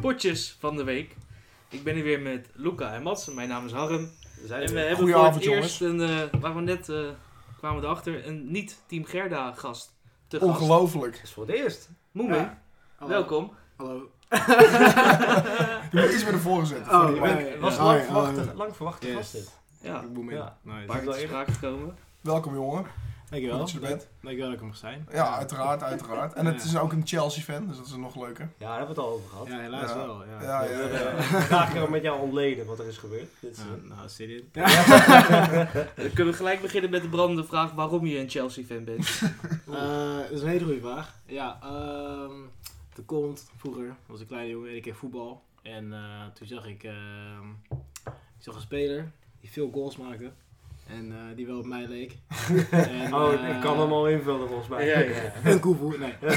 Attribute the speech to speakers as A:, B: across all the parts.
A: nieuwtjes van de week. Ik ben hier weer met Luca en Mats. Mijn naam is Harm.
B: We zijn
A: En
B: er
A: we
B: weer.
A: hebben voor
C: Goedenavond,
A: het eerst, een, eh, waar we net eh, kwamen erachter, een niet-Team Gerda gast te gast.
C: Ongelooflijk.
B: Dat is voor het eerst.
A: Moemin,
D: Ja. Hallo.
A: welkom.
D: Hallo.
C: Je moet iets meer ervoor zetten.
D: Oh,
C: voor die
D: ja,
C: week.
D: ja, ja.
B: was
C: Oh,
B: lang
C: ja,
B: verwachte,
C: oh, ja.
B: lang verwachte
D: Yes.
B: gast dit.
A: Ja,
C: Ik boem in.
B: Ja.
D: Nice.
A: waar ik
B: wel
A: te
B: even-
A: sprake gekomen.
C: Welkom jongen.
D: Dankjewel.
C: Goed dat je er bent.
D: Dankjewel dat ik er mag zijn.
C: Ja, uiteraard, uiteraard. En het
D: Ja.
C: is ook een Chelsea fan, dus dat is nog leuker.
B: Ja, daar hebben we het al over gehad.
D: Ja, helaas
C: Ja.
D: wel. Ja.
C: Ja,
B: We
C: ja,
B: hebben
C: ja.
B: eh, graag eh, met jou ontleden wat er is gebeurd. Dit is,
D: Ja,
B: eh,
D: nou, zit in.
A: Dan Eh, kunnen we gelijk beginnen met de brandende vraag waarom je een Chelsea-fan bent.
D: Eh, dat is een hele goede vraag. Ja, ehm de kont. Vroeger was ik kleine jongen en ik keer voetbal. En eh, toen zag ik, ehm, ik zag een speler die veel goals maakte. En eh, die wel op mij leek. En,
B: oh,
D: eh,
B: ik kan hem al invullen volgens mij.
A: Ja, ja.
D: Een koevoer, nee.
C: Nee,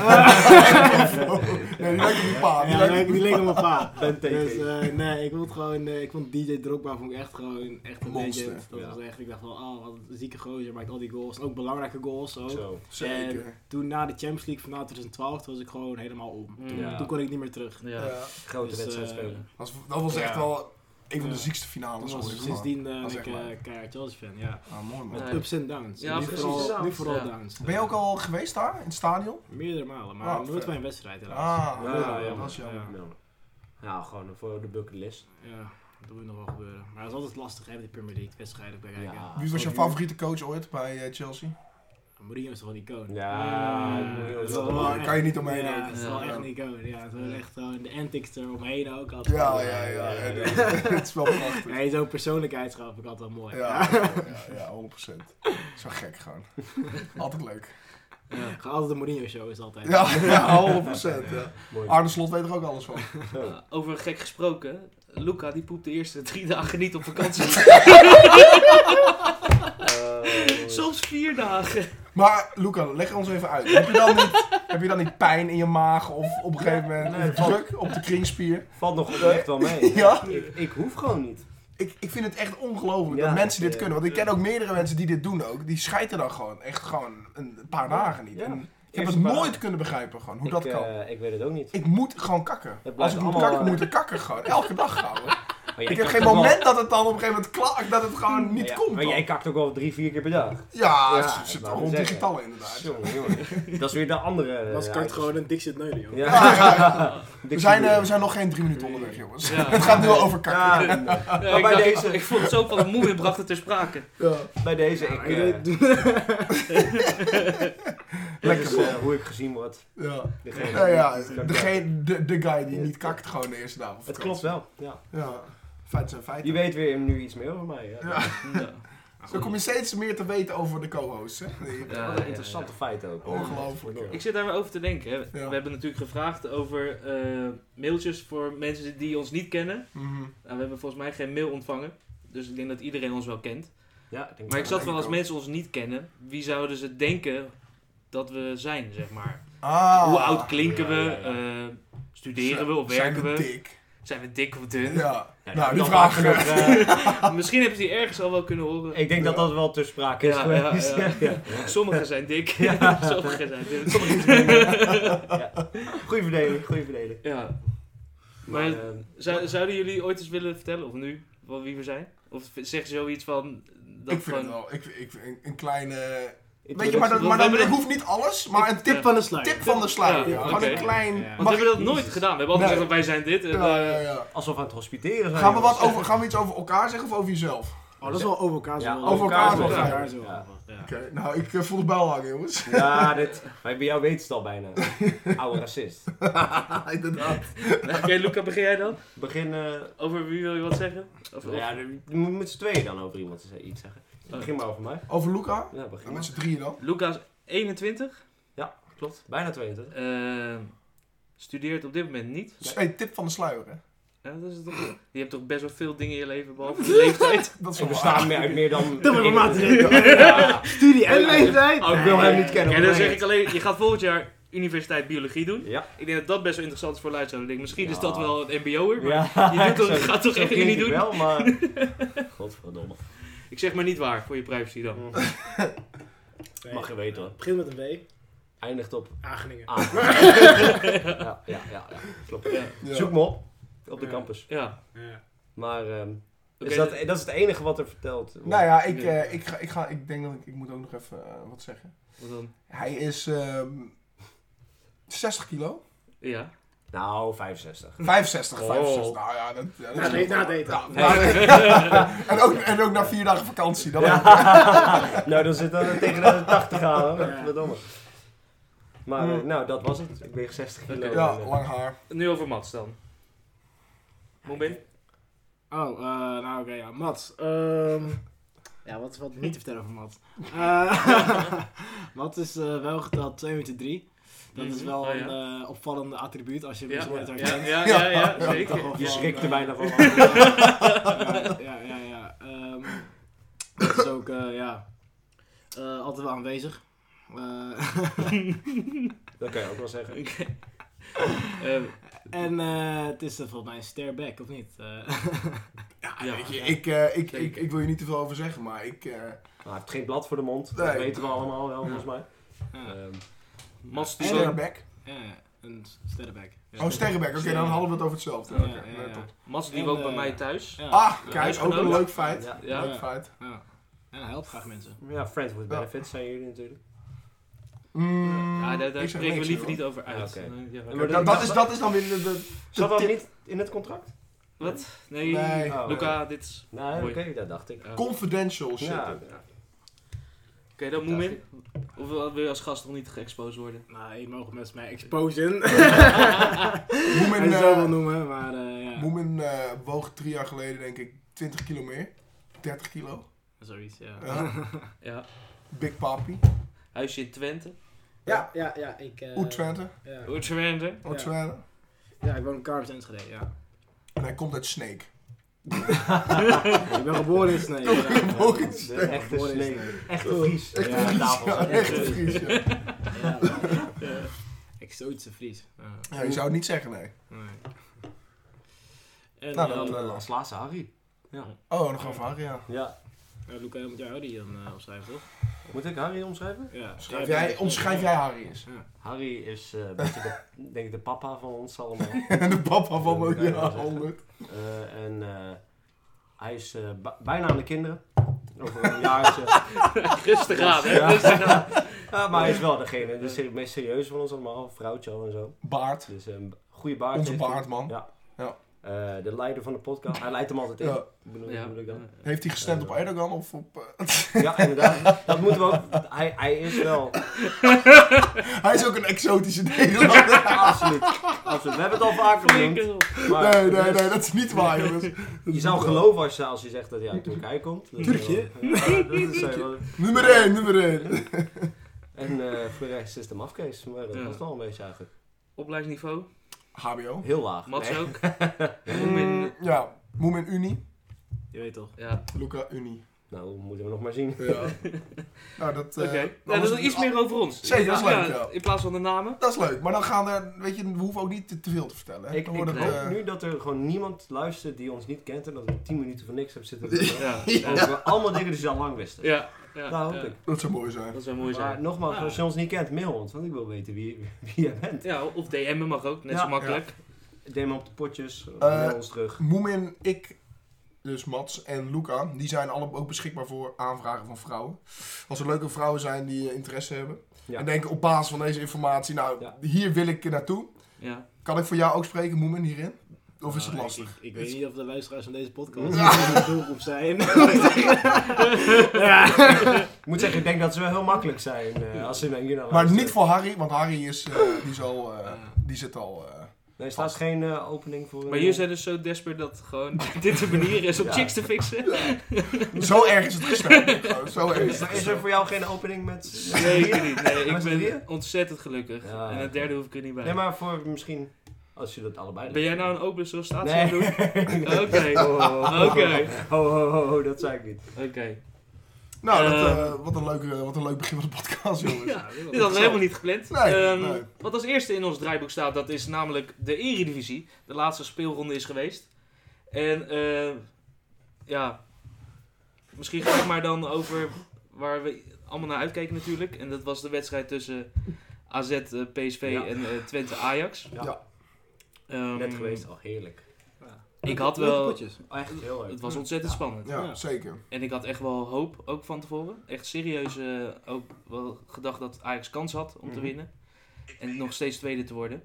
C: die lijkt op die pa. Die
D: Ah, Ja,
C: lijkt
D: die, die leek op mijn pa.
B: Ben TT.
D: Dus eh, nee, ik vond gewoon, eh, ik vond DJ Drogba vond ik echt gewoon echt een
C: Monster,
D: legend. Dat
B: ja.
D: was echt, ik dacht van, oh, wat een zieke gozer, maakt al die goals. En ook belangrijke goals ook.
B: Zo.
C: Zeker.
D: Toen na de Champions League van na 2012, toen was ik gewoon helemaal om. Toen,
A: Ja.
D: toen kon ik niet meer terug.
A: Ja.
C: Ja.
B: Grote
D: Dus,
B: wedstrijd
D: eh,
B: spelen.
C: Dat was- dat was echt
D: Ja.
C: wel een van de
D: Ja.
C: ziekste
D: Toen
C: finales.
D: was
C: ooit.
D: sindsdien eh,
C: Dat
D: ben
C: is
D: ik
C: echt
D: eh
C: leuk.
D: keihard Chelsea fan, ja.
C: Ah, mooi man.
D: Met
A: Nee.
D: ups en downs.
A: Ja,
D: nu
A: precies,
D: vooral,
B: downs,
D: nu vooral
A: ja.
D: downs.
C: Ben je ook al geweest daar, in het stadion?
D: Meerdere malen, maar
C: Ah,
D: nooit
C: vet.
D: bij een wedstrijd helaas.
C: Ah,
B: Ja,
C: ja,
B: ja,
C: dat is jammer.
D: ja.
B: Nou, nou, gewoon voor de bucketlist.
D: Ja, dat moet nog wel gebeuren. Maar het is altijd lastig, hè, met die Premier League wedstrijden bekijken.
B: Ja.
C: Wie was jouw favoriete coach ooit bij eh, Chelsea?
D: Mourinho is toch wel een icoon?
B: Ja,
D: Eh,
B: Mourinho is
D: dat is
B: wel
D: wel
B: een-
D: echt-
C: kan je niet omheen
D: Ja,
C: ook.
D: dat is
A: Ja.
D: wel echt een icoon. Ja, het is wel echt gewoon de antics eromheen ook. altijd.
C: Ja, ja, ja. ja,
B: Ja,
C: ja. Het is wel prachtig.
D: Nee, zo'n persoonlijkheidsschap vind ik altijd wel mooi.
C: Ja, ja, ja, ja, 100%. Zo gek gewoon. Altijd leuk.
A: Ja.
D: Ga altijd de Mourinho-show is altijd.
C: Ja, ja 100%. Ja.
B: Mooi.
C: Arne Slot weet er ook alles van.
A: Ja, Eh, Over gek gesproken, Luca die poept de eerste drie dagen niet op vakantie.
B: Eh,
A: Soms vier dagen.
C: Maar Luca, leg ons even uit. Heb je dan niet, heb je dan niet pijn in je maag of op een gegeven moment
B: Nee,
C: druk op de kringspier?
B: Valt nog echt wel mee.
C: Ja.
B: Ik, ik hoef gewoon niet.
C: Ik, ik vind het echt ongelooflijk
B: Ja,
C: dat mensen
B: ik,
C: dit
B: eh,
C: kunnen. Want ik ken ook meerdere mensen die dit doen ook. Die schijten dan gewoon echt gewoon een paar dagen niet.
B: Ja.
C: En ik heb
B: Eerst
C: het
B: een paar
C: nooit
B: dagen.
C: kunnen begrijpen gewoon, hoe dat
B: ik,
C: kan.
B: eh, ik weet het ook niet.
C: Ik moet gewoon kakken.
B: blijft
C: Als ik moet
B: allemaal,
C: kakken,
B: eh,
C: moet ik kakken gewoon. Elke dag gewoon.
B: Maar jij
C: Ik heb
B: kakt
C: geen
B: ook wel-
C: moment dat het dan op een gegeven moment klaar dat het gewoon niet
B: Ja,
C: komt.
B: Maar
C: dan.
B: jij kakt ook wel drie, vier keer per dag.
C: ja,
B: Ja,
C: het
B: dat
C: zit
B: wou
C: al
B: ik
C: rond
B: zeggen.
C: digitaal inderdaad.
B: Jongen, jongen. Dat is weer de andere.
D: Dat
B: eh,
D: is kort
B: uit-
D: gewoon een Dixit Neulen, joh.
B: Ja.
C: Ja, ja, ja.
B: Dikke
C: We, zijn, eh,
B: muur.
C: we zijn nog geen drie minuten onderweg, jongens.
A: Ja.
C: het gaat nu al over
B: Ja,
C: kakken.
A: Ja,
B: Maar
A: ik,
B: bij
A: dacht-
B: deze-
A: ik vond het zo van moe en bracht het ter sprake.
C: Ja.
B: bij deze, ik,
D: Maar
B: eh,
D: je-
B: dit
C: Lekker
B: is
C: man.
B: eh, hoe ik gezien word.
C: Ja.
B: Degene
C: Nou ja,
B: die- die kakt.
C: degene, de, de guy die niet kakt gewoon de eerste dag.
B: Het klopt wel. Ja.
C: Ja, feiten zijn feiten.
B: Je weet weer nu iets meer over mij. Ja.
C: Ja.
A: Ja.
C: Dan kom je steeds meer te weten over de co-hosts. hè.
A: Ja,
B: Wat een interessante feit ook.
C: Ongelooflijk.
B: Ja.
A: Ik zit daar weer over te denken. Hè.
C: Ja.
A: We hebben natuurlijk gevraagd over eh, mailtjes voor mensen die ons niet kennen.
C: Mhm.
A: Nou, we hebben volgens mij geen mail ontvangen. Dus ik denk dat iedereen ons wel kent.
B: Ja, ik denk
A: Maar ik
B: wel.
A: zat van als mensen ons niet kennen, wie zouden ze denken dat we zijn, zeg maar?
C: Ah.
A: Hoe oud klinken we?
B: Ja,
A: Eh, studeren we of werken
C: Zijn we
A: we?
C: dik?
A: Zijn we dik of dun?
C: Ja.
B: Ja,
C: nou, die
B: dan
C: vraag...
B: maken we nog, eh,
A: Misschien hebben ze die ergens al wel kunnen horen.
B: ik denk dat dat wel ter sprake is
A: Ja, ja,
B: geweest.
A: ja.
B: Ja.
A: Sommigen zijn dik, sommigen zijn dun.
B: Ja. Goeie verdeling, goeie verdeling.
A: Ja.
B: Maar,
A: Maar-
B: eh,
A: Zou- zouden jullie ooit eens willen vertellen, of nu, van wie we zijn? Of zeg zoiets van... Dat
C: ik vind
A: van,
C: het wel. Ik, ik, een, een kleine... Weet je,
B: introductie-
C: maar dat,
A: We
C: maar
A: hebben
C: dat, dat
A: dit-
C: hoeft niet alles. Maar een
D: Tip
C: tip,
D: van de sluier.
C: tip van de sluier.
A: Ja,
C: Gewoon
A: oké.
C: een klein...
D: Ja.
A: Want
C: mag
A: we hebben
C: ik-
A: dat nooit gedaan. We hebben altijd
C: Nee.
A: gezegd, wij zijn dit. En,
C: Ja,
A: eh,
C: ja, ja.
B: Alsof we aan het hospiteren zijn.
C: Gaan we, wat
B: jongens.
C: over, gaan we iets over elkaar zeggen of over jezelf?
D: Oh, dat is wel over elkaar zo.
B: Ja,
D: wel.
C: over elkaar
D: zo.
C: zo.
D: Over
C: Ja.
D: elkaar zo.
B: Ja.
D: Ja.
C: Oké, nou ik eh, voel de bel hangen jongens.
B: Ja, dit, maar bij jou weet het al bijna. Oude racist.
C: Inderdaad.
A: Oké, Luca, begin jij dan?
B: Begin. eh,
A: Over wie wil je wat zeggen? Of,
B: nou ja, je moet met z'n tweeën dan over iemand ze- iets zeggen. Begin maar over mij.
C: Over Luca?
B: Ja, begin
C: En met
B: maar.
C: z'n drieën dan?
A: Luca is 21.
B: Klopt. Bijna 22.
A: eh, studeert op dit moment niet.
C: Dus, hey, tip van de sluier hè.
A: Ja, dat is toch, je hebt toch best wel veel dingen in je leven, behalve je leeftijd.
C: Dat is
B: Ik
C: wel
B: besta
C: waar.
B: meer uit meer dan.
D: Dat
B: één-
D: wil maar
B: Ja.
D: Studie en leeftijd.
B: Oh, ik wil hem niet kennen.
A: En
B: maar
A: dan zeg ik alleen, je gaat volgend jaar universiteit biologie doen.
B: Ja.
A: Ik denk dat dat best wel interessant is voor luisteraars. Ik denk, Misschien is
B: Ja.
A: dat wel een mbo'er, maar
B: Ja,
A: je doet toch-
B: zo-
A: gaat toch
B: zo
A: echt
B: klink
A: niet
B: ik
A: doen?
B: wel, maar. Godverdomme.
A: ik zeg maar niet waar voor je privacy dan.
B: Mag je weten hoor.
D: Begin met een W.
B: Eindigt op
D: Ageningen.
B: A. ja, ja, ja, ja. Klopt.
A: Ja.
C: Ja.
B: Zoek me op. op de
D: Ja.
B: campus.
A: Ja.
D: Ja.
B: Maar ehm,
A: Oké,
B: dus dat, dat is het enige wat er verteld wordt.
C: Nou ja, ik,
A: Nee.
C: eh, ik, ga, ik, ga, ik denk dat ik, ik moet ook nog even eh, wat zeggen.
A: wat dan?
C: Hij is ehm 60 kilo.
A: Ja.
B: Nou, 65.
C: 65,
B: Oh.
C: 65. Nou ja, dat, ja, dat
D: Na-
C: is-
D: nadenken.
C: Ja,
B: Nee.
C: nadenken. en, ook, en ook na vier dagen vakantie. Dan ook.
B: Ja. nou, dan zit dat er tegen de 80 aan, hoor.
D: Ja.
B: Verdomme. Maar, eh,
C: Hm.
B: nou, dat was het. Ik weeg 60 kilo.
A: Oké.
C: ja,
B: En, eh,
C: lang haar.
A: Nu over Mats dan. Moment.
D: Oh, eh, nou oké, ja. Mats. ehm, ja, wat is wat niet te vertellen over Mats? Eh Mats is eh, wel geteld 2 meter 3. Dat is
A: Mhm.
D: wel
A: Oh, ja.
D: een eh, opvallende attribuut als je hem
A: Ja,
D: zo
A: ja,
D: herkent.
A: ja, ja, ja, ja,
C: Ja.
A: zeker.
B: Je
A: Ja.
B: schrikt er bijna van.
D: ja, ja, ja. ja. Ehm, dat is ook, eh, ja, eh, altijd wel aanwezig. Eh,
B: Dat kan je ook wel zeggen.
A: Oké. Eh,
D: en eh, het is eh, volgens mij een stare back, of niet? Eh,
A: Ja.
C: Weet je, ik, eh, ik,
A: Zeker.
C: ik, ik wil je niet te veel over zeggen, maar ik... eh,
B: Maar hij heeft geen blad voor de mond. Dat
C: Nee.
B: weten we allemaal wel, volgens mij.
D: ja,
B: Ehm,
A: Mats die
D: En-
C: Sterrenbek.
D: ja, een stare back. Ja.
C: Oh, Sterrenbek. Oké, dan hadden we het over hetzelfde.
D: Ja,
C: Oké,
D: ja,
C: nee,
D: ja.
C: top.
A: Mats die
D: En,
A: woont bij
D: eh,
A: mij thuis.
D: Ja.
C: Ah,
A: Ja,
C: kijk, ook
A: huisgenoot.
C: een leuk feit.
B: ja.
A: Ja.
C: Leuk feit.
D: Ja. En hij helpt graag mensen.
B: ja, friends with benefits zijn jullie natuurlijk.
C: Mm,
A: Ja, daar,
C: ik
A: daar
C: zeg
A: spreken we
C: niks,
A: liever
C: joh.
A: niet over uit.
B: Oké.
A: Nee, ja,
B: En maar
C: Dat, dat, is, dat is dan weer de... de-
B: Zat
C: de
B: dat
C: tip.
B: niet in het contract?
A: Wat? Nee.
C: Nee.
B: Oh,
A: Luca, dit is...
B: Nou, oké,
A: Mooi.
B: dat dacht ik.
A: eh, Oké,
C: Confidential shit.
B: Ja.
A: dan moet in. Of wil wil je als gast nog niet geëxposed worden?
D: Nou, je mogen mensen mij exposen.
C: Moemin,
D: Hij
C: eh,
D: zou wel noemen, maar eh, ja.
C: Moemin eh, woog drie jaar geleden denk ik 20 kilo meer. 30 kilo.
D: Zoiets, ja.
C: Ja.
A: Ja.
C: Big Papi.
A: Huisje in Twente.
D: Ja, ja, ja. Ik, eh,
C: Oet Twente.
D: ja.
A: Oeh, Twente.
C: Oet
D: Ja.
C: Twente.
D: ja, ik woon in Carves Enschede, ja.
C: En hij komt uit Snake.
D: ik ben geboren in Snee. Ja,
C: Geboren in
B: De
C: Snee.
B: echte
D: Geboren is
B: sneeuw.
D: sneeuw.
B: Echte Fries.
C: Echt
D: Ja,
C: een Fries.
B: tafel.
C: Ja, echt een Fries. Ja.
D: Ja, maar- Exotische Fries. Ja.
C: Ja, je zou het niet zeggen, nee.
D: Nee. En
C: Nou,
D: eh,
C: dan, eh,
B: Als laatste Harry.
C: Oh, nog over Harry, ja.
B: Ja.
D: eh, Luca, jij moet jou die dan eh, opschrijven, toch?
B: Moet ik Harry omschrijven?
D: Ja.
C: Schrijf jij, omschrijf jij Harry eens.
B: Harry is eh, een beetje de, denk ik de papa van ons allemaal.
C: En de papa
B: Ja,
C: van me,
B: dat kan je wel
C: ja,
B: zeggen.
C: 100.
B: Eh, en eh, hij is eh, ba- bijna aan de kinderen. Over een jaartje.
A: Rustig aan, hè?
B: Ja.
A: Rustig aan.
B: Ja, maar hij is wel degene, de serie- meest serieuze van ons allemaal. Vrouwtje al en zo.
C: Baard.
B: Dus eh, een goede baard.
C: Onze
B: heeft hij.
C: baard, man.
B: Ja. Eh, de leider van de podcast. Hij leidt hem altijd in.
C: Ja.
B: Bedoel,
A: Ja.
B: bedoel ik dan.
C: Heeft hij gestemd op Erdogan of op... eh,
B: Ja, inderdaad. Dat moeten we ook. Hij, hij is wel.
C: hij is ook een exotische Nederlander.
B: Absoluut. Absoluut. We hebben het al vaker
A: Flink
B: genoemd.
A: is op.
B: maar
C: Nee, nee,
B: dus-
C: nee, dat is niet waar, jongens. Dat is
B: Je
C: niet
B: zou
C: waar.
B: geloven als je, als je zegt dat hij uit Turkije komt. Dat is wel-
D: Turkje?
B: Ja, dat is zo wel.
C: Nummer 1, nummer 1.
B: En eh, voor de rest is het een afkees, maar dat
A: Ja.
B: was het al een beetje eigenlijk.
A: Opleidingsniveau.
C: HBO.
B: Heel laag.
A: Mats
B: Nee.
A: ook. Moemin.
C: Ja, Moemin Unie.
D: Je weet toch.
A: Ja.
C: Luca Unie.
B: Nou, dat moeten we nog maar zien.
C: Ja. nou, dat... eh,
A: Oké.
C: dan
A: Nou, dat
C: is het-
A: is iets meer over ons.
C: Zeker, dat is
A: Ja,
C: leuk, ja.
A: In plaats van de namen.
C: Dat is leuk, maar dan gaan er... Weet je, we hoeven ook niet te, te veel te vertellen. Hè?
B: Ik,
C: Dan
B: ik
C: wordt
B: hoop
C: het, eh,
B: nu dat er gewoon niemand luistert die ons niet kent en dat we 10 minuten van niks hebben zitten vertellen.
A: Ja.
B: Over allemaal dingen die ze al lang wisten.
A: Ja. ja.
B: Nou, hoop
A: ja.
B: ik.
C: Dat zou mooi zijn.
A: Dat zou mooi zijn.
B: Maar nogmaals,
D: Ja.
B: als je ons niet kent, mail ons, want ik wil weten wie, wie jij bent.
A: Ja, of DM'en mag ook, net
B: Ja.
A: zo makkelijk.
B: Neem op de potjes,
C: Eh,
B: mail ons terug.
C: Moemin, ik, dus Mats en Luca, die zijn alle ook beschikbaar voor aanvragen van vrouwen. Als er leuke vrouwen zijn die eh, interesse hebben.
B: Ja.
C: En denken op basis van deze informatie, nou,
B: Ja.
C: hier wil ik naartoe.
A: Ja.
C: Kan ik voor jou ook spreken, Moemin, hierin? Of is
D: Nou,
C: het
D: ik-
C: lastig?
D: Ik, ik weet niet of de luisteraars van deze podcast
C: Ja.
D: de doelgroep zijn. ja.
B: Ik moet zeggen, ik denk dat ze wel heel makkelijk zijn eh, als ze naar hier naar
C: Maar
B: luisteren.
C: niet voor Harry, want Harry is, eh, die, is al, eh, die zit al... eh,
B: Nee, er staat geen eh, opening voor...
A: Maar jullie zijn dus zo desper dat gewoon dit de manier is om
B: Ja.
A: chicks te fixen.
C: zo erg is het gesteld. gewoon, zo erg is het
B: Is er
C: gesteld.
B: voor jou geen opening met...
A: Nee, ik niet. Nee, ik
B: Was het weer?
A: ben ontzettend gelukkig.
B: Ja.
A: En het derde hoef ik er niet bij.
B: Nee, maar voor misschien... Als je dat allebei
A: Ben jij nou een open sollicitatie aan
B: Nee.
A: het doen? Oké.
B: Ho, ho, ho.
A: Oké.
B: Ho, ho, ho, ho, dat zei ik niet.
A: Oké.
C: Nou, dat, eh,
A: Eh,
C: wat, een leuk, eh, wat een leuk begin van de podcast, jongens.
A: Ja, Dit hadden we helemaal niet gepland.
C: Nee,
A: Ehm,
C: nee.
A: Wat als eerste in ons draaiboek staat, dat is namelijk de Eredivisie. De laatste speelronde is geweest. En eh, ja, misschien ga ik maar dan over waar we allemaal naar uitkeken natuurlijk. En dat was de wedstrijd tussen AZ, eh, PSV
B: Ja.
A: en eh, Twente Ajax.
B: Ja.
C: Ja.
A: Ehm,
B: Net geweest, al heerlijk.
A: Ik had wel...
D: potjes.
B: Oh, Echt heel leuk.
A: Het was ontzettend
D: Ja.
A: spannend.
C: Ja,
D: Ja.
C: zeker.
A: En ik had echt wel hoop, ook van tevoren. Echt serieus eh, ook wel gedacht dat Ajax kans had om te
B: Mhm.
A: winnen. En nog steeds tweede te worden.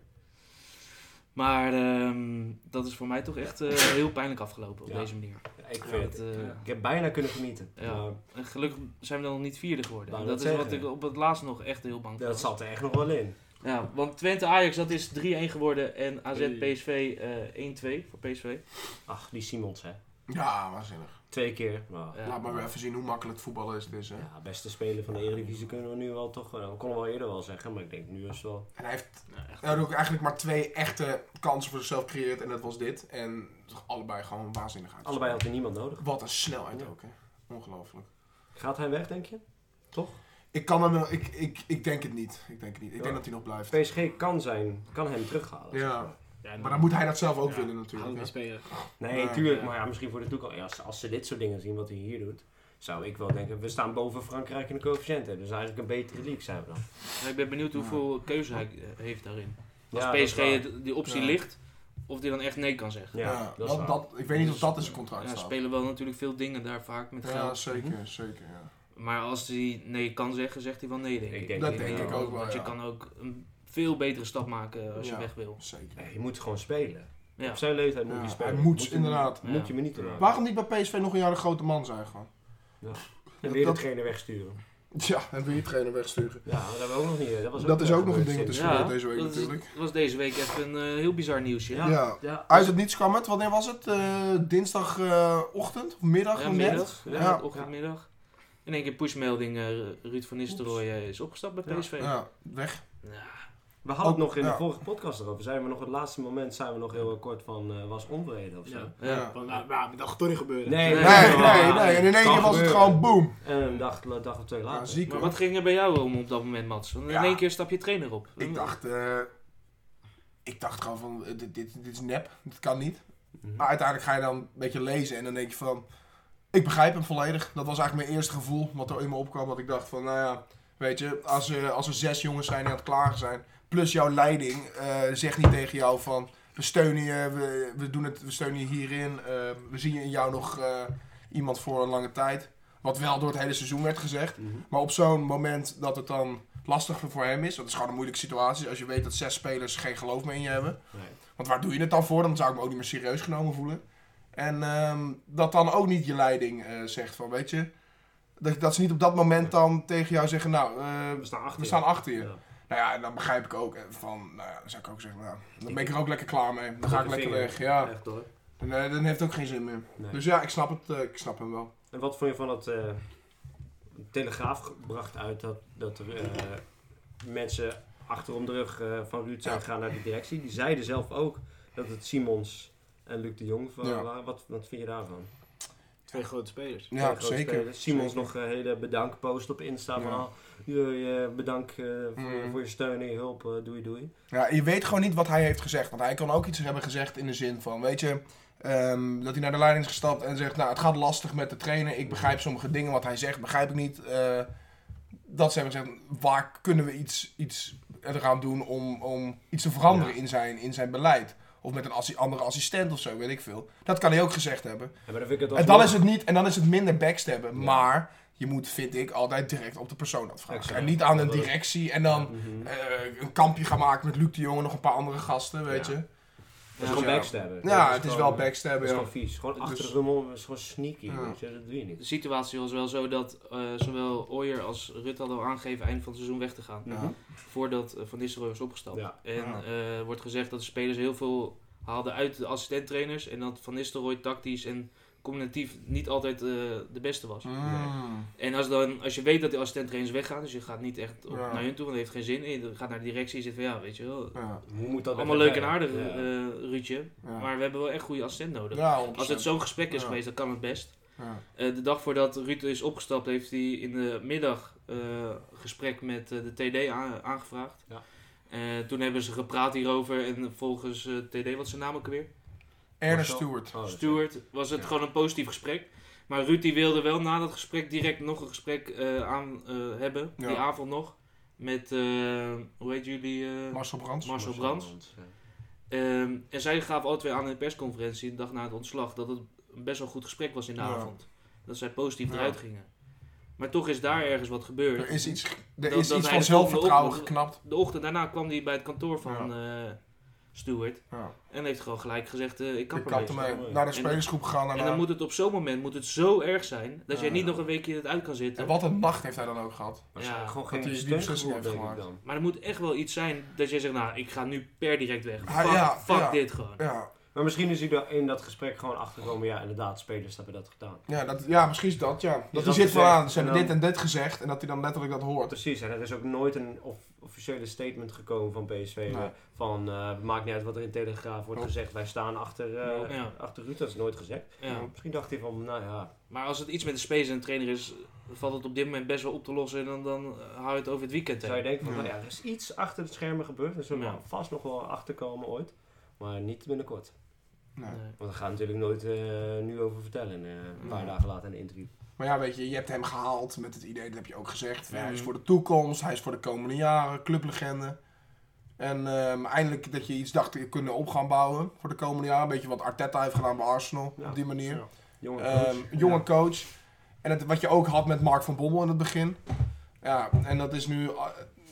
A: Maar ehm, dat is voor mij toch echt eh, heel pijnlijk afgelopen op
B: Ja.
A: deze manier.
B: Ja, ik,
A: Ja,
B: vind,
A: dat, eh,
D: Ja.
B: ik heb bijna kunnen genieten.
A: Ja.
B: Maar
A: en gelukkig zijn we dan nog niet vierde geworden.
B: Wou
A: En
B: net
A: dat is wat
B: zeggen.
A: ik op het laatst nog echt heel bang voor
B: dat
A: was.
B: zat er echt nog wel in.
A: Ja, want Twente Ajax dat is 3-1 geworden en AZ
D: Oei.
A: PSV eh 1-2 voor PSV.
B: Ach, die Simons, hè.
C: Ja, waanzinnig.
B: Twee keer. Maar,
A: Ja.
C: Laat maar weer even zien hoe makkelijk voetballen is. het is hè.
B: ja, beste speler van de Eredivisie kunnen we nu wel toch... wel- We konden wel eerder wel zeggen, maar ik denk nu is het wel...
C: En hij heeft hij had ook eigenlijk maar twee echte kansen voor zichzelf gecreëerd. En dat was dit. En allebei gewoon waanzinnig uit.
B: Allebei had er niemand nodig.
C: Wat een snelheid
B: Ja.
C: ook, hè. Ongelooflijk.
B: Gaat hij weg, denk je?
C: Ik kan hem wel... Ik, ik, ik denk het niet. Ik denk het niet. Ik
B: Ja.
C: denk dat hij nog blijft.
B: PSG kan, zijn, kan hem terughalen. zeg
C: Ja,
B: maar.
C: maar dan moet hij dat zelf ook
D: Ja,
C: willen natuurlijk.
D: Houden
C: hè.
D: we spelen.
B: Nee,
C: Maar- eh,
B: tuurlijk. Maar ja, misschien voor de toekomst. Ja, als, als ze dit soort dingen zien, wat hij hier doet... Zou ik wel denken, we staan boven Frankrijk in de coëfficiënten. Dus eigenlijk een betere league zijn we dan.
A: Ja, ik ben benieuwd hoeveel keuze hij eh, heeft daarin. Als
B: Ja, dat is
A: PSG
B: waar.
A: het- die optie
C: Ja.
A: ligt, of die dan echt nee kan zeggen.
B: Ja,
C: Ja,
B: dat is waar.
C: dat, dat, ik weet niet of dat in zijn contract
A: Ja,
C: staat.
A: spelen wel natuurlijk veel dingen daar vaak met
C: Ja,
A: geld.
B: Mhm.
C: zeker, zeker. Ja.
A: Maar als hij nee kan zeggen, zegt hij wel nee, denk ik.
B: Ik denk
C: Dat
B: niet
C: denk
B: wel.
C: ik ook wel.
A: Want je
C: ja.
A: kan ook een veel betere stap maken als
C: Ja.
A: je weg wil.
C: Zeker.
B: Nee, je moet gewoon spelen.
A: Ja.
B: Op zijn leeftijd moet
C: Ja,
B: je
C: hij
B: spelen.
C: moet,
B: je-
C: inderdaad.
B: Moet
A: Ja.
B: je me niet laten.
C: Waarom niet bij PSV nog een jaar een grote man zijn gewoon?
B: En weer de
C: dat-
B: trainer wegsturen.
C: Ja, en wil je trainer wegsturen?
B: Ja, maar dat hebben we ook nog niet. Dat, was
C: Dat is
B: wel
C: ook nog een
B: gebeurd
C: ding
B: sinds-
C: is gebeurd deze week
A: dat is-
C: natuurlijk.
A: was deze week echt een eh, heel bizar nieuwsje.
B: Ja.
C: Ja.
B: Ja,
C: Uit het niets kwam het. Wanneer was het? Eh, Dinsdagochtend of middag?
A: Ja,
C: of net?
A: middag, ja,
C: Ja.
A: ochtendmiddag. In één keer pushmelding, eh, Ruud van Nistelrooy eh, is opgestapt bij
B: Ja.
A: PSV. Ja.
C: Ja, weg.
B: We hadden het
C: Ook-
B: nog in de
C: ja.
B: vorige podcast erover. Zijn we nog het laatste moment zijn we nog heel kort van eh, was onvrede of zo.
D: Ja.
A: Ja.
C: Ja.
D: Van, nou, nou, dat gaat toch niet gebeuren.
B: Nee,
C: Nee,
B: Ja.
C: nee, nee. En in één
B: Kan
C: keer was het
B: gebeuren.
C: gewoon boom.
B: En een dag, een dag of twee
C: Ja,
B: later.
C: ziek
A: Maar
C: hoor.
A: wat ging er bij jou om op dat moment, Mats? Want in
C: Ja.
A: één keer stap je trainer op.
C: Ik dacht, eh, ik dacht gewoon van, eh, dit, dit, dit is nep, dit kan niet.
B: Mhm.
C: Maar uiteindelijk ga je dan een beetje lezen en dan denk je van, ik begrijp hem volledig. Dat was eigenlijk mijn eerste gevoel wat er in me opkwam. Dat ik dacht van, nou ja, weet je, als, eh, als er zes jongens zijn die aan het klagen zijn, plus jouw leiding, eh zegt niet tegen jou van, we steunen je, we, we, doen het, we steunen je hierin, eh, we zien je in jou nog eh, iemand voor een lange tijd. Wat wel door het hele seizoen werd gezegd.
B: Mhm.
C: Maar op zo'n moment dat het dan lastiger voor hem is, dat is gewoon een moeilijke situatie. Als je weet dat zes spelers geen geloof meer in je hebben.
B: Nee.
C: Want waar doe je het dan voor? Dan zou ik me ook niet meer serieus genomen voelen. En ehm, dat dan ook niet je leiding eh, zegt van, weet je... Dat, dat ze niet op dat moment dan tegen jou zeggen, nou, eh,
B: We staan achter.
C: we staan achter je.
B: Ja.
C: Nou ja, en dan begrijp ik ook eh, van, nou ja, dan zou ik ook zeggen, nou, dan ben
B: Ik-
C: ik er ook lekker klaar mee. Dan ga ik
B: Dikke
C: lekker
B: vinger.
C: weg, ja.
B: Echt hoor.
C: Dan, eh, dan heeft het ook geen zin meer.
B: Nee.
C: Dus ja, ik snap het, eh, ik snap hem wel.
B: En wat vond je van dat eh, Telegraaf bracht uit dat, dat er eh, mensen achterom de rug eh, van Ruud zijn
C: Ja.
B: gegaan naar de directie? Die zeiden zelf ook dat het Simons en Luc de Jong wa-
C: Ja.
B: waren. Wat, wat vind je daarvan?
D: Twee grote spelers.
B: Twee
C: Ja,
B: grote
C: zeker.
B: spelers. Simons
C: Zeker.
B: nog een hele bedankpost op Insta van
C: Ja.
B: al, je, je bedankt eh, voor,
C: Mm.
B: voor je steun en je hulp, eh, doei doei.
C: Ja, je weet gewoon niet wat hij heeft gezegd. Want hij kan ook iets hebben gezegd in de zin van, weet je, ehm, dat hij naar de leiding is gestapt en zegt, nou, het gaat lastig met de trainen. Ik begrijp sommige dingen wat hij zegt, begrijp ik niet. Eh, dat ze hebben gezegd, waar kunnen we iets, iets eraan doen om, om iets te veranderen in, zijn, in zijn beleid? Of met een assi- andere assistent of zo, weet ik veel. Dat kan hij ook gezegd hebben.
B: Ja, maar dan vind ik het
C: En dan
B: alsnog-
C: is het niet, en dan is het minder backstabben.
B: Ja.
C: Maar je moet, vind ik, altijd direct op de persoon dat vragen.
B: Exact.
C: En niet aan de
B: Dat wil ik.
C: directie en dan
B: Mhm.
C: eh, een kampje gaan maken met Luc de Jong en nog een paar andere gasten, weet
B: Ja.
C: je.
B: Dat is gewoon
C: ja.
B: backstabben.
C: Ja, het is wel
B: Dat is
C: backstabben.
B: gewoon
C: Ja.
B: vies. Gewoon achter
C: Dus-
B: de rommel, is gewoon sneaky.
C: Ja.
B: weet je, Dat doe je niet.
A: De situatie was wel zo dat eh, zowel Ooyer als Rutte hadden al aangegeven eind van het seizoen weg te gaan.
B: Mhm.
C: Ja.
A: Voordat eh, Van Nistelrooy was opgestapt.
B: Ja.
A: En
C: Ja.
A: eh, wordt gezegd dat de spelers heel veel haalden uit de assistenttrainers. En dat Van Nistelrooy tactisch en combinatief niet altijd eh, de beste was.
C: Mm.
A: En als, dan, als je weet dat die assistenttrainers weggaan, dus je gaat niet echt op,
C: Ja.
A: naar hun toe, want dat heeft geen zin. En je gaat naar de directie en zegt van ja, weet je wel,
C: Ja,
B: Hoe moet dat
A: allemaal
B: weer
A: leuk en
B: verder?
A: aardig
B: Ja.
A: eh, Ruudje,
C: ja.
A: maar we hebben wel echt goede assistent nodig.
C: Ja,
A: Als het
C: 100%.
A: zo'n gesprek is
C: Ja.
A: geweest, dan kan het best.
C: Ja.
A: Eh, de dag voordat Ruud is opgestapt, heeft hij in de middag eh, gesprek met eh, de TD a- aangevraagd.
B: Ja.
A: Eh, toen hebben ze gepraat hierover en volgens eh, TD, wat is zijn naam ook weer?
C: Ernest
B: Marcel?
C: Stewart.
B: Oh, dat is-
A: Stuart, was het
C: Ja.
A: gewoon een positief gesprek. Maar Ruud die wilde wel na dat gesprek direct nog een gesprek eh, aan eh, hebben,
C: Ja.
A: die avond nog. Met, eh, hoe heet jullie? eh,
C: Marcel Brands.
A: Marcel Brands. Ehm, en zij gaven alle twee aan in de persconferentie, de dag na het ontslag, dat het een best wel goed gesprek was in de
C: Ja.
A: avond. Dat zij positief
C: Ja.
A: eruit gingen. Maar toch is daar ergens wat gebeurd.
C: Er is iets, er
A: dat
C: is iets
A: hij
C: van
A: de volgende
C: zelfvertrouwen
A: ochtend-
C: geknapt.
A: De ochtend daarna kwam hij bij het kantoor van eh Stuart
C: Ja.
A: en heeft gewoon gelijk gezegd, eh, ik kap
C: Ik
A: ermee.
C: kapte mee.
B: Ja.
C: Naar de
A: En-
C: spelersgroep gegaan.
A: En
C: daarna.
A: dan moet het op zo'n moment moet het zo erg zijn dat jij
C: Ja.
A: niet nog een weekje het uit kan zitten.
C: En wat een nacht heeft hij dan ook gehad.
B: Waarschijnlijk
A: Ja,
B: gewoon
C: dat
B: geen
C: hij die
B: steungevoel,
C: beslissing
B: denk
C: heeft
B: ik
C: gemaakt.
B: dan.
A: Maar er moet echt wel iets zijn dat jij zegt, nou, ik ga nu per direct weg.
C: Ah,
A: fuck
C: ja,
A: fuck
C: ja.
A: dit gewoon.
C: Ja,
B: Maar misschien is hij daar in dat gesprek gewoon achtergekomen. Ja, inderdaad, spelers hebben dat gedaan.
C: ja, dat, ja misschien is dat, ja. Dat
B: dat
C: hij zit van
B: gezegd
C: aan, ze
B: en
C: hebben
B: dan-
C: dit en dit gezegd en dat hij dan letterlijk dat hoort.
B: Precies, en er is ook nooit een of- officiële statement gekomen van PSV.
C: Nee. Oh.
B: Van, eh, het maakt niet uit wat er in Telegraaf wordt
C: Klopt.
B: gezegd. Wij staan achter, eh,
A: Ja.
B: achter Ruud, dat is nooit gezegd.
A: Ja.
B: Misschien dacht hij van, nou ja,
A: Maar als het iets met de space en de trainer is, valt het op dit moment best wel op te lossen. En dan, dan eh, hou je het over het weekend
B: zou je
A: heen.
B: denken van,
C: Ja.
B: nou ja, er is iets achter de schermen gebeurd. Er zullen
A: Ja.
B: we vast nog wel achterkomen ooit. Maar niet binnenkort.
C: Nee.
A: Nee.
B: Want we gaan natuurlijk nooit eh, nu over vertellen. eh, een paar
A: Nee.
B: dagen later in een interview.
C: Maar ja, weet je, je hebt hem gehaald met het idee, dat heb je ook gezegd. van,
A: Mhm.
C: Hij is voor de toekomst, hij is voor de komende jaren, clublegende. En ehm, eindelijk dat je iets dacht te kunnen op gaan bouwen voor de komende jaren. Een beetje wat Arteta heeft gedaan bij Arsenal,
B: Ja.
C: op die manier.
D: Zo.
B: Jongen, Nou,
C: Ehm,
B: coach.
C: jonge
B: Ja.
C: coach. En het, wat je ook had met Mark van Bommel in het begin. Ja, en dat is nu ah,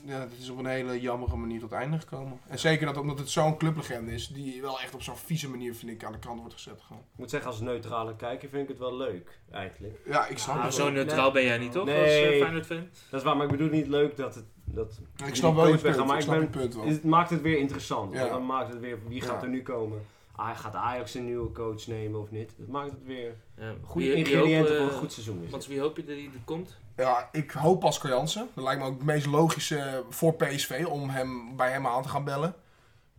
C: ja, dat is op een hele jammere manier tot einde gekomen. En zeker dat omdat het zo'n clublegende is, die wel echt op zo'n vieze manier, vind ik, aan de kant wordt gezet. Gewoon.
B: Ik moet zeggen, als neutrale kijker vind ik het wel leuk, eigenlijk.
C: Ja, ik snap
A: Nou,
C: het
A: zo
C: wel.
A: neutraal ben jij niet, toch?
B: Nee.
A: Als eh, Feyenoord-fan?
B: Dat is waar, maar ik bedoel niet leuk dat het... Dat,
C: Ik
B: die
C: snap wel je
B: coach
C: punt,
B: weggaan, maar
C: ik
B: ik
C: snap je
B: ben-
C: punt wel.
B: het maakt het weer interessant.
C: Oh. Ja.
B: Want Dan maakt het weer, wie gaat
C: Ja.
B: er nu komen? Ah, gaat Ajax een nieuwe coach nemen of niet? Dat maakt het weer
A: Ja,
B: goede
A: wie- wie
B: ingrediënten
A: hoop,
B: voor
A: eh,
B: een goed seizoen. Is
A: Want
B: het.
A: wie hoop je dat hij er komt?
C: Ja, ik hoop Pascal Jansen. Dat lijkt me ook het meest logische eh, voor PSV om hem, bij hem aan te gaan bellen.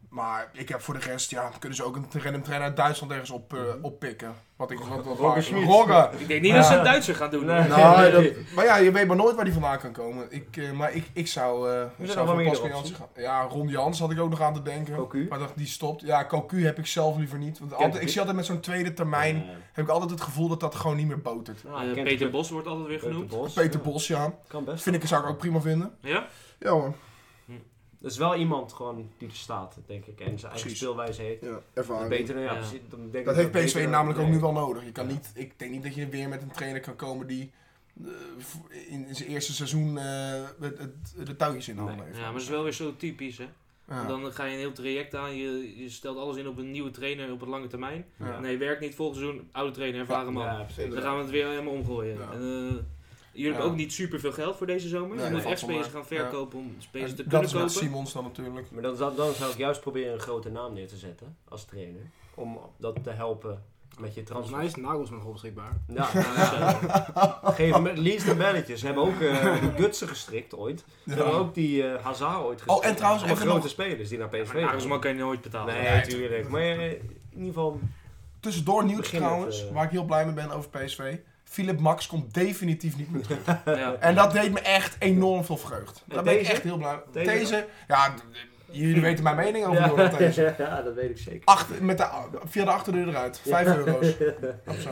C: Maar ik heb voor de rest, ja, kunnen ze ook een random trainer uit Duitsland ergens op, eh, oppikken. Wat ik wat, wat
B: Mhm. Roger
C: waar-
B: Schmidt.
C: Roger.
A: Ik denk niet
C: Ja.
A: dat ze een Duitser gaan doen.
B: Nee.
A: hoor. Eh,
C: Nou, dat- maar ja, je weet maar nooit waar die vandaan kan komen. Ik, eh, maar ik, ik zou, eh ik
B: zijn
C: zou
B: nog
C: voor
B: wel
C: Pascal
B: meerdere
C: Jansen gaan. Ja, Ron Jans had ik ook nog aan te denken.
B: Ook u?
C: Maar dacht, die stopt. Ja, Cocu heb ik zelf liever niet. Want altijd, ik
B: u?
C: zie altijd met zo'n tweede termijn,
B: Eh,
C: heb ik altijd het gevoel dat dat gewoon niet meer botert.
B: ah,
A: Eh,
B: kent
A: Peter
B: het-
A: Bos wordt altijd weer
B: Peter
A: genoemd.
B: Bos,
C: Peter
B: ja.
C: Bos, ja.
B: Kan best.
C: Vind ik, zou ik ook prima vinden.
A: Ja?
C: Ja hoor.
B: Dat is wel iemand gewoon die er staat, denk ik. En zijn eigen
C: Precies.
B: speelwijze heeft.
C: Ja,
B: Dat is
C: ervaring.
B: Beter, dan- ja,
A: Ja.
B: precies, dan denk ik
C: Dat heeft
B: beter
C: PSV
B: dan-
C: namelijk ook
B: nee.
C: nu wel nodig. Je kan
B: Ja.
C: niet, ik denk niet dat je weer met een trainer kan komen die eh, v- in zijn eerste seizoen eh, het, het, de touwtjes in handen
B: Nee.
C: heeft.
A: Ja, maar het is wel weer zo typisch, hè.
C: Ja.
A: Dan ga je een heel traject aan. Je, je stelt alles in op een nieuwe trainer op een lange termijn.
C: Ja.
A: Nee, werkt niet volgend seizoen. Oude trainer, ervaren man.
B: Ja, precies.
A: Dan gaan we het weer helemaal omgooien.
C: Ja.
A: En, eh, jullie hebben
C: Ja.
A: ook niet super veel geld voor deze zomer.
C: Nee,
A: je
C: dat
A: moet
C: valt
A: echt
C: wel mee.
A: spelers gaan verkopen om spelers te
C: En
A: kunnen
C: dat is met
A: kopen.
C: Simons dan natuurlijk.
B: Maar dan, zou- dan zou ik juist proberen een grote naam neer te zetten als trainer. Om dat te helpen met je
D: Volgens
B: transfer.
D: mij is Nagelsman nog beschikbaar.
B: Ja, nou ja. Geef hem het liefst de belletjes. Ze hebben ook eh die Gutsen gestrikt ooit. Ze
C: Ja.
B: hebben ook die eh, Hazard ooit gestrikt.
C: Oh, en trouwens
B: Allemaal
C: even
B: grote
C: nog-
B: spelers die naar PSV
A: Maar Nagelsman
B: gaan.
A: kan je nooit betalen.
B: Nee,
C: Nee,
B: tuurlijk. Maar eh, in ieder geval...
C: Tussendoor nieuws
B: Begin
C: trouwens,
B: het, eh.
C: waar ik heel blij mee ben over PSV. Philip Max komt definitief niet meer terug.
A: Ja.
C: En dat deed me echt enorm veel vreugd.
B: En
C: Daar ben ik
B: deze?
C: echt heel blij mee.
B: Deze?
C: Deze, ja, d- d- jullie weten mijn mening over Jordan Deze.
B: ja, dat weet ik zeker.
C: Achter, met de, via de achterdeur eruit. Vijf euro's. Op z'n-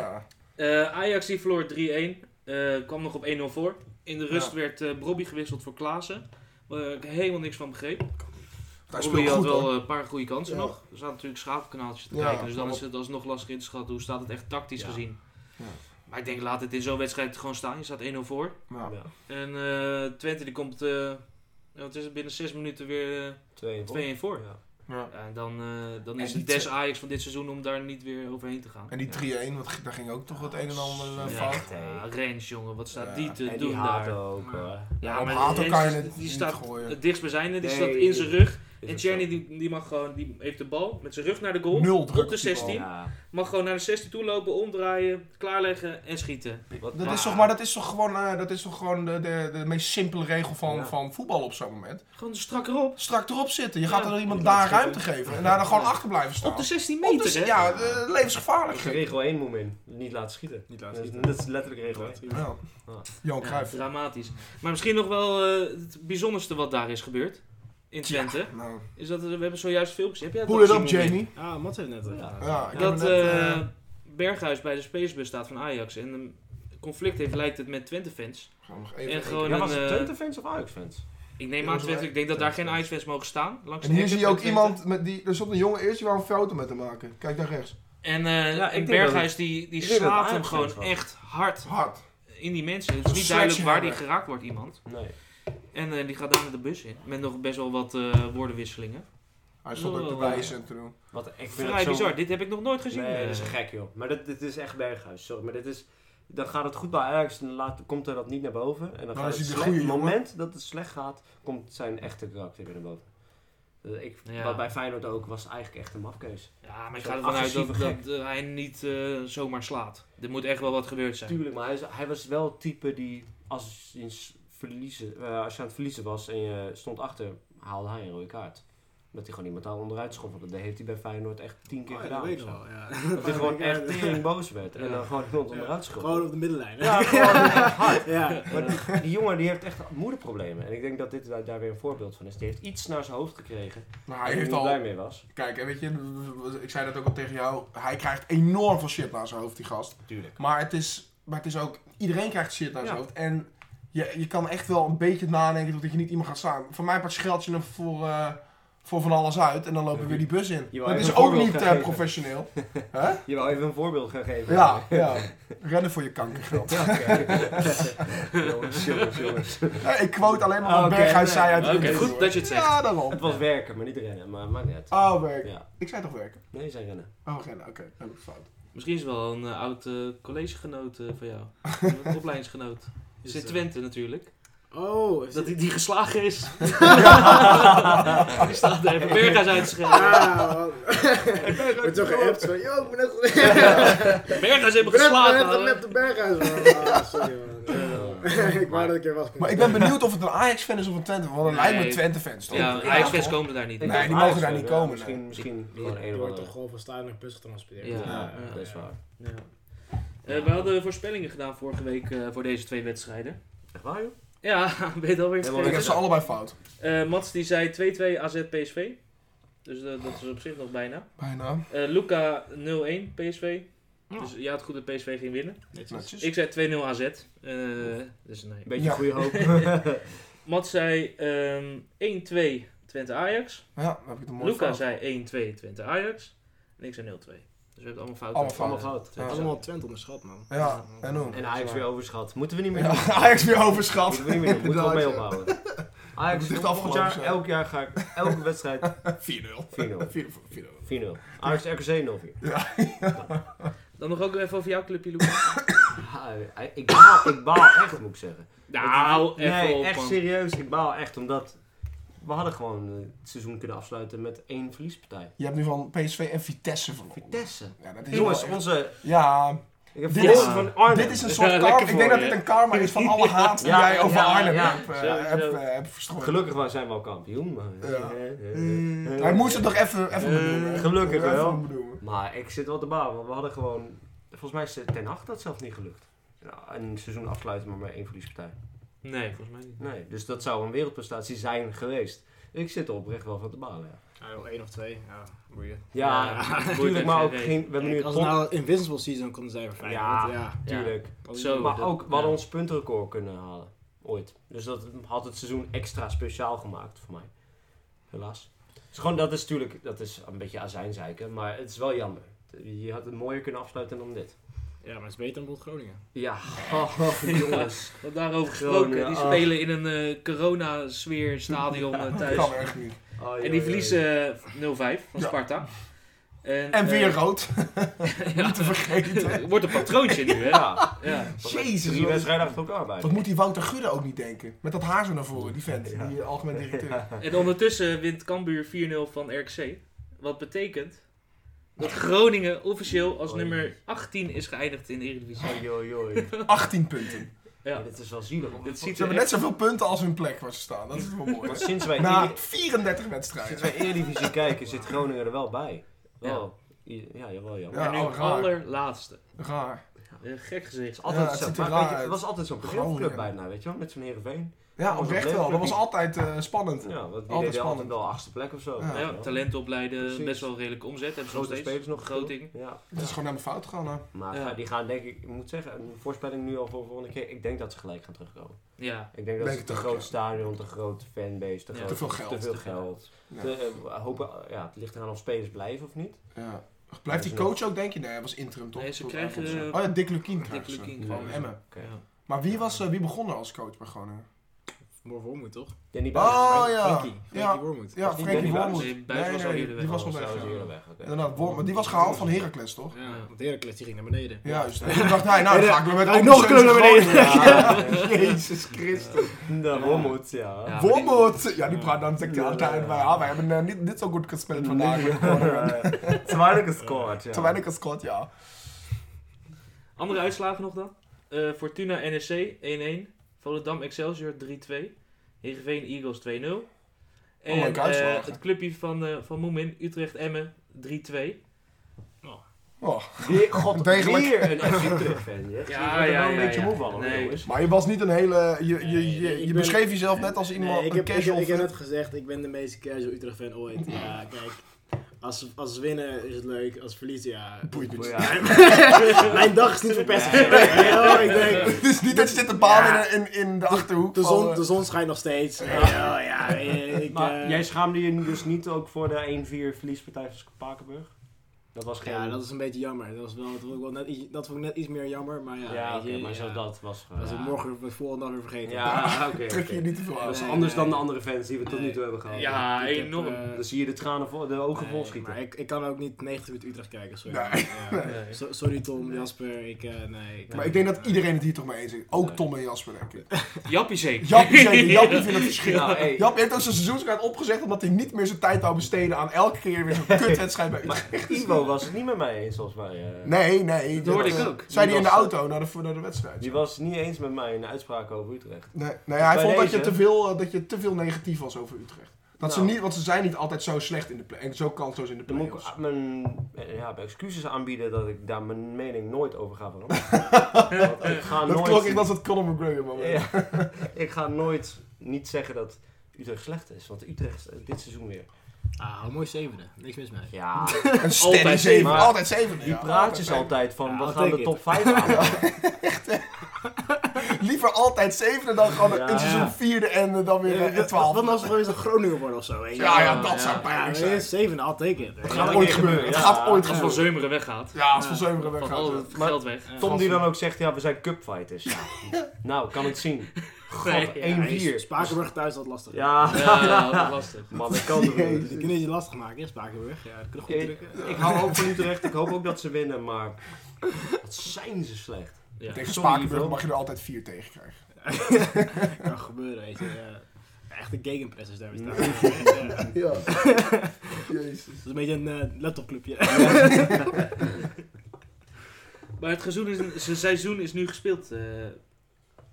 A: Eh, Ajax die verloor 3-1. eh, kwam nog op 1-0 voor. In de rust werd eh Brobby gewisseld voor Klaassen. Waar ik helemaal niks van begreep.
C: Hij
A: Brobby
C: speelt
A: had
C: goed
A: wel
C: hoor.
A: eh, een paar goede kansen
C: Ja.
A: nog. Er zaten natuurlijk schapenkanaaltjes te
C: Ja,
A: kijken. Dus dan
C: maar-
A: is het alsnog lastig in te schatten. Hoe staat het echt tactisch
B: Ja.
A: gezien?
C: Ja.
A: Maar ik denk laat het in zo'n wedstrijd gewoon staan. Je staat 1-0 voor.
C: Ja.
B: Ja,
A: En eh, Twente die komt eh, wat is het, binnen 6 minuten weer
B: twee en vol.
A: eh 2-1 voor.
B: Ja.
C: Ja.
A: Ja, en dan, eh, dan
C: En
A: is
C: die
A: het des
C: tw-
A: Ajax van dit seizoen om daar niet weer overheen te gaan.
C: En die 3-1, want g- daar ging ook toch het een en ander eh,
A: Ja,
C: fout.
B: echt, hè.
A: ja, Rens, jongen, wat staat
C: Ja,
A: die te
B: En
A: doen
B: die haat
A: daar?
B: ook,
D: Ja.
B: hoor.
C: Ja, op
A: maar
C: haat
A: Rens,
C: kan je het
A: die
C: niet
A: staat
C: gooien.
A: het dichtstbijzijnde, die
B: Nee.
A: staat in zijn rug.
B: Is
A: En
B: ook
A: Tjerny
B: zo.
A: die, die mag gewoon, die heeft de bal met zijn rug naar de goal.
C: Nul druk
A: op de
C: op die
A: 16.
C: bal.
B: Ja.
A: Mag gewoon naar de 16 toe lopen, omdraaien, klaarleggen en schieten.
B: Wat- Ah.
C: Dat is
A: Ah.
C: toch, maar dat is toch gewoon, eh, dat is toch gewoon de, de, de meest simpele regel van,
B: Ja.
C: van voetbal op zo'n moment.
A: Gewoon strak erop.
C: Strak erop zitten. Je
A: Ja.
C: gaat er iemand
B: Ja,
C: daar
B: schieten.
C: ruimte geven. En daar dan gewoon achter blijven staan.
A: Op de 16
C: Op
A: meter,
C: de-
A: hè?
C: Ja, eh, levensgevaarlijk.
B: Dat is regel 1 moment. Niet laten schieten.
D: Niet
B: Dat
D: laten
B: is,
D: zien.
B: dat is letterlijk regel 1.
D: Ja.
C: Ja.
B: Ja.
C: Johan
A: Ja,
C: Cruijff.
A: dramatisch. Maar misschien nog wel eh, het bijzonderste wat daar is gebeurd. In Twente.
C: Nou,
A: Is dat er- we hebben zojuist filmpjes. Heb jij dat
C: Pull it
A: ook
C: up,
A: gezien, Moemin?
C: Jamie.
D: Ah, Mats heeft net.
B: Ja.
D: gedaan.
C: Ja, ik heb
A: Dat
C: hem net,
A: eh,
C: eh,
A: Berghuis bij de spacebus staat van Ajax. En een conflict heeft, lijkt het met Twente-fans.
C: gaan we nog even-
A: en gewoon-
B: Ja, was
A: een,
B: het
A: eh,
B: Twente-fans of Ajax-fans?
A: Ik neem aan, Twente, ik denk dat daar geen ijsvest mogen staan. Langs
C: En
A: de
C: hier
A: hekken
C: zie je ook
A: bij Twente.
C: iemand, met die, er stond een jongen eerst die wou een foto met hem maken. Kijk daar rechts.
A: En, eh
B: Ja, ik
A: en
B: denk dat
A: Berghuis die, die
B: ik denk dat
A: slaat hem
B: Ajax
A: gewoon
B: fans was.
A: echt hard
C: Hard.
A: in die mensen. Het is niet
C: Een
A: duidelijk waar die
C: sledgehammer.
A: geraakt wordt, iemand.
B: Nee.
A: En eh, die gaat daar met de bus in. Met nog best wel wat eh, woordenwisselingen.
C: Hij stond ook te
A: Oh.
C: wijzen en te doen.
B: Wat, ik vind
A: Vrij
B: het zo...
A: bizar, dit heb ik nog nooit gezien.
B: Nee,
A: eh.
B: dat is gek joh. Maar dit, dit is echt Berghuis, sorry. Maar dit is... Dan gaat het goed bij Ajax en dan laat- komt er dat niet naar boven. En dan
C: Dan
B: gaat
C: is
B: het
C: hij de
B: slecht.
C: goeie
B: het
C: jongen.
B: moment dat het slecht gaat, komt zijn echte karakter weer naar boven. Dus ik,
A: Ja.
B: Wat bij Feyenoord ook, was eigenlijk echt een mafkeus.
A: Ja, maar ik
B: Zo'n
A: ga ervan uit dat,
B: agressieve
A: dat eh, hij niet eh, zomaar slaat. Er moet echt wel wat gebeurd zijn.
B: Tuurlijk, maar hij, is- hij was wel het type die als je, eens verliezen, eh, als je aan het verliezen was en je stond achter, haalde hij een rode kaart. Dat hij gewoon iemand daar onderuit schoffelde. Dat heeft hij bij Feyenoord echt tien keer
D: Oh, ja,
B: gedaan.
D: dat weet
B: of
D: ik
B: zo.
D: wel, ja.
B: Dat hij gewoon echt tering boos werd en
A: Ja.
B: dan gewoon iemand
D: Ja,
B: onderuit
D: Gewoon
B: schoffelde.
D: op de middenlijn. hè?
B: Ja, gewoon echt hard.
D: Ja.
B: Maar
A: Eh,
B: die, die jongen die heeft echt moederproblemen. En ik denk dat dit daar, daar weer een voorbeeld van is. Die heeft iets naar zijn hoofd gekregen.
C: Maar
B: waar
C: hij heeft
B: niet blij
C: al...
B: mee was.
C: Kijk, en weet je, ik zei dat ook al tegen jou. Hij krijgt enorm veel shit naar zijn hoofd, die gast.
B: Tuurlijk.
C: Maar het is, maar het is ook, iedereen krijgt shit naar zijn
B: Ja.
C: hoofd. En je, je kan echt wel een beetje nadenken dat je niet iemand gaat slaan. Voor mij part scheld je hem voor, eh, voor van alles uit en dan lopen we weer die bus in.
B: Je wou even
C: dat is
B: een
C: ook
B: voorbeeld
C: niet
B: gaan
C: eh,
B: geven.
C: professioneel. Hè?
B: Je wou even een voorbeeld gaan geven.
C: Ja, ja. Rennen voor je kankergeld.
B: Ja, oké. jongens, jongens, jongens.
C: Ja, Eh, ik quote alleen maar wat
B: Oké,
C: Berghuis
B: nee.
C: zei uit
A: Oké,
C: het interview,
A: goed
C: hoor.
A: dat je het zegt.
C: Ja, daarom.
B: Het was werken, maar niet rennen. Maar maakt niet uit.
C: Oh, werk.
B: Ja,
C: Ik zei toch werken?
B: nee, zijn rennen.
C: Oh, rennen. Oké, dat is fout.
A: Misschien is het wel een eh, oud eh, collegegenoot eh, van jou. Een opleidingsgenoot.
D: Dus,
A: Zit
D: eh,
A: Twente natuurlijk.
D: Oh,
A: Dat
D: is dat
A: die, die geslagen is. die staat er even Berghuis uit te schelden.
D: Ah, man. Ik ben zo geappt van, yo, ik ben net
A: Berghuis
D: Ik
A: heeft hem
D: ben net
A: geslagen.
D: een
A: hoor.
D: lap de berghuis, man. Ah, sorry, man. Eh, Ik wou dat ik er was.
C: Maar ik ben benieuwd of het een Ajax-fan is of een Twente. Want het lijkt me
A: Nee.
C: Twente-fans, toch?
A: Ja, Ajax-fans komen daar niet.
C: Nee,
B: Ik dacht
C: die mogen
B: Ajax
C: daar
B: wel,
C: niet
B: ja.
C: komen,
B: Misschien,
C: nee.
B: misschien
D: Je
B: gewoon een
D: je
B: of
D: wordt
B: andere.
D: toch gewoon van Stijn naar Pus getransporteerd.
A: Ja.
B: Ja,
A: Ja.
B: dat is waar.
A: Ja. Eh, we hadden voorspellingen gedaan vorige week eh, voor deze twee wedstrijden.
B: Echt waar, joh?
A: Ja, ben je het alweer
B: Helemaal
C: Ik heb
A: vergeten?
C: ze allebei fout.
A: Eh, Mats die zei 2-2 AZ PSV. Dus eh, dat is op zich nog bijna.
C: Bijna.
A: Eh, Luca 0-1 PSV.
D: Ja.
A: Dus ja, het goed dat PSV ging winnen.
D: Netjes.
C: Netjes.
A: Ik zei 2-0 AZ. Eh, dus nee.
B: Een beetje
C: Ja.
B: goede hoop.
A: Mats zei ehm, 1-2 Twente Ajax.
C: Ja, dan heb ik het een mooi
A: Luca
C: fout.
A: zei 1-2 Twente Ajax. En ik zei 0-2. Dus we hebben allemaal fout.
C: Allemaal fout.
B: Allemaal fout.
C: Ja.
D: Allemaal Twente onderschat, man.
C: Ja, en hoe?
B: En Ajax weer overschat. Moeten we niet meer
C: Ja,
B: doen.
C: Ajax weer overschat.
B: Moeten we niet meer doen. Moeten we mee
C: Inderdaad,
B: ophouden. Ajax
C: Het ligt
B: volgend
C: afgelopen,
B: jaar,
C: zo.
B: elk jaar ga ik elke wedstrijd
C: 4-0.
B: 4-0.
C: 4-0.
B: 4-0. Ajax RKC 0-4.
A: Dan nog ook even over jouw clubje, Luca.
B: Ja, Ik baal, ik baal echt, moet ik zeggen.
A: nou, even
B: nee,
A: op,
B: echt
A: man.
B: serieus. Ik baal echt, omdat we hadden gewoon eh, het seizoen kunnen afsluiten met één verliespartij.
C: Je hebt nu van PSV en Vitesse verloren.
B: Vitesse.
C: Ja, dat is
B: Jongens,
C: wel echt-
B: onze...
C: Ja,
B: Ik heb
C: Dit
B: verloren
A: is-
B: van Arnhem.
C: dit is een
A: Ja,
C: soort
A: lekker
C: karma. Ik denk
A: voor
C: dat
A: je.
C: dit een karma is van alle haat die
B: Ja,
C: jij over
B: ja,
C: Arnhem
B: ja.
C: hebt, eh,
A: Sowieso.
C: hebt, eh, hebt verstrooid.
B: Oh, Gelukkig wij zijn wel kampioen, maar...
C: Ja. Mm,
B: Eh, eh, eh.
C: Hij moest het nog even, even
A: Eh,
C: bedoelen.
B: gelukkig
C: Even
B: wel.
C: bedoelen.
B: Maar ik zit wel te balen, want we hadden gewoon... Volgens mij is Ten Hag dat zelf niet gelukt. Nou, een seizoen afsluiten maar met één verliespartij.
A: Nee, volgens mij niet.
B: Nee, dus dat zou een wereldprestatie zijn geweest. Ik zit er oprecht wel van te balen, ja.
D: Ja, 1 of 2, ja, boeien.
B: Ja, natuurlijk, maar ook
A: Boeit
B: geen... We hebben nu
D: Kijk,
B: het
D: als
B: pond-
D: het nou Invincible Season konden zijn voor Feyenoord,
B: Ja.
D: ja.
B: Natuurlijk.
D: Als-
A: Zo.
B: Maar
A: Oh, dat-
B: ook, we hadden
A: ja.
B: ons puntrecord kunnen halen. Ooit. Dus dat had het seizoen extra speciaal gemaakt voor mij. Helaas. Dus gewoon, dat is natuurlijk, dat is een beetje azijnzeiken, maar het is wel jammer. Je had het mooier kunnen afsluiten dan dit.
D: Ja, maar het is beter dan bijvoorbeeld Groningen.
B: Ja, oh, jongens.
A: We hebben daarover
B: Groningen,
A: gesproken. Die
B: ah.
A: spelen in een eh, corona-sfeer stadion eh,
C: Dat
A: thuis.
C: kan echt niet.
B: Oh,
A: En
B: joh,
A: die
B: joh, joh.
A: verliezen eh, 0-5 van
C: Ja.
A: Sparta. En,
C: En weer
A: eh,
C: rood. Niet te vergeten.
A: Het wordt een patroontje nu, hè?
B: Ja,
A: Ja.
C: Jezus,
B: Die
C: wat-
B: wedstrijden achter elkaar bij.
C: Wat moet die Wouter Gudde ook niet denken? Met dat haar zo naar voren, die vent,
B: Ja.
C: die eh, algemeen directeur.
A: En ondertussen wint Cambuur 4-0 van RKC. Wat betekent dat Groningen officieel als
B: Oh,
A: nummer 18 is geëindigd in de Eredivisie.
B: Oh, joh, joh, joh.
C: 18 punten.
A: Ja.
B: Dit is wel zielig.
A: Dit
C: Ze
A: ziet er
C: hebben net
A: echt-
C: zoveel punten als hun plek waar ze staan. Dat is wel mooi.
B: Want sinds wij,
C: Na
B: Eri-
C: 34
B: sinds
C: wedstrijden.
B: wij Eredivisie kijken, zit Groningen er wel bij. Wel, ja, jawel, jammer.
C: Ja,
A: en nu
C: oh, raar.
A: allerlaatste.
C: Raar.
A: Eh, gek gezicht.
B: Het, is altijd
C: Ja, het
B: zo.
C: ziet er
B: Maar
C: raar
B: weet je, het
C: uit.
B: was altijd zo'n
C: Groningen.
B: club bijna, weet je wel, met zo'n Heerenveen.
C: Ja,
B: was
C: oprecht
B: een
C: wel. Dat
B: leuk
C: was altijd eh, spannend.
B: Ja, want die
C: Altijd
B: deden altijd
C: spannend.
B: wel achtste plek of zo.
C: Ja.
A: Ja, talent opleiden,
B: Precies.
A: best wel redelijk omzet. Hebben ze nog
B: Grote
A: steeds.
B: spelers nog.
A: Groting.
B: Ja.
C: Het is gewoon helemaal fout gegaan. hè.
B: Maar
A: Ja.
B: ga- die gaan denk ik, ik moet zeggen, een voorspelling nu al voor de volgende keer. Ik denk dat ze gelijk gaan terugkomen.
A: Ja,
B: Ik denk
C: Denk
B: dat ze
C: het
B: te
C: ook,
B: groot
C: ja.
B: stadion, te groot fanbase, te,
A: Ja.
B: groot,
A: Te
C: veel geld.
B: Te veel
A: Te veel
B: geld.
C: Ja.
B: Te, eh, hopen, ja, het ligt eraan of spelers blijven of niet.
C: Ja. Blijft die coach ook, denk je? Nee, hij was interim toch?
A: Nee, ze
C: Tot
A: krijgen,
C: eind of zo.
A: eh,
C: Oh ja, Dick Lukien
A: Dick
C: krijgen ze.
A: Lukien
C: Van
A: krijgen ze.
C: Emmen.
B: Oké.
A: ja.
C: Maar wie, was, eh, wie begon er als coach bij Groningen?
D: Morgen Wormoed, toch?
B: Danny
C: Oh,
B: Buijs.
C: ja.
D: Frankie.
C: Ja.
D: Frankie Wormoed.
C: Ja,
B: Was die
C: Frenkie
B: Danny Buijs?
C: Wormoed.
A: Nee, Buijs was al eerder
C: die
A: weg.
C: was al
B: Oh,
C: weg.
B: zo is
C: ja.
B: hij weer weg, oké.
C: Inderdaad, Wormoed. Maar die was gehaald van Heracles, toch?
D: Ja, want Heracles die ging naar beneden.
C: Juist. En toen dacht hij, nou,
D: Nee,
C: dan ga ik weer met
D: ga ik nog een club naar beneden.
B: Ja.
C: Jezus Christus.
B: De Wormoed, ja.
A: Ja.
C: Wormoed! Ja, die praat dan zegt hij altijd, maar ja, wij hebben eh, niet, niet zo goed gespeeld vandaag. met Groningen.
B: Te weinig gescoord, ja.
C: Te weinig gescoord, ja.
A: Andere uitslagen nog dan? Eh, Fortuna NSC 1-1. Volendam Excelsior 3-2. Heerenveen Eagles 2-0. En
C: leuke
A: eh,
C: uitslagen.
A: het clubje van, eh van Moemin, Utrecht Emmen 3-2.
C: Oh.
B: Weer, god,
C: Degelijk.
B: weer een FC Club fan. Je ja, ja, ja, een beetje moe van, hoor,
A: Nee.
B: jongens.
C: Maar je was niet een hele... Je, je,
D: Nee,
C: je,
D: ik
C: je
D: ben-
C: beschreef jezelf net als iemand,
D: Nee, ik,
C: een
D: heb, ik, heb,
C: casual
D: ik heb
C: fan.
D: net gezegd, ik ben de meest casual Utrecht-fan ooit. Ja, kijk. Als ze als ze winnen is het leuk, als ze verliezen, ja.
C: Boeit me niet.
B: Ja.
D: Mijn dag is niet verpest.
B: Nee.
D: Ja, ik denk,
C: Het is niet dat je zit te balen in, in, in de achterhoek.
D: de,
C: van,
D: zon,
C: eh,
D: de zon schijnt nog steeds.
B: oh,
D: Ja, ja, ik,
B: Maar
D: eh,
B: jij schaamde je nu dus niet ook voor de 1-4 verliespartij van Spakenburg? Dat was geen...
D: ja, dat is een beetje jammer. Dat, was wel, dat, vond ik wel net, iets- dat vond ik net iets meer jammer, maar ja.
B: Ja,
D: weet
B: oké,
D: je,
B: maar
D: ja.
B: zo dat was gewoon...
D: Dat is
B: ja.
D: het morgen de volgende dag weer vergeten.
B: Ja, oké.
C: Trek je
B: oké.
C: je niet te veel aan.
B: Dat is
D: Nee,
B: anders dan de
D: nee.
B: andere fans die we tot nu toe hebben gehad.
A: Ja,
D: Eh, Ik heb,
A: enorm.
D: eh,
B: Dan zie je de tranen vol, de ogen vol
D: nee,
B: schieten.
D: maar ik, ik kan ook niet 90 minuten Utrecht kijken, sorry.
C: Nee.
D: Ja.
A: Nee.
D: So- sorry Tom, Jasper, ik, eh, nee. ik kan
C: Maar ik
D: niet.
C: denk dat iedereen het hier toch mee eens is. Ook Tom en Jasper, denk ik.
A: Jappie zeker.
C: Jappie, zeker. Jappie vindt het verschil.
B: Nou, hey.
C: Jap heeft ook zijn seizoenskaart opgezegd omdat hij niet meer zijn tijd wou besteden aan elke keer weer zo'n kutwedstrijd bij Utrecht.
B: Maar Ivo was het niet met mij eens, volgens mij. eh.
C: Nee, nee.
A: Dat hoorde
C: eh,
A: ik ook.
C: Zei hij in de
B: Die was-
C: auto naar de, naar de wedstrijd.
B: Die was niet eens met mij in de uitspraak over Utrecht.
C: Nee, nee hij
B: Bij
C: vond dat
B: deze-
C: je, te veel, eh, dat je te veel negatief was over Utrecht. Dat ze
B: Nou.
C: niet, want ze zijn niet altijd zo slecht in de play en zo kansloos in de
B: Dan moet ik
C: play-offs.
B: a- mijn, eh, ja, mijn excuses aanbieden dat ik daar mijn mening nooit over ga veranderen. Want ik ga
C: Dat
B: nooit,
C: klonk echt als het Conor McGregor moment.
B: Ja, ik ga nooit niet zeggen dat Utrecht slecht is, want Utrecht is, eh, dit seizoen weer.
D: Ah, mooi zevende. Niks mis mee.
B: Ja,
C: Een steady
A: Altijd
C: 7,
B: zeven.
C: altijd 7.
B: die praatjes altijd van
D: Ja,
B: we
D: I'll
B: gaan
D: take
B: de
D: it.
B: top 5 aan.
C: Liever altijd zevende dan gewoon
B: Ja.
C: een seizoen vierde en eh, dan weer eh,
D: Eh,
C: twaalf.
D: Wat nou als we eens een Groningen worden of zo? weet je?
C: Ja, ja,
A: Ja,
C: dat
A: ja.
C: zou pijnlijk
D: Ja,
C: zijn.
D: zevende, al teken.
C: Het
B: Ja,
C: gaat
B: dat
C: ooit
B: kan
C: gebeuren. Het
B: gebeuren, ja.
C: gaat
A: Als
C: ooit
A: Van
C: gebeuren.
A: Zeumeren weggaat.
C: Ja, als Van Zeumeren
A: Van
C: weggaat.
A: al
C: ja.
A: het
B: Maar-
A: geld weg.
B: Tom die dan ook zegt, ja, we zijn cupfighters. Ja. Nou, kan ik zien. God, 1-4.
D: Spakenburg thuis dat lastig.
B: Ja,
A: Ja, dat is lastig.
B: man, dat kan toch niet.
D: Die kunnen het je lastig maken, hè, Spakenburg. Ja, dat kunnen goed
B: Ik,
D: drukken.
B: ik hou ook van Utrecht, ik hoop ook dat ze winnen, maar wat zijn ze slecht.
A: Ja.
C: Tegen
B: Sorry,
C: Spakenburg
B: Ivo.
C: mag je er altijd vier tegen krijgen.
D: kan gebeuren, weet je. ja. Ja, Echt een gegenpress is daar weer staan. Ja. Dat
C: Ja. Jezus.
D: is een beetje een eh, laptopclubje.
A: Maar het gezoen is, zijn seizoen is nu gespeeld. eh.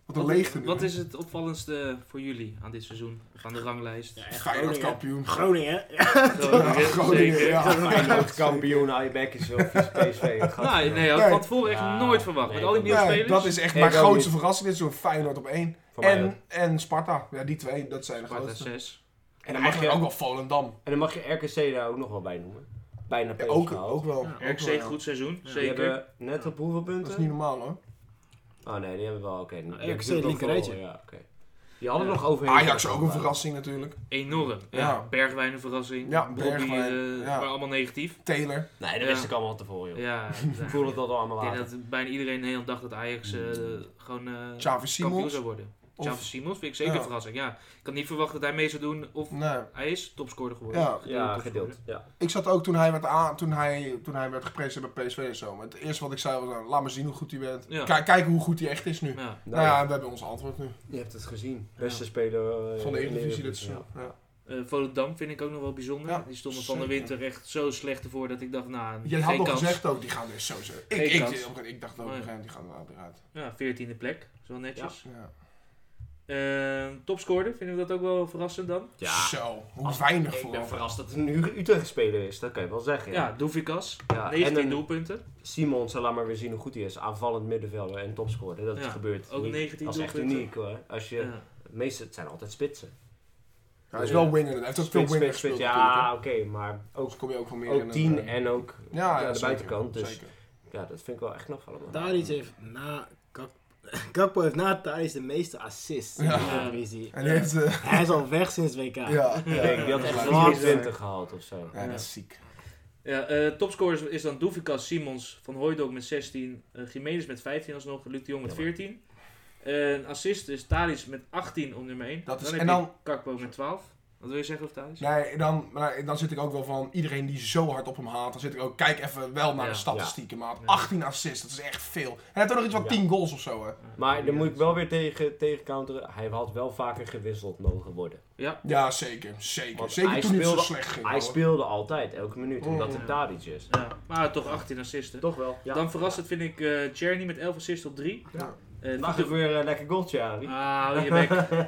C: Wat een leegte nu.
A: Wat is het opvallendste voor jullie aan dit seizoen? Aan de ranglijst?
D: Ja, echt
C: Feyenoord kampioen.
D: Groningen.
A: Groningen,
C: Groningen,
A: zeker.
C: ja.
B: Feyenoord kampioen, Ajax is wel vies, PSV. gaat
A: Nou,
B: verder.
A: nee, had ik
C: Nee.
A: van tevoren echt
B: Ja,
A: nooit verwacht. Met
B: nee,
A: al die nieuwe
C: Nee,
A: spelers. Oh
C: dat is echt
B: Ik
C: mijn
B: ook
C: grootste
B: niet.
C: verrassing. Dit is zo'n Feyenoord op één.
B: Voor mij ook.
C: En, en Sparta. Ja, die twee, dat zijn de
A: Sparta
C: grootste.
A: 6.
C: En
B: dan mag je-
C: eigenlijk ook wel Volendam.
B: En dan mag je RKC daar ook nog wel bij noemen. Bijna
C: Ja,
B: PSV.
C: ook,
B: haalt.
C: ook wel.
D: Ja,
C: Ook wel,
A: RC
C: ja.
A: goed seizoen,
B: Die
A: zeker.
B: hebben net op hoeveel punten?
C: Dat is niet normaal hoor.
B: Oh nee, die hebben wel, oké. die hebben
D: RKC
B: natuurlijk
D: linker
B: wel-
D: rijtje.
B: Ja, oké. Die hadden
A: Ja.
B: nog overheen.
C: Ajax ook een verrassing natuurlijk.
A: Enorm. Ja.
C: Ja.
A: Bergwijn een verrassing.
C: Ja,
A: Brobbey,
C: Bergwijn,
A: eh,
C: ja.
A: Maar allemaal negatief.
C: Taylor.
B: Nee, de rest
A: Ja.
B: kan allemaal tevoren, joh.
A: Ja,
B: Ik voel het dat al allemaal
A: Ik
B: later.
A: denk dat bijna iedereen in Nederland dacht dat Ajax eh, gewoon eh,
C: Mm. Xavi
A: kampioen
C: Simons.
A: zou worden.
C: Of-
A: Xavi Simons vind ik zeker
C: Ja.
A: een verrassing. Ja. Ik had niet verwacht dat hij mee zou doen of
C: Nee.
A: hij is topscorer geworden.
C: Ja,
B: Ja,
A: topscorer.
B: gedeeld. Ja.
C: ik zat ook toen hij werd, aan, toen hij, toen hij werd gepresenteerd bij PSV en zo. Maar het eerste wat ik zei was, nou, laat me zien hoe goed hij bent.
A: Ja.
C: Kijk, kijk hoe goed hij echt is nu.
A: Ja.
C: Nou ja, we hebben ons antwoord nu.
B: Je hebt het gezien. Beste speler eh,
C: Van de
B: in
C: Eredivisie dit
B: Ja.
C: seizoen. Ja.
A: Eh, Volendam vind ik ook nog wel bijzonder.
C: Ja,
A: die stonden van de
C: zeker.
A: winter echt zo slecht ervoor dat ik dacht, nou,
C: Jij
A: geen
C: had al
A: kans.
C: gezegd ook, die gaan dus sowieso. Ik,
A: Geen
C: ik,
A: kans.
C: ik, ik dacht ook,
A: Nee.
C: die gaan er wel weer uit.
A: Ja, 14e plek. Zo netjes.
C: Ja.
A: Eh, topscorer, vinden we dat ook wel verrassend dan?
B: Ja.
C: Zo, hoe weinig
B: ik
C: voor
B: ben
C: hem.
B: verrast dat het een uur Utrecht speler is, dat kan je wel zeggen.
A: Ja, Doevikas.
B: Ja,
A: 19
B: Ah, en een-
A: doelpunten.
B: Simons, laat maar weer zien hoe goed hij is. Aanvallend middenvelder en topscorer. Dat
A: Ja,
B: gebeurt
A: Ook
B: niet.
A: 19
B: Dat is echt
A: doelpunten.
B: uniek hoor. Als je,
A: Ja.
B: de meeste, het zijn altijd spitsen.
C: Hij is wel winner. Hij heeft ook veel
B: Spits,
C: winner
B: spits,
C: gespeeld
B: spits.
C: natuurlijk. hè.
B: Ja, oké, maar ook,
C: Dus kom je ook van meer in
B: ook
C: een,
B: 10
C: eh,
B: en ook
C: ja,
B: aan de
C: zeker,
B: buitenkant. Dus
C: zeker.
B: ja, dat vind ik wel echt knap allemaal.
D: Tadic heeft na... Kak- Kakpo heeft na Tadic de meeste assists in
C: Ja.
D: de Eredivisie.
C: En die heeft... eh,
D: Hij is al weg sinds WK.
C: ja, ja,
B: Ik denk, die had
C: ja,
B: echt
C: ja.
D: wel
B: zo'n 20 gehaald of zo.
C: Ja, dat is ziek.
A: Ja, eh, topscorers is dan Doevikas, Simons, Van Hooijdonk met 16, eh Jiménez met 15 alsnog, Luc de Jong met
B: Ja, maar.
A: 14. Eh, Een assist is Tadic met 18 op nummer 1.
C: Dat is-
A: dan heb
C: en
A: je
C: dan-
A: Kakpo met 12. Wat wil je zeggen over Tadic?
C: Nee, dan, maar dan zit ik ook wel van iedereen die zo hard op hem haat. Dan zit ik ook, kijk even wel naar
A: Ja,
C: de statistieken, maat.
A: Ja.
C: 18 assists, dat is echt veel. En hij heeft ook nog iets van
B: Ja.
C: 10 goals of zo, hè?
B: Maar dan moet ik wel weer tegen, tegen counteren. Hij had wel vaker gewisseld mogen worden.
C: Ja, zeker. Zeker.
B: Want
C: zeker
B: hij
C: toen het
B: speelde-
C: zo slecht ging.
B: Hij
C: hoor.
B: speelde altijd, elke minuut,
C: Oh.
B: omdat
A: Ja.
B: het Tadic is.
A: Ja, maar toch 18 assisten.
B: Toch wel. Ja.
A: Dan verrassend vind ik eh Czerny met 11 assisten op 3.
C: Ja.
A: Eh,
B: Mag
A: Vito-
B: ik weer een lekker goaltje, Arie?
A: Ah, hou je bek. Eh,
B: Oud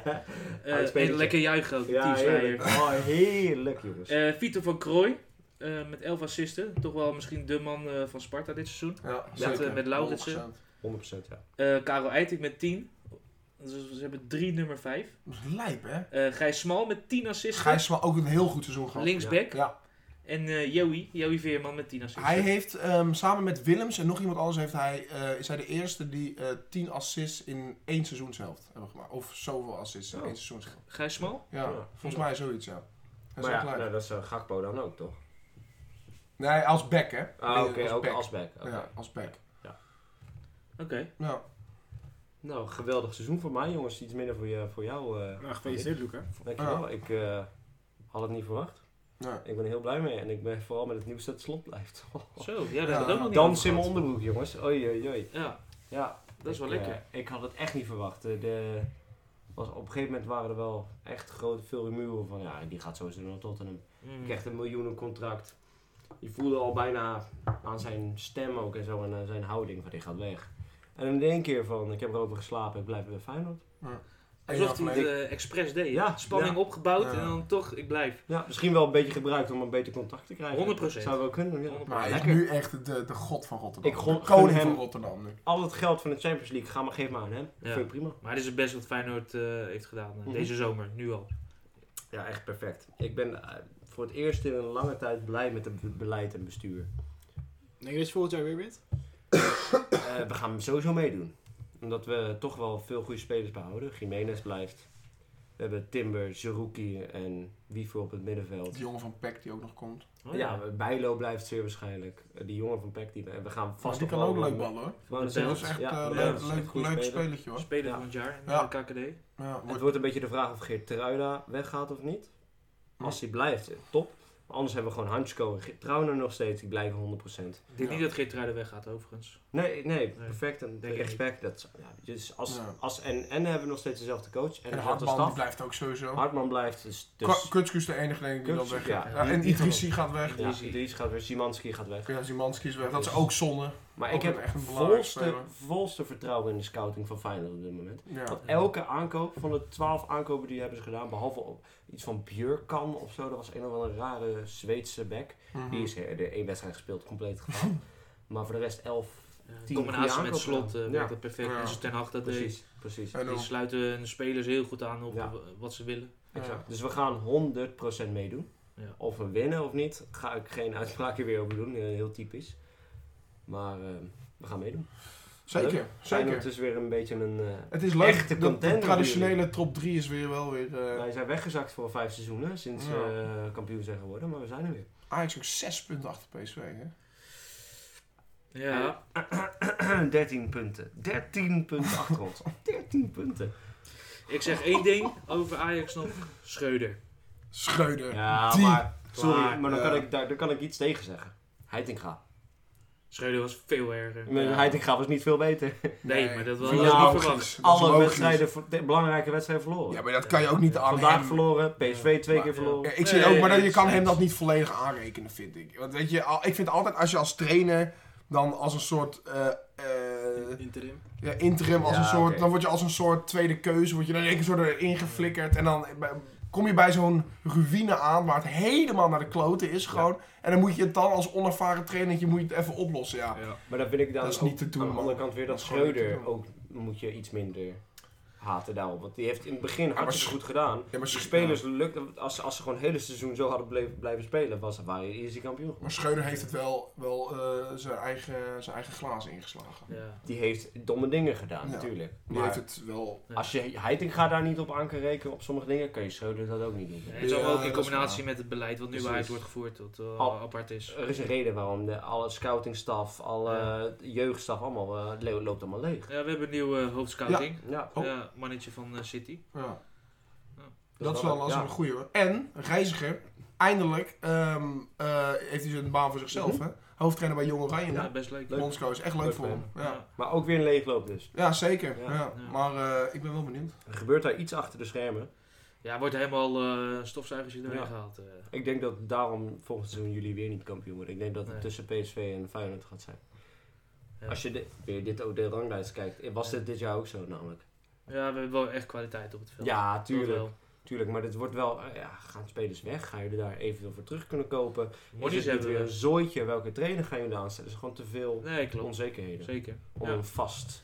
B: spelertje.
A: en lekker juichen ook,
B: Ja, heerlijk.
A: teamsleider.
B: Oh, heerlijk, jongens.
A: Eh Vito van Krooi eh, met 11 assisten. Toch wel misschien de man eh, van Sparta dit seizoen.
C: Ja,
A: Met, eh, met Lauritsen.
C: 100%.
B: 100% ja.
A: Eh Karel Eiting met 10. Dus ze hebben 3 nummer 5.
C: Dat is lijp, hè?
A: Eh Gijs Smal met 10 assisten.
C: Gijs wel ook een heel goed seizoen gehad.
A: Linksback.
C: Ja.
A: En eh Joey, Joey Veerman met 10 assisten.
C: Hij heeft ehm, samen met Willems en nog iemand anders heeft hij, eh, is hij de eerste die eh 10 assists in één seizoenshelft hebben gemaakt. Of zoveel assists in
B: Oh.
C: één seizoenshelft.
A: Gijs Smal?
C: Ja,
B: Ja.
C: volgens mij zoiets, ja. Dat
B: Maar
C: is echt
B: ja,
C: lijp.
B: nou, dat is eh, Gakpo dan ook, toch?
C: Nee, als back, hè?
B: Ah,
C: Nee,
B: oké, ook
C: back.
B: als back. oké.
C: Ja, als back.
A: Oké.
C: Ja.
B: Nou, geweldig seizoen voor mij, jongens. Iets minder voor, je, voor jou. eh
D: Nou, gefeliciteerd, Luca.
B: dankjewel. Ik eh, had het niet verwacht.
C: Nee.
B: Ik ben er heel blij mee. En ik ben vooral met het nieuws dat het slot blijft.
A: Zo, ja, dat heb ik ook nog niet
B: Dans in
A: over
B: mijn onderbroek, jongens. Oei, oei, oei.
A: gehad. Ja,
B: Ja,
A: dat is wel
B: Ik,
A: lekker.
B: eh, ik had het echt niet verwacht. Eh, De, was, op een gegeven moment waren er wel echt grote, veel rumoeren van ja, die gaat sowieso naar Tottenham.
A: Mm.
B: Je krijgt een miljoenencontract. Je voelde al bijna aan zijn stem ook en zo en aan zijn houding van die gaat weg. En in één keer van ik heb erover geslapen, ik blijf bij Feyenoord.
A: Alsof
C: Eén
A: hij
C: jaar
A: het
C: geleden.
A: eh, expres deed.
B: Ja,
A: Spanning
B: ja.
A: opgebouwd
C: Ja.
A: en dan toch, ik blijf.
B: Ja, misschien wel een beetje gebruikt om een beter contact te krijgen.
A: 100%.
B: Zou wel kunnen. Ja.
A: 100%.
C: Maar hij is
B: Lekker.
C: nu echt de, de god van Rotterdam.
B: Ik gun-
C: De koning
B: gun
C: van
B: hem-
C: Rotterdam nu.
B: Al het geld van de Champions League, ga maar geef maar aan hem.
A: Ja.
B: Vind ik prima.
A: Maar dit is het best wat Feyenoord eh, heeft gedaan eh,
B: Mhm.
A: deze zomer, nu al.
B: Ja, echt perfect. Ik ben eh, voor het eerst in een lange tijd blij met het be- beleid en bestuur.
D: Denk je dat je volgend jaar weer bent?
B: Eh, we gaan hem sowieso meedoen. Omdat we toch wel veel goede spelers behouden. Jiménez blijft. We hebben Timber, Zerouki en Wiever op het middenveld.
C: Die jongen van Peck die ook nog komt.
A: Oh,
B: Ja, Bijlo blijft zeer waarschijnlijk. Eh, Die jongen van Peck, die, we gaan
C: Vast
B: vast nog
C: Oh, die kan
B: wel
C: ook
B: een-
C: leuk ballen hoor.
B: gewoon een
A: Dat
C: Dat
A: Belt.
C: is echt
B: Ja,
C: eh,
B: ja,
C: leuk,
B: dat is echt
C: leuk,
B: een goede
C: leuk
B: speler.
C: spelletje hoor.
A: Speler
B: Ja.
A: van het jaar in eh,
C: Ja.
A: de KKD.
C: Ja,
B: Het
C: wordt-
B: wordt een beetje de vraag of Geertruida weggaat of niet.
C: Hm.
B: Als hij blijft, eh, top. Maar anders hebben we gewoon Hansko en Geertruida nog steeds. Die blijven 100%.
A: Ik denk
C: Ja.
A: niet dat Geertruiden weggaat overigens.
B: Nee, nee, perfect. En
A: Denk ik
B: respect. Dat, ja, dus als,
C: Ja.
B: als, en, en hebben we nog steeds dezelfde coach. En,
C: en
B: dezelfde
C: Hartman die
B: staf.
C: blijft ook sowieso.
B: Hartman blijft. Dus, dus
C: Ka- Kutschke is de enige denk ik die dan
B: Kutschke,
C: weg
B: ja.
C: gaat.
A: Ja,
C: Ja, en
A: die gaat
C: Idrissi gaat weg.
B: Ja,
A: Idrissi.
B: Idris gaat weer, Simanski gaat weg.
C: Ja, Zimanski is weg. Dat is ook zonde.
B: Maar
C: Ook
B: ik heb
C: een echt een belangrijke
B: volste,
C: speler.
B: volste vertrouwen in de scouting van Feyenoord op dit moment.
C: Ja.
B: Want elke aankoop, van de twaalf aankopen die hebben ze gedaan, behalve op iets van Björkan of zo, dat was een of andere rare Zweedse back.
C: Mhm.
B: Die is eh, de één wedstrijd gespeeld, compleet gehaald. maar voor de rest elf,
A: Ja, in
B: Tien
A: combinatie
B: goede
A: met
B: aankopen
A: slot eh
B: dan.
A: werkt
B: Ja.
A: dat perfect.
C: Ja.
A: En zo ten Hag dat deed.
B: precies, precies.
C: En
A: Die
C: dan-
A: sluiten hun spelers heel goed aan op
B: Ja.
A: w- wat ze willen.
B: Exact. Dus we gaan 100% meedoen.
A: Ja.
B: Of we winnen of niet, ga ik geen uitspraak hier weer over doen, eh, heel typisch. Maar eh, we gaan meedoen.
C: Zeker,
B: Feyenoord
C: zeker.
B: is weer een beetje een... eh,
C: Het is leuk,
B: Echte
C: de, de
B: contender
C: traditionele top 3 is weer wel weer... eh,
B: Wij zijn weggezakt voor vijf seizoenen sinds
C: Ja.
B: we kampioen zijn geworden, maar we zijn er weer.
C: Ajax ook 6 punten achter PSV hè.
A: Ja.
B: 13 punten. 13 punten achter ons. 13 punten.
A: Ik zeg één ding over Ajax nog. Schreuder.
C: Schreuder.
B: Ja,
C: die.
B: maar. Sorry,
A: Klaar,
B: maar dan
C: ja.
B: kan, ik, daar, dan kan ik iets tegen zeggen. Heitinga.
A: Schreuder was veel erger.
B: Met Heitinga was niet veel beter.
A: Nee, maar dat was
C: Ja,
A: dat was niet
C: logisch.
A: verwacht.
C: Dat is
B: Alle
C: logisch.
B: wedstrijden, voor- de belangrijke wedstrijden verloren.
C: Ja, maar dat kan je ook niet aan
B: Vandaag
C: hem-
B: verloren, PSV twee
C: Maar-
B: keer verloren.
C: Ja, ik zeg
A: Nee,
C: ook, maar dat,
A: nee,
C: je kan
A: eens.
C: hem dat niet volledig aanrekenen, vind ik. Want weet je, al- ik vind altijd als je als trainer dan als een soort eh, eh, eh,
D: Interim.
C: ja, interim als
B: Ja,
C: een soort.
B: oké.
C: Dan word je als een soort tweede keuze, word je dan in één keer soort erin geflikkerd. En dan kom je bij zo'n ruïne aan waar het helemaal naar de kloten is gewoon. En dan moet je het dan als onervaren trainertje moet je het even oplossen, ja.
D: Ja.
B: Maar dan vind ik dan
C: Dat is
B: ook
C: niet te doen,
B: aan de
C: man.
B: andere kant weer dat,
C: Dat is gewoon niet te
B: Schreuder
C: doen.
B: ook moet je iets minder haten daarop. Want die heeft in het begin
C: maar
B: hartstikke
C: Sch-
B: goed gedaan.
C: ja maar,
B: Als de
C: Sch-
B: spelers lukt, als, als ze gewoon het hele seizoen zo hadden bleven, blijven spelen, was, waren je eerste kampioen geworden.
C: maar Schreuder heeft het wel, wel eh, zijn, eigen, zijn eigen glazen ingeslagen.
D: Ja.
B: Die heeft domme dingen gedaan,
C: Ja.
B: natuurlijk.
C: Die
B: Maar
C: heeft het wel.
B: als je Heitinga daar niet op aan kan rekenen, op sommige dingen, kan je Schreuder dat ook niet doen.
A: En zo
C: Ja,
A: ook
C: dat
A: in
C: is
A: combinatie
C: waar.
A: met het beleid wat nu
B: Precies.
A: bij Ajax wordt gevoerd, dat wel
B: Al-
A: apart is.
B: Er is een reden waarom de, alle scoutingstaf, alle jeugdstaf, allemaal eh, le- loopt allemaal leeg.
A: Ja, we hebben een nieuwe eh, hoofdscouting.
B: Ja,
A: Ja.
C: Oh.
A: mannetje van eh, City.
C: Ja.
B: Dus
C: Dat is wel
B: ja.
C: dat is wel een goeie hoor. En, Reiziger, eindelijk ehm, eh, heeft hij zijn baan voor zichzelf, hè? Hoofdtrainer bij Jong Oranje.
A: Ja,
C: Ja.
A: best leuk.
C: is echt leuk,
B: Leuk
C: voor
B: voor
C: hem. Ja,
B: Maar ook weer een leegloop dus.
C: ja zeker.
B: Ja.
C: Ja.
A: Ja.
C: Maar eh, ik ben wel benieuwd.
B: Er gebeurt daar iets achter de schermen.
A: Ja, wordt helemaal eh stofzuigers erin
B: Ja.
A: gehaald. eh.
B: Ik denk dat daarom volgend seizoen jullie weer niet kampioen worden. Ik denk dat het
A: Nee.
B: tussen PSV en Feyenoord gaat zijn.
A: Ja.
B: Als je de- weer dit ook de ranglijst kijkt, eh, was dit dit jaar ook zo namelijk.
A: ja, we hebben wel echt kwaliteit op het veld.
B: Ja,
A: Dat wel.
B: tuurlijk. Tuurlijk, maar dit wordt wel, eh, ja, gaan spelers weg? Ga je er daar evenveel voor terug kunnen kopen? Is
A: Monies
B: het niet
A: hebben
B: weer een
A: we.
B: zooitje? Welke trainer gaan jullie aanstellen? Er is gewoon te veel
A: Nee, klopt.
B: onzekerheden.
A: Zeker.
B: Om
A: Ja.
B: een vast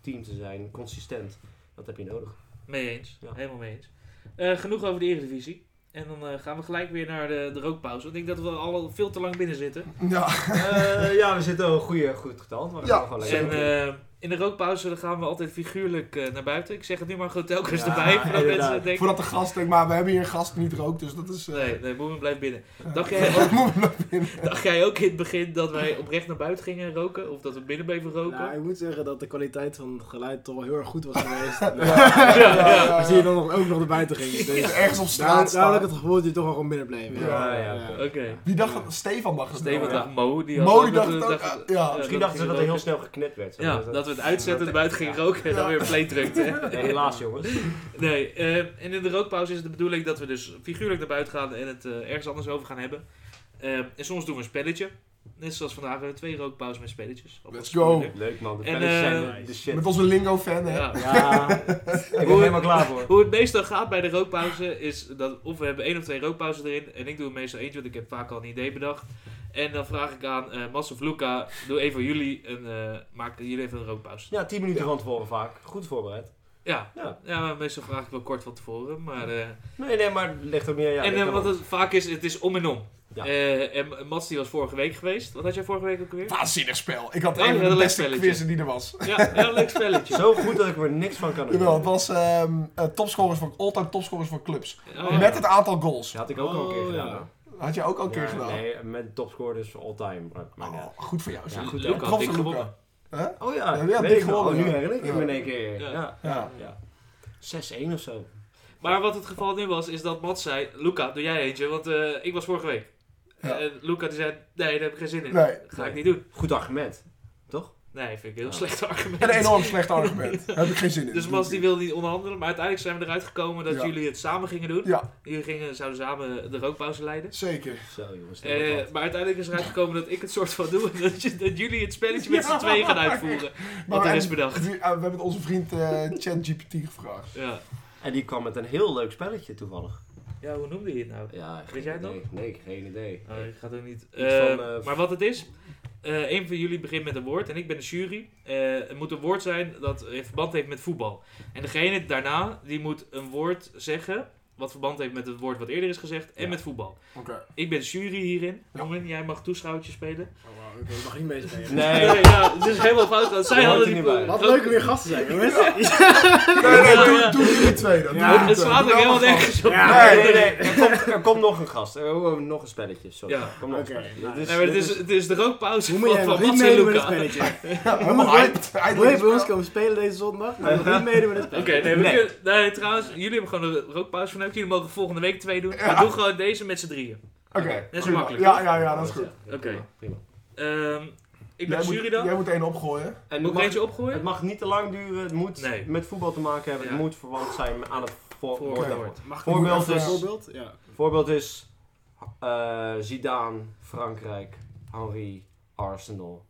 B: team te zijn, consistent. Dat heb je nodig.
A: Mee eens.
B: Ja.
A: Helemaal mee eens. Eh, genoeg over de Eredivisie. En dan eh, gaan we gelijk weer naar de, de rookpauze. Want ik denk dat we al veel te lang binnen zitten.
C: Ja,
B: Eh, ja, we zitten al een goede, goed getal. Maar we gaan
C: Ja,
B: gewoon lekker
A: En
B: door.
A: eh, in de rookpauze dan gaan we altijd figuurlijk eh, naar buiten. Ik zeg het nu maar goed telkens
B: Ja,
A: erbij. Voordat
B: inderdaad.
A: mensen denken...
C: voordat de gast denkt, maar we hebben hier een gast die niet rookt, dus dat is... eh,
A: Nee, nee, Boemen blijft binnen.
C: ja.
A: Dacht jij, ook,
C: Moet ik nog-
A: dacht jij ook in het begin dat wij oprecht naar buiten gingen roken? Of dat we binnen bleven roken?
D: Nou, ik moet zeggen dat de kwaliteit van het geluid toch wel heel erg goed was geweest.
C: Ja, ja, ja, ja.
D: Als je dan nog, ook nog naar buiten ging.
C: Dus
D: Dus
C: ergens op
D: daar,
C: straat
D: daar had ik
C: staan.
D: het gevoel dat je toch wel gewoon binnen bleef. Oh,
B: Ja, ja, oké.
A: Oké.
C: Wie dacht dat? Stefan dacht het
A: Steven
C: wel, ja.
A: dacht Mo. Die had
C: Mo
A: ook
C: die
A: dat
C: dacht
A: we-
C: het ook,
A: dacht-
C: eh, ja.
A: eh,
B: Misschien
A: dat
B: dachten ze dat er
A: gingen roken.
B: heel snel geknipt werd.
A: Ja, dat we het uitzetten,
B: dat-
A: buiten gingen roken en dan
C: Ja.
A: weer play drukten.
B: Nee, helaas jongens.
A: Nee, eh, en in de rookpauze is het de bedoeling dat we dus figuurlijk naar buiten gaan en het eh, ergens anders over gaan hebben. Eh, en soms doen we een spelletje. Net zoals vandaag, we hebben twee rookpauzes met spelletjes. Op
C: Let's
A: ons
C: go.
A: moeilijk.
B: Leuk man, de
A: En,
B: fans zijn
D: eh,
B: de shit.
C: Met onze lingo-fan, hè?
A: Ja.
B: Ja, ik ben
A: Hoe-
B: helemaal klaar voor.
A: Hoe het meestal gaat bij de rookpauze is dat of we hebben één of twee rookpauzes erin. En ik doe meestal eentje, want ik heb vaak al een idee bedacht. En dan vraag ik aan eh Mas of Luca, doe even jullie een, eh, maak jullie even een rookpauze.
B: Ja, 10 minuten van tevoren vaak. Goed voorbereid.
A: Ja,
B: Ja.
A: ja maar meestal vraag ik wel kort van tevoren, maar... eh,
B: Nee, nee, maar ligt ook niet aan jou.
A: en
B: ligt
A: eh,
B: aan
A: wat
B: ons.
A: het vaak is, het is om en om.
B: Ja.
A: Eh, en Mats die was vorige week geweest. Wat had jij vorige week ook weer?
C: Waanzinnig spel. Ik had
A: Oh,
C: een
A: ja,
C: van de
A: leuk
C: beste
A: spelletje.
C: quizzen die er was.
A: Ja, ja, leuk spelletje.
B: Zo goed dat ik er niks van kan
C: Jawel,
B: herinneren.
C: het was ehm, eh, topscorers van, all-time topscorers van clubs.
A: Oh, ja.
C: Met het aantal goals.
B: Dat had ik ook al een keer
D: Oh,
B: gedaan.
D: ja.
B: hoor.
C: Had je ook al een
B: Ja,
C: keer gedaan?
B: Nee, met topscorers all time. Maar, maar
C: Oh,
B: ja.
C: goed voor jou. zeg.
B: Ja, goed.
A: Luca
C: Props
A: had dik
C: voor
A: gewonnen.
B: Oh ja,
C: Ja, die had
B: weet
C: dik
B: ik nog.
C: gewonnen,
B: Oh, Nu
C: ja.
B: herinner ik
C: Ja.
B: me in één keer.
A: Ja.
B: Ja.
C: Ja.
B: Ja. 6-1 of zo.
A: Maar wat het geval nu was, is dat Mats zei... Luca, doe jij eentje, want eh, ik was vorige week.
C: Ja.
A: En Luca die zei, nee, daar heb ik geen zin in.
C: Nee.
A: Ga
B: Nee.
A: ik niet doen.
B: Goed argument.
A: Nee, vind ik een heel
B: Ja.
A: slecht argument.
C: Een enorm slecht argument. Daar heb ik geen zin in.
A: Dus Mats die wilde niet onderhandelen. Maar uiteindelijk zijn we eruit gekomen dat
C: Ja.
A: jullie het samen gingen doen.
C: Ja,
A: Jullie gingen, zouden samen de rookpauze leiden.
C: zeker.
B: Zo jongens. dat
A: Eh,
B: wordt wat.
A: maar uiteindelijk is eruit gekomen dat ik het soort van doe. En dat, je- dat jullie het spelletje met z'n
C: Ja.
A: tweeën gaan uitvoeren. Wat er is bedacht.
C: We hebben onze vriend eh, ChatGPT gevraagd.
A: Ja.
B: En die kwam met een heel leuk spelletje toevallig.
A: ja, hoe noemde je het nou?
B: Ja,
A: Weet jij het
B: idee. Nee, geen idee.
A: Oh, ik ga het ook niet.
B: Iets
A: Eh,
B: van, eh,
A: maar wat het is, eh een van jullie begint met een woord en ik ben de jury. Eh, het moet een woord zijn dat in verband heeft met voetbal. En degene daarna, die moet een woord zeggen wat verband heeft met het woord wat eerder is gezegd en
B: Ja.
A: met voetbal.
C: Oké.
A: Ik ben de jury hierin.
C: Ja.
A: Norman, jij mag toeschouwertje spelen.
D: Oh, wauw, ik mag niet meespelen.
B: Nee.
A: ja, het is helemaal fout. want zij
B: Hoort
A: hadden
B: er
A: die
B: niet bij.
D: Wat leuk om weer gast te zijn, jongens.
C: Nee, nee,
A: Ja,
C: doe,
A: ja.
C: doe jullie twee dan.
D: Ja,
C: Doe jullie
A: Het
C: twee.
A: slaat
C: Doe
A: ook helemaal
C: allemaal
A: nergens op.
D: Ja.
B: Nee,
A: nee,
B: nee, nee. Er komt, er komt nog een gast. Eh, Er komen nog een spelletje. Sorry.
A: Ja.
B: Er komt nog een
D: Oké,
B: spelletje.
D: nou.
B: Dit is-
A: Nee, maar het
B: dit
A: is,
B: is-
A: het is de rookpauze
D: Hoe
A: van,
D: moet jij
A: van
D: nog niet
A: Mats en
D: meedoen met het
A: Luca. Oké,
D: spelletje?
C: Ja, helemaal hyped.
D: Wil je
C: Eindelijk
D: bij ons
C: is het
D: komen spelen deze zondag? Wil je nog niet meedoen met het spelletje?
A: nee, we
B: Nee.
A: kunnen- nee, trouwens, jullie hebben gewoon een rookpauze van Jullie mogen volgende week twee doen.
C: Ja.
A: We doen gewoon deze met z'n drieën.
C: Oké.
A: is
C: prima.
A: makkelijk,
C: Ja, ja, ja, dat is goed.
B: Ja,
A: Oké.
B: prima, Prima.
A: Ehm, ik ben
C: Jij
A: de jury
C: moet,
A: dan.
C: jij moet één opgooien.
B: En
A: Moet
B: het
A: ik er eentje
B: mag,
A: opgooien?
B: het mag niet te lang duren. Het moet
A: Nee.
B: met voetbal te maken hebben.
A: Ja.
B: Het moet verwant zijn aan het voor-
A: Voor-
B: voorbeeld.
A: woord.
D: Mag ik
B: Voorbeeld
D: even een
C: is-
D: voorbeeld? Ja.
B: Voorbeeld is eh Zidane, Frankrijk, Henry, Arsenal.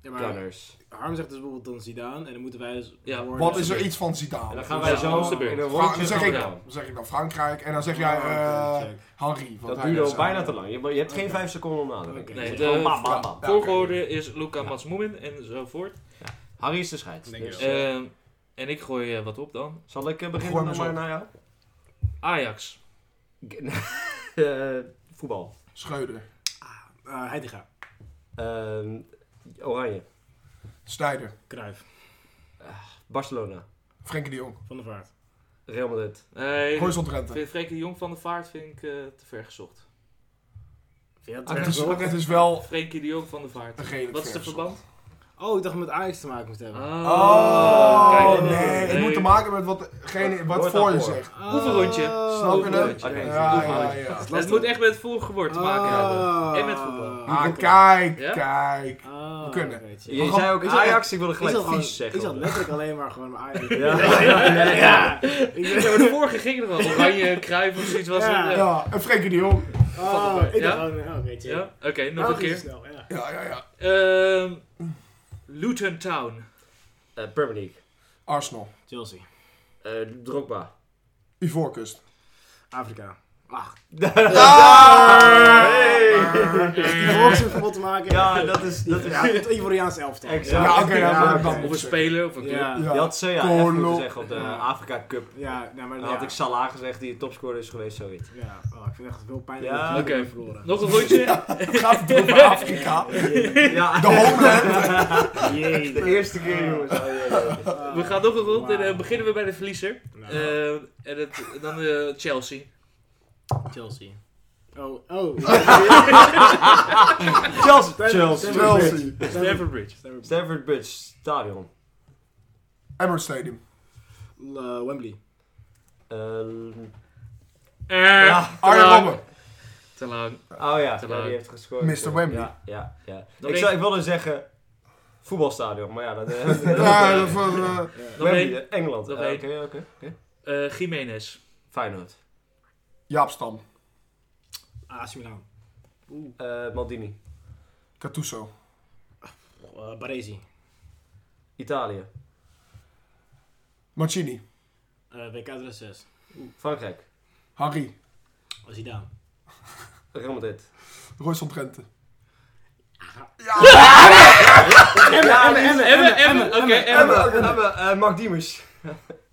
D: Ja, maar
B: Gunners.
D: Harm zegt dus bijvoorbeeld dan Zidane. En dan moeten wij dus
A: Ja.
D: horen-
C: Wat is er iets van Zidane?
B: En dan gaan
A: Ja,
B: wij
A: dat is
B: zo
A: de beurt.
B: in een
C: Fra-
B: rondje
C: dan zeg ik,
B: gaan.
A: Ja.
C: dan zeg ik dan Frankrijk en dan zeg jij
A: Oh,
C: eh
D: Check.
C: Henri. want
B: Dat
C: hij
B: duurde
C: is,
B: al
C: eh,
B: bijna te lang. Je, je hebt geen
D: Oké.
B: vijf seconden om na te denken.
D: Oké.
B: Je
A: Nee,
B: zegt
A: de-
B: gewoon bam, bam,
C: Ja.
B: bam.
C: Ja.
A: Volgorde is Luca Matsmoemin en zo voort.
B: Harry is de scheids.
D: Denk
B: Dus,
D: je wel.
A: Ehm, en ik gooi eh, wat op dan.
B: zal ik eh, beginnen
C: Gooi
B: dan
C: maar
B: maar naar
C: eens
B: jou?
A: Ajax.
B: Eh, Voetbal.
C: Schreuder,
D: Eh, Heitinga.
B: Ehm, Oranje.
C: Snijder,
D: Cruijff.
B: Barcelona.
C: Frenkie de Jong,
D: Van der Vaart.
B: Real Madrid.
A: Nee, ik
C: Horizon Drenthe.
A: vind Frenkie de Jong van de Vaart vind ik eh, te ver gezocht.
D: Vind je dat
C: Het
D: erg
C: Ah, is,
D: zo?
C: het is wel
A: Frenkie de Jong van de Vaart.
C: een redelijk
A: Wat is de
C: verse.
A: verband?
D: Oh, ik dacht met Ajax te maken moest hebben.
C: Oh,
A: kijk.
C: nee. Het moet te maken met watgene, wat
B: Wordt
C: voor je
B: daarvoor.
C: zegt.
D: Ah,
A: Oefenrondje.
C: Snap je
A: dat?
C: het?
A: Oh, oké.
C: Ja,
B: Oké,
C: ja, ja.
A: Het moet echt met het vorige woord te maken
D: Ah.
A: hebben. En met voetbal.
C: Ah, kijk,
A: Ja?
C: kijk.
D: Ah,
C: We kunnen.
D: oké, check.
B: Je
C: Maar
B: zei ook
D: ik zat-
B: Ajax, ik wilde
D: Ik
B: gelijk
D: zat,
B: vies
D: gewoon,
B: zeggen.
D: ik zat letterlijk alleen maar gewoon mijn Ajax.
B: Ja.
A: Ja, maar de vorige ging er al. Oranje, Kruijf of zoiets was eh,
D: Ja.
A: het. Ja.
C: Ja, en Frenkie de Jong.
D: Oh, ik
A: Ja?
D: dacht gewoon, oh, oké, check.
A: Ja? Oké, nog
D: Nou,
A: een
D: ging
A: keer.
D: het snel, ja.
C: Ja, ja, ja.
A: Ehm, Luton Town.
B: Eh, Premier League.
C: Arsenal,
D: Chelsea.
B: Eh, Drogba.
C: Ivoorkust.
D: Afrika. Ach, die
C: Hey.
D: volgens heeft verbod te maken.
B: Ja, dat is... Dat is
D: Ja, het Ivoriaanse elftal.
B: Exact.
C: Ja, oké,
D: Ja,
C: ja,
D: oké.
C: dan
A: Of een speler of een club.
D: Ja,
B: Je had Sea echt
C: Colo-
B: moeten zeggen op de
D: Ja.
B: Afrika Cup.
D: ja, nou, maar
B: Dan
D: ja.
B: had ik Salah gezegd die topscorer is geweest, zoiets.
D: Ja, oh, ik vind het echt veel pijnlijk
B: Ja,
D: dat ik
A: oké.
D: heb verloren.
A: Nog een rondje.
C: Het gaat het over Afrika.
B: Ja,
C: De Holland.
D: Jee.
B: de eerste keer jongens. Oh, jee, jee.
D: Eh,
A: We gaan nog een rond en
D: Wauw.
A: dan beginnen we bij de verliezer.
D: Nou,
A: Eh, en het, dan eh, Chelsea.
D: Chelsea. Oh, oh.
B: Chelsea. Chelsea.
C: Chelsea.
A: Stamford Bridge.
D: Stamford.
B: Stamford Bridge Stadion.
C: Emirates Stadium.
D: Eh, Wembley.
B: Ehm,
A: Eh,
B: ja.
A: te
C: Arjen
A: lang.
C: Robben.
A: Te lang.
B: Oh ja, ja,
A: Te
B: die
A: laat.
B: heeft gescoord.
C: Mr. Wembley.
B: Ja, ja, ja.
A: Nog
B: Ik,
A: één.
B: zou, ik wilde zeggen voetbalstadion, maar ja, dat... eh,
C: Ja, dat was... eh,
A: Nog
B: Wembley,
A: één.
B: eh, Engeland.
A: Nog
B: Eh,
A: één.
B: Oké, oké. oké.
A: Eh Jiménez.
B: Feyenoord.
C: Jaap Stam.
D: AC Milan.
B: Eh, Maldini.
C: Cattuso.
D: Eh, Baresi.
B: Italië.
C: Mancini.
D: Eh, WK 06.
B: Frankrijk.
C: Harry.
D: Eh, Zidane.
B: Real Madrid.
C: Royce Drenthe.
A: Emmen, Emmen, Emmen. Oké, Emmen.
B: Emma, Emma, eh, Mark Diemers.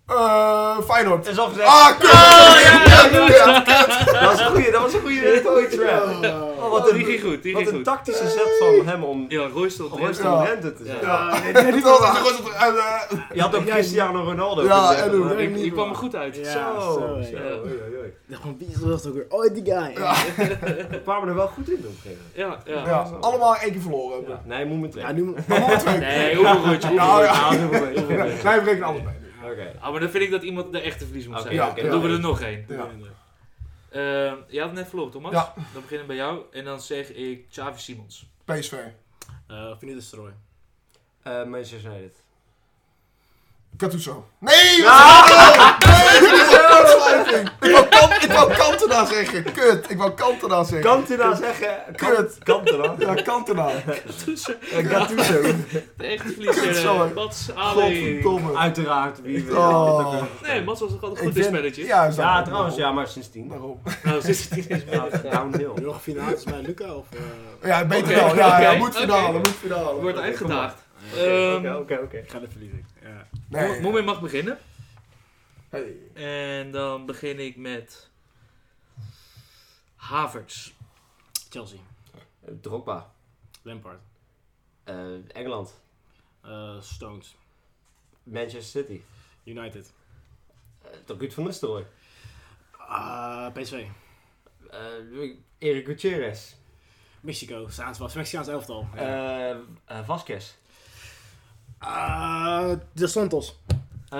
C: Eh Feyenoord.
B: Dat is al gezegd.
C: Ah,
A: Oh, ja, ja, ja, ja.
B: Dat was een goeie, dat was een goeie poetry trap.
D: Oh.
B: Oh, wat
A: Die ging goed, die
B: wat
A: ging
B: een
A: goed.
B: tactische zet van hem om
A: Ja, Roy stond
B: om Royce
A: eerst.
B: van
C: Ja.
B: Drenthe te zijn.
C: Ja.
D: Ah, nee, nee,
C: Dit
D: niet
C: was
D: wel.
C: een Royce Drenthe. Eh,
B: Je had ook
D: Ja,
B: Cristiano Ronaldo
C: Ja,
B: kunnen zeggen,
C: en hoe?
B: maar-
A: Ik, ik kwam er goed uit.
D: Ja,
B: Zo,
D: zo,
A: ja.
B: zo, oei, oei, oei.
D: Ik dacht van, wie is dat ook weer? Oh, die guy. Ja,
B: We kwamen er wel goed in op een gegeven moment.
A: Ja, ja.
C: Ja, allemaal één keer verloren.
B: Ja.
C: hebben.
B: Nee, moet me twee.
D: nu... moet-
C: Allemaal twee.
A: Nee, hoeveel rondje, hoeveel
C: Nou, Ja,
A: rondje.
B: Nou Ja, doe maar mee, doe maar mee.
C: Wij rekenen allebei.
B: Oké.
A: Ah, maar dan vind ik dat iemand de echte verlies moet
B: Oké,
A: zijn.
C: ja,
B: oké.
A: Dan doen we er nog één.
C: Ja.
A: Eh, jij had net verloren, Thomas.
C: Ja.
A: Dan beginnen we bij jou. En dan zeg ik Xavi Simons.
C: PSV.
D: Eh, Vinyl Destroy.
B: Eh, Manchester United.
C: Cattuso. Nee! wat zeg je nou? Nee, dit is een kortsluiting. Ik wou kan- Ik wou Kantena zeggen. Kut. Ik wou Kantena zeggen.
B: Kantena zeggen.
C: Kut.
B: Kantena.
C: Ja, Eh, Kantena.
A: Tussen
B: Gattuso.
A: de echte verliezer.
C: Sorry.
A: eh, Mats Ali.
C: Godverdomme.
B: Uiteraard. Wie weet.
C: Oh.
A: Nee, Mats was toch altijd
C: Ik
A: goed in
C: vind-
A: spelletjes?
C: Ja, is dat-
B: Ja, trouwens, ja, maar sindsdien.
C: Daarom.
A: Nou, zit het niet eens meer.
B: Ja, Downhill.
D: Nog finales bij Luca of... eh,
C: Ja, beter
A: Oké,
C: wel. Ja, ja,
A: oké,
C: moet
A: oké.
C: finale, moet finale.
A: Wordt
C: Oké,
A: uitgedaagd.
B: Oké,
A: Ehm,
B: Oké, oké.
D: Ik ga er verliezen. Ja.
C: kom maar. Nee.
A: Moment mag beginnen.
C: Hey.
A: En dan begin ik met... Havertz.
D: Chelsea.
B: Eh, Drogba.
D: Lampard.
B: Eh, Engeland.
D: Eh, Stones.
B: Manchester City.
D: United.
B: Eh, toch Ruud van Nistelrooy.
D: Ah, PSV.
B: Eh, Erik Gutierrez.
D: Mexico. Saans was. Mexicaans elftal.
B: Eh, eh, Vasquez.
D: Ah, de Santos.
B: Eh,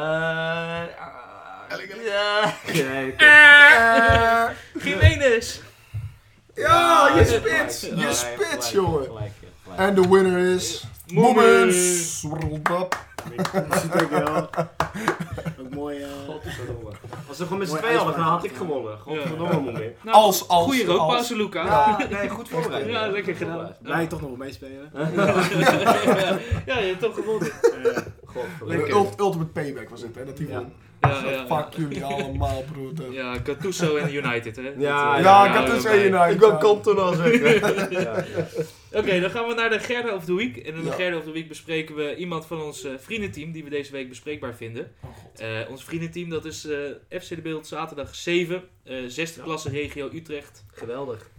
B: eh, ja. Nee, oké.
A: Eh, Jiménez.
C: Ja, je
B: Ah,
C: spits.
B: gelijk,
C: Je
B: gelijk,
C: spits,
B: gelijk,
C: jongen. Eh,
B: gelijk, ja, gelijk.
C: En de winner is...
A: Moments.
C: Moments. Roll up.
D: Ik zie het ook wel. Ook mooi. eh,
B: Godverdomme. Als ze gewoon met z'n
D: Mooie
B: tweeën hadden,
D: uitspraak.
B: dan had ik
D: Ja.
B: gewonnen. Gewoon
A: Ja.
B: van normaal meer.
A: Nou,
C: Als, als,
A: Goeie
C: als.
A: rookpauze, Luca.
B: Ja, nee, goed voorbereid.
A: Ja, lekker gedaan.
D: Blij toch nog wel meespelen.
A: ja, je hebt toch gewonnen.
C: De
B: Godverdomme.
C: ult- ultimate payback was het, hè? Dat die
D: Ja.
C: won.
A: Ja,
C: Zo,
A: ja, ja.
C: Fuck jullie allemaal, broeder. Ja,
A: Ja, Gattuso en United, hè?
B: Ja,
A: Dat, eh,
B: ja,
A: daar
C: ik had
A: houden
C: dus
A: we bij.
C: een United.
B: Ik wil Compton al zeggen. Ja, ja.
A: Oké, dan gaan we naar de Gerde of the Week. En in de
C: Ja.
A: Gerde of the Week bespreken we iemand van ons eh, vriendenteam die we deze week bespreekbaar vinden.
C: Oh, God.
A: Eh, ons vriendenteam dat is eh, FC De Beeld zaterdag 7, eh zesde
B: Ja.
A: klasse regio Utrecht.
B: Geweldig.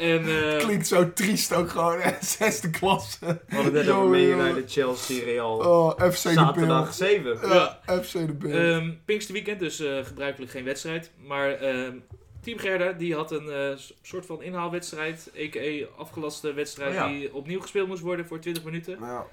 A: En eh,
C: Klinkt zo triest ook gewoon, hè? Zesde klasse.
B: We hadden net
C: Yo,
B: over Man
C: yo.
B: United, Chelsea, Real.
C: Oh, FC de
B: Zaterdag
C: Beeld.
B: 7.
C: Ja, FC de Beeld.
A: ehm Pinksterweekend, dus eh, gebruikelijk geen wedstrijd. Maar ehm, Team Gerda die had een eh, s- soort van inhaalwedstrijd, a.k.a. afgelaste wedstrijd
B: Oh, ja.
A: die opnieuw gespeeld moest worden voor 20 minuten.
C: Nou Ja.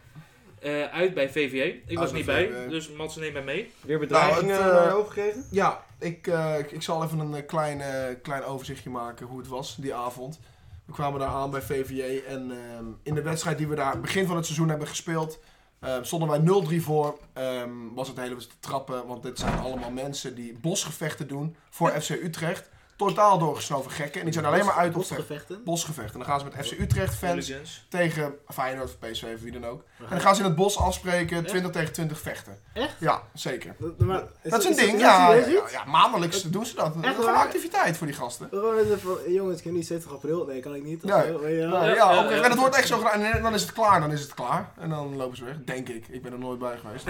A: Eh, uit bij VVA. Ik was
C: bij E.
A: niet bij,
C: VVA.
A: dus Mats neemt mij mee.
B: Weer bedreigingen
C: Nou, het, eh,
B: naar je hoofd gekregen?
C: Ja, ik, eh, ik, ik zal even een eh, klein, eh, klein overzichtje maken hoe het was die avond. We kwamen daar aan bij VVA en ehm, in de wedstrijd die we daar begin van het seizoen hebben gespeeld, eh, stonden wij 0-3 voor. Ehm, was het hele te trappen, want dit zijn allemaal mensen die bosgevechten doen voor FC Utrecht. Totaal doorgesnoven gekken en die zijn alleen maar uit op vechten.
D: gevechten.
C: bosgevechten. En dan gaan ze met FC Utrecht fans
A: Hooligans.
C: tegen Feyenoord of PSV of wie dan ook. En dan gaan ze in het bos afspreken, 20 tegen 20 vechten.
D: Echt?
C: Ja, zeker.
D: Dat, maar,
C: Dat is een ding,
D: dat
C: ja,
D: serieus
C: ja,
D: iets?
C: ja, Maandelijks doen ze dat. Dat is
D: Echt
C: gewoon een
D: waar?
C: activiteit voor die gasten.
D: Gewoon even van, jongens, ik heb niet 70 april. Nee, kan ik niet.
C: Nee.
D: Of, eh,
C: Ja,
D: ja.
A: ja,
C: ja,
A: ja,
C: oké.
A: ja.
C: En dat wordt echt zo gedaan. En dan is het klaar, dan is het klaar. En dan lopen ze weg, denk ik. Ik ben er nooit bij geweest.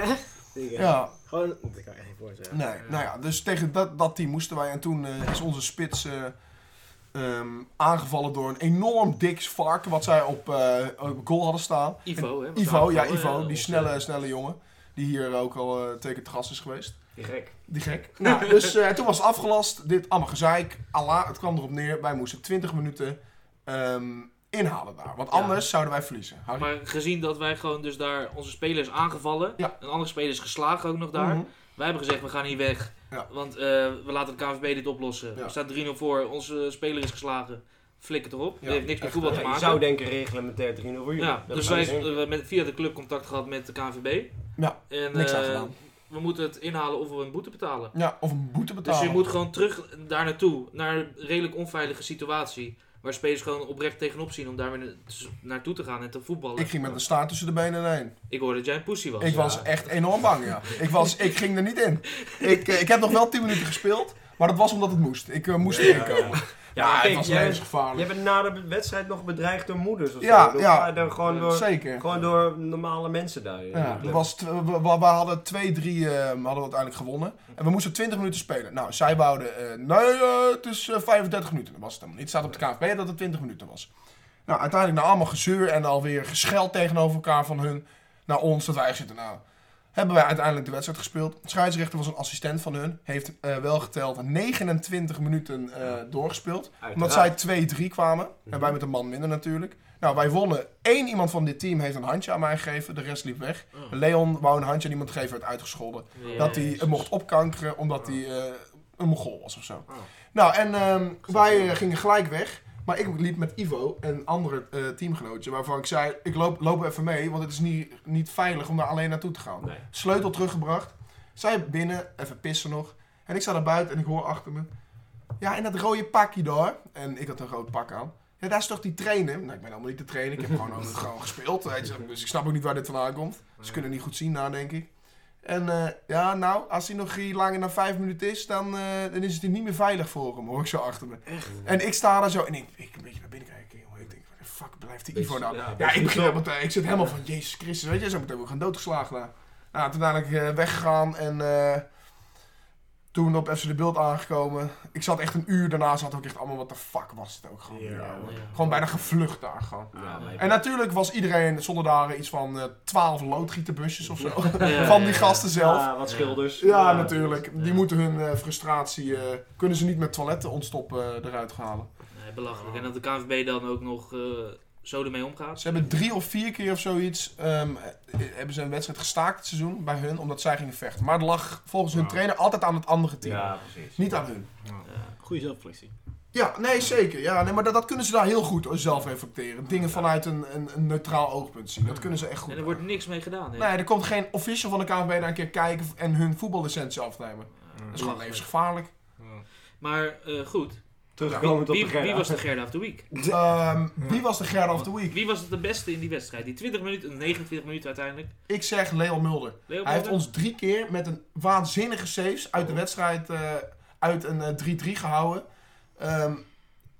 D: Dingen.
C: Ja,
D: Gewoon, dat kan ik echt niet voorstellen.
C: nee. Nou ja, dus tegen dat, dat team moesten wij. En toen eh, is onze spits eh, ehm, aangevallen door een enorm dik varken. Wat zij op, eh, op goal hadden staan.
A: Ivo, hè?
C: En
A: want
C: Ivo,
A: daar
C: ja,
A: hadden we, eh,
C: Ivo. Die
A: onze-
C: snelle, snelle jongen. Die hier ook al eh tegen het gras is geweest.
B: Die gek.
C: Die gek. Nou, dus eh, toen was het afgelast. Dit allemaal gezeik. Allah, het kwam erop neer. Wij moesten 20 minuten ehm, inhalen daar. Want
A: Ja.
C: anders zouden wij verliezen. Harry?
A: Maar gezien dat wij gewoon dus daar onze spelers aangevallen.
C: Ja.
A: Een andere speler is geslagen ook nog daar.
C: Mhm.
A: Wij hebben gezegd, we gaan hier weg.
C: Ja.
A: Want eh, we laten de KNVB dit oplossen.
C: Ja.
A: Er staat 3-0 voor, onze speler is geslagen. Flik het erop.
C: Ja,
A: Dit heeft niks met
C: echt, eh,
A: voetbal
B: Ja,
A: te
B: je
A: maken.
B: zou denken reglementair 3-0 voor jullie.
A: ja,
B: Dat
A: dus
B: zou
A: wij
B: je denken.
A: we hebben via de club contact gehad met de KNVB.
C: Ja,
A: en,
C: Niks
A: eh,
C: aan gedaan.
A: We moeten het inhalen of we een boete betalen.
C: Ja, of een boete
A: Dus
C: betalen.
A: je moet gewoon terug daar naartoe, naar een redelijk onveilige situatie. Waar spelers gewoon oprecht tegenop zien om daar weer na- dus naartoe te gaan en te voetballen.
C: Ik ging met een staart tussen de benen heen.
A: Ik hoorde dat jij een pussy was.
C: Ik was echt enorm bang, ja. Ik, was, ik ging er niet in. Ik, eh, ik heb nog wel 10 minuten gespeeld. Maar dat was omdat het moest. Ik eh, moest erin komen. Ja,
B: Ja, maar
C: het
B: kijk,
C: was
B: jij, jij
C: levensgevaarlijk.
B: bent na de wedstrijd nog bedreigd door moeders of
C: Ja,
B: zo. Door,
C: ja.
B: door- gewoon, door,
C: Zeker.
B: gewoon door normale mensen daar. eh,
C: Ja, er was tw- we, we- we hadden 2-3 eh, hadden we uiteindelijk gewonnen. En we moesten 20 minuten spelen. Nou, zij wouden, eh, nee, eh, het is eh, 35 minuten. Dat was het helemaal niet. Het staat op de KNVB dat het 20 minuten was. Nou, uiteindelijk na allemaal gezeur en alweer gescheld tegenover elkaar van hun naar ons. Dat wij echt zitten, nou, hebben wij uiteindelijk de wedstrijd gespeeld. De scheidsrechter was een assistent van hun. Heeft eh, wel geteld 29 minuten eh, doorgespeeld. Omdat zij 2-3 kwamen. En wij met een man minder natuurlijk. Nou, wij wonnen. Eén iemand van dit team heeft een handje aan mij gegeven. De rest liep weg.
A: Oh.
C: Leon wou een handje aan iemand geven, werd uitgescholden.
A: Ja.
C: Dat hij het mocht opkankeren omdat hij eh, een mogol was of zo.
D: Oh.
C: Nou, en ehm, wij eh, gingen gelijk weg. Maar ik liep met Ivo, een andere eh, teamgenootje, waarvan ik zei, ik loop, loop even mee, want het is niet, niet veilig om daar alleen naartoe te gaan.
B: Nee.
C: Sleutel teruggebracht. Zij binnen, even pissen nog. En ik sta daar buiten en ik hoor achter me. Ja, en dat rode pakje daar. En ik had een rood pak aan. Ja, daar is toch die trainer? Nou, ik ben helemaal niet de trainer. Ik heb gewoon, ook gewoon gespeeld. Weet je. Dus ik snap ook niet waar dit vandaan komt. Ze kunnen niet goed zien, nou, denk ik. En eh, ja, nou, als hij nog hier langer dan vijf minuten is, dan, eh, dan is het hier niet meer veilig voor hem, hoor ik zo achter me. En ik sta daar zo en ik, ik een beetje naar binnen kijken, jongen. Ik denk, waar de fuck blijft die Ivo nou? Ja, ik begin helemaal te- ik zit helemaal van Jezus Christus, weet je, zo meteen we gaan doodgeslagen daar. Nou, toen uiteindelijk eh, weggegaan en eh, toen op FC de Beeld aangekomen. Ik zat echt een uur daarna, zat ook echt allemaal, wat de fuck was het ook gewoon.
B: Ja,
C: weer, ouwe.
A: ja.
C: Gewoon bijna gevlucht daar gewoon.
B: Ja, maar-
C: En natuurlijk was iedereen zonder daar iets van eh 12 loodgieterbusjes of zo.
A: Ja,
C: van
A: ja,
C: die
A: ja.
C: gasten zelf.
B: Ja, Ah, wat schilders.
C: Ja, natuurlijk. Die
A: Ja.
C: moeten hun eh, frustratie, eh, kunnen ze niet met toiletten ontstoppen eh, eruit gaan halen.
A: Nee, belachelijk. En dat de KNVB dan ook nog eh, zo ermee omgaat.
C: Ze hebben drie of vier keer of zoiets, ehm, eh, hebben ze een wedstrijd gestaakt het seizoen bij hun, omdat zij gingen vechten. Maar het lag volgens hun
D: Wauw.
C: trainer altijd aan het andere team.
B: Ja, precies.
C: Niet aan hun.
A: Ja.
D: Goeie zelfreflectie.
C: Ja, nee, zeker. Ja, nee, maar dat, dat kunnen ze daar heel goed zelf reflecteren. Dingen vanuit een, een, een neutraal oogpunt zien. Dat kunnen ze echt goed.
A: En er wordt niks mee gedaan. hè.
C: Nee, er komt geen official van de KNVB daar een keer kijken en hun voetballicentie afnemen.
A: Ja,
C: Dat is gewoon levensgevaarlijk.
A: Maar eh, goed,
B: Terugkomend op
A: wie,
B: de
A: wie
B: Gerda.
A: was de Gerda of the Week?
C: Ehm, wie was de Gerda of the Week?
A: Wie was het de beste in die wedstrijd? Die 20 minuten, 29 minuten uiteindelijk.
C: Ik zeg Leon Mulder.
A: Leo
C: Hij heeft
A: Mulder?
C: ons drie keer met een waanzinnige saves uit de wedstrijd eh, uit een eh, 3-3 gehouden. Ehm,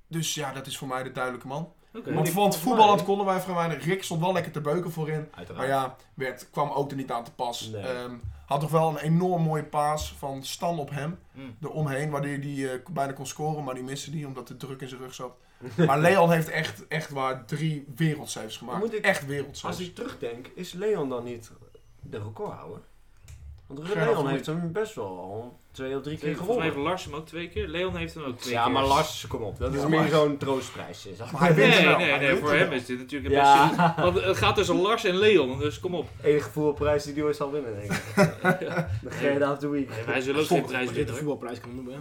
C: dus ja, dat is voor mij de duidelijke man.
A: Oké.
B: Maar
C: Want
B: die-
C: van het voetballend konden wij vrij weinig. Rick stond wel lekker te beuken voorin. Maar
B: Uiteraard.
C: ja, werd, kwam ook er niet aan te pas.
B: Nee.
C: Ehm, had toch wel een enorm mooie paas van Stan op hem.
A: Mm.
C: Eromheen, waardoor hij die, eh, bijna kon scoren. Maar die miste die, omdat de druk in zijn rug zat. Maar Leon heeft echt, echt waar drie wereldsaves
B: Moet
C: gemaakt.
B: ik-
C: Echt
B: Als
C: wereldsaves.
B: ik terugdenk, is Leon dan niet de recordhouder? Want
C: Gerda van
B: Leon
C: Hoek.
B: heeft hem best wel al twee of drie keer
A: Volgens mij heeft
B: gewonnen.
A: Lars hem ook twee keer. Leon heeft hem ook twee
B: Ja,
A: keer.
B: maar Lars, kom op. Dat is
C: Ja,
B: meer
C: maar-
B: zo'n troostprijsje. zeg
C: Maar hij
A: Nee,
C: wint
A: nee,
C: wel.
A: nee,
C: Hij wint
A: voor
C: wel.
A: hem is dit natuurlijk een best
B: Ja,
A: Want het gaat tussen Lars en Leon, dus kom op.
B: enige voetbalprijs die die ooit zal winnen, denk ik. De Gerda of the Week.
A: Nee, wij zullen ook geen prijs
D: dit
A: winnen
D: de
A: hoor.
D: voetbalprijs kan noemen. hè.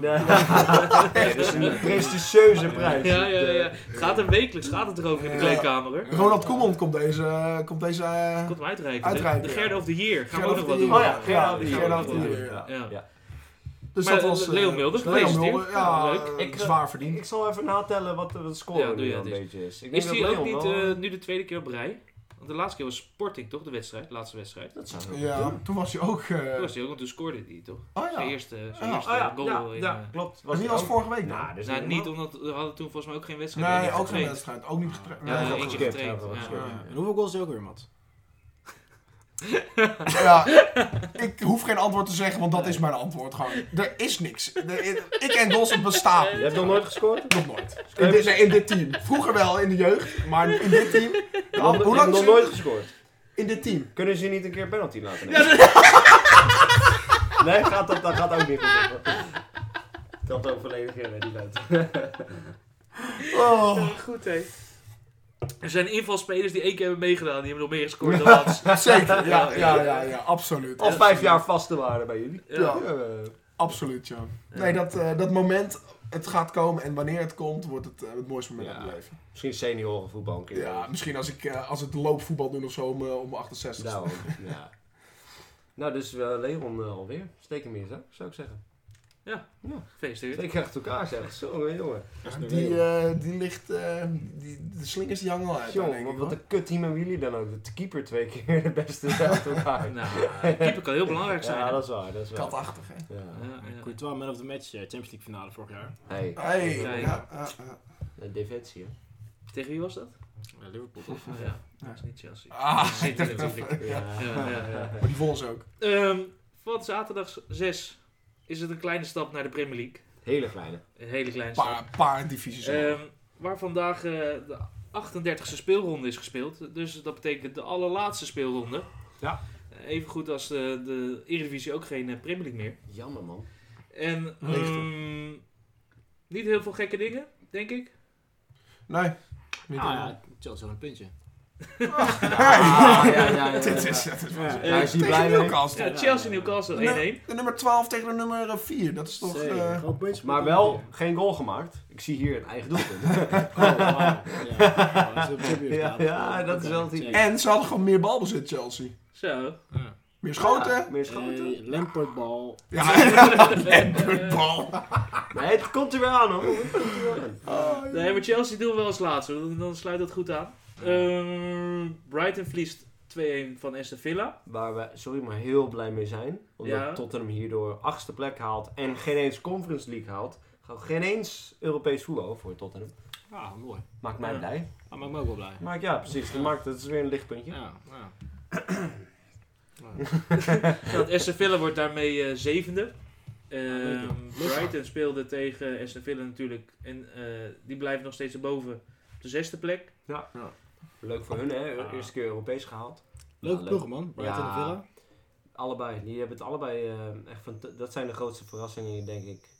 B: Nee, dat is een prestigieuze prijs.
A: Ja, ja, ja. Het gaat er wekelijks, gaat het erover in de
C: Ja.
A: kleedkamer. hoor.
C: Ronald Koeman komt deze... eh, komt deze eh,
A: Komt hem uitreiken.
C: Uitreiken,
A: de de
C: ja.
A: Gerda of the Year. Gaan we
C: Gerda
A: ook
C: of
A: nog
C: the
A: wat doen.
B: Oh
C: Year.
B: ja, Gerda of the
A: Ja,
B: Year.
A: Gerda
C: of the Year, ja.
B: Ja. Ja.
C: Dus
A: Maar,
C: dat was...
A: Leo
C: eh,
A: Mulder,
C: Leo
A: gefeliciteerd.
C: Mulder, ja,
A: Leuk.
C: eh,
B: Ik,
C: zwaar
B: Ik,
C: verdiend.
B: ik zal even natellen wat de score
A: Ja, doe
B: nu
A: je,
B: een
A: dus.
B: beetje is. Ik
A: Is
B: denk
A: die
B: dat
A: ook
B: Leon
A: niet
B: wel-
A: eh, nu de tweede keer op rij? Want de laatste keer was Sporting toch, de wedstrijd? De laatste wedstrijd.
B: Dat zou wel
C: Ja,
B: kunnen.
C: toen was hij ook... eh,
A: Toen was hij ook, want toen scoorde hij toch?
C: oh
A: Zijn
C: ja.
A: eerste, zijn
C: Ja.
A: eerste
B: Oh ja,
A: goal.
B: ja,
A: in,
B: ja,
A: eh,
B: klopt.
C: Was
B: die
C: die was
B: ook-
C: vorige week? dan?
B: Nou, dus
A: nou, niet omdat we hadden toen volgens mij ook geen wedstrijd.
C: Nee,
A: meer
C: ook geen
A: getraind.
C: wedstrijd. Ook niet getraind.
A: Ja,
C: Nee,
A: ja,
C: ook
A: eentje
C: geen-
A: getraind,
D: En hoeveel goals is hij ook weer, Mat?
C: Ja, ik hoef geen antwoord te zeggen, want dat is mijn antwoord gewoon. Er is niks. Er- ik en Dawson bestaan
B: Je hebt nog nooit gescoord?
C: nog nooit. In dit, nee, in dit team. Vroeger wel in de jeugd, maar in dit team.
B: Je hebt
C: Hoe lang
B: nog
C: is
B: nooit
C: het?
B: gescoord?
C: In dit team.
B: Kunnen ze je niet een keer penalty laten nemen? Nee, gaat dat, dat gaat ook niet gebeuren. Dat ook volledig in, hè, die luid.
C: Oh,
A: Goed hé. Er zijn invalspelers die één keer hebben meegedaan. Die hebben nog meer gescoord dan laatst.
C: zeker. Ja, ja, ja, ja, absoluut.
B: Al vijf jaar vaste waarde bij jullie.
A: Ja.
B: eh,
C: Absoluut, ja. Nee, dat, eh, dat moment, het gaat komen en wanneer het komt, wordt het eh, het mooiste moment
B: Ja.
C: uit mijn leven.
B: misschien seniorenvoetbal een keer.
C: Ja, misschien als ik eh, als het loopvoetbal doen of zo om, eh, om 68.
B: Daarom, ja. Nou, dus eh, Leon eh, alweer. Steek hem in, hè, zou ik zeggen.
A: Gefeliciteerd.
B: Steek echt elkaar, zeg. Zo, jongen.
C: Die, eh, die ligt, eh, die, de slingers die hangen al uit. denk
B: Jongen,
C: ik,
B: wat
C: hoor.
B: een kut team hebben jullie dan ook. De keeper twee keer de beste is uit elkaar.
A: Nou, keeper kan heel belangrijk zijn.
B: Ja,
A: hè?
B: dat is waar, dat is waar.
C: Katachtig, hè?
B: Ja.
A: Ja, ja.
D: Courtois, man of the match, eh, Champions League finale vorig jaar.
B: Hey,
C: Hey,
A: Ja,
C: ja,
A: ja.
C: ja, ja.
B: de defensie, hè.
A: Tegen wie was dat?
D: Eh, Liverpool toch?
A: Oh, ja, dat is niet Chelsea.
C: Ah,
A: City
C: ik dacht
A: natuurlijk.
C: even. Ja.
A: Ja, ja, ja.
C: Maar die volgens ook.
A: Ehm, van zaterdag 6 is het een kleine stap naar de Premier League.
B: Hele kleine.
A: Een hele kleine stap.
C: Paar, paar divisies. omhoog.
A: Ehm, waar vandaag eh, de 38e speelronde is gespeeld. Dus dat betekent de allerlaatste speelronde.
B: Ja.
A: Even goed als de, de Eredivisie ook geen eh, Premier League meer.
B: Jammer, man.
A: En
C: Leeg toch?
A: ehm, niet heel veel gekke dingen, denk ik.
C: Nee. Niet
D: Ah
C: helemaal. Ah.
D: ja, Chelsea had een puntje.
B: Ja, Ah, ja, ja, ja.
C: Dit is, dit is
D: Ja.
B: Daar is hij blij
C: tegen
B: mee.
C: Newcastle.
A: Ja, Chelsea Newcastle 1-1.
C: De nummer 12 tegen de nummer 4. Dat is toch...
D: Zeker.
C: eh,
D: Gewoon puntje Oh,
B: Maar
D: pakken.
B: wel geen goal gemaakt. Ik zie hier een eigen doelpunt.
D: Oh, wauw. Ja, ja, dat is een Champions
B: Ja,
D: League.
B: ja, dat is wel het
D: Check.
B: idee.
C: En ze hadden gewoon meer balbezit, Chelsea.
A: Zo.
D: Ja.
C: Meer schoten.
B: Ja, meer schoten.
D: Eh, Lampard bal.
C: Ja, en bal.
B: Nee, het komt er weer aan, hoor. Het komt er weer aan.
C: Ah,
A: Nee, maar Chelsea doen we wel als laatste. Dan, dan sluit dat goed aan.
B: Eh.
A: Ehm, Brighton verliest 2-1 van Aston Villa.
B: Waar we, sorry, maar heel blij mee zijn. Omdat
A: Ja.
B: Tottenham hierdoor achtste plek haalt en geen eens Conference League haalt. Gaat Geen eens Europees voetbal voor Tottenham.
D: Ah, mooi. Ah,
B: Maakt mij
A: Ja.
B: blij.
D: Dat maakt me ook wel blij.
B: Maar ja, precies. Dat, maakt, dat is weer een lichtpuntje.
D: Ja, ja.
A: Want Aston Villa wordt daarmee eh, zevende. Ehm,
D: leuk.
A: Brighton speelde tegen Aston Villa natuurlijk. En eh, die blijven nog steeds erboven op de zesde plek.
B: Leuk voor hun, hè. Eerste keer Europees gehaald.
D: Leuke
B: leuk.
D: ploeg, man. Brighton
B: Ja.
D: en Villa.
B: Allebei. Die hebben het allebei eh, echt van. Dat zijn de grootste verrassingen, denk ik.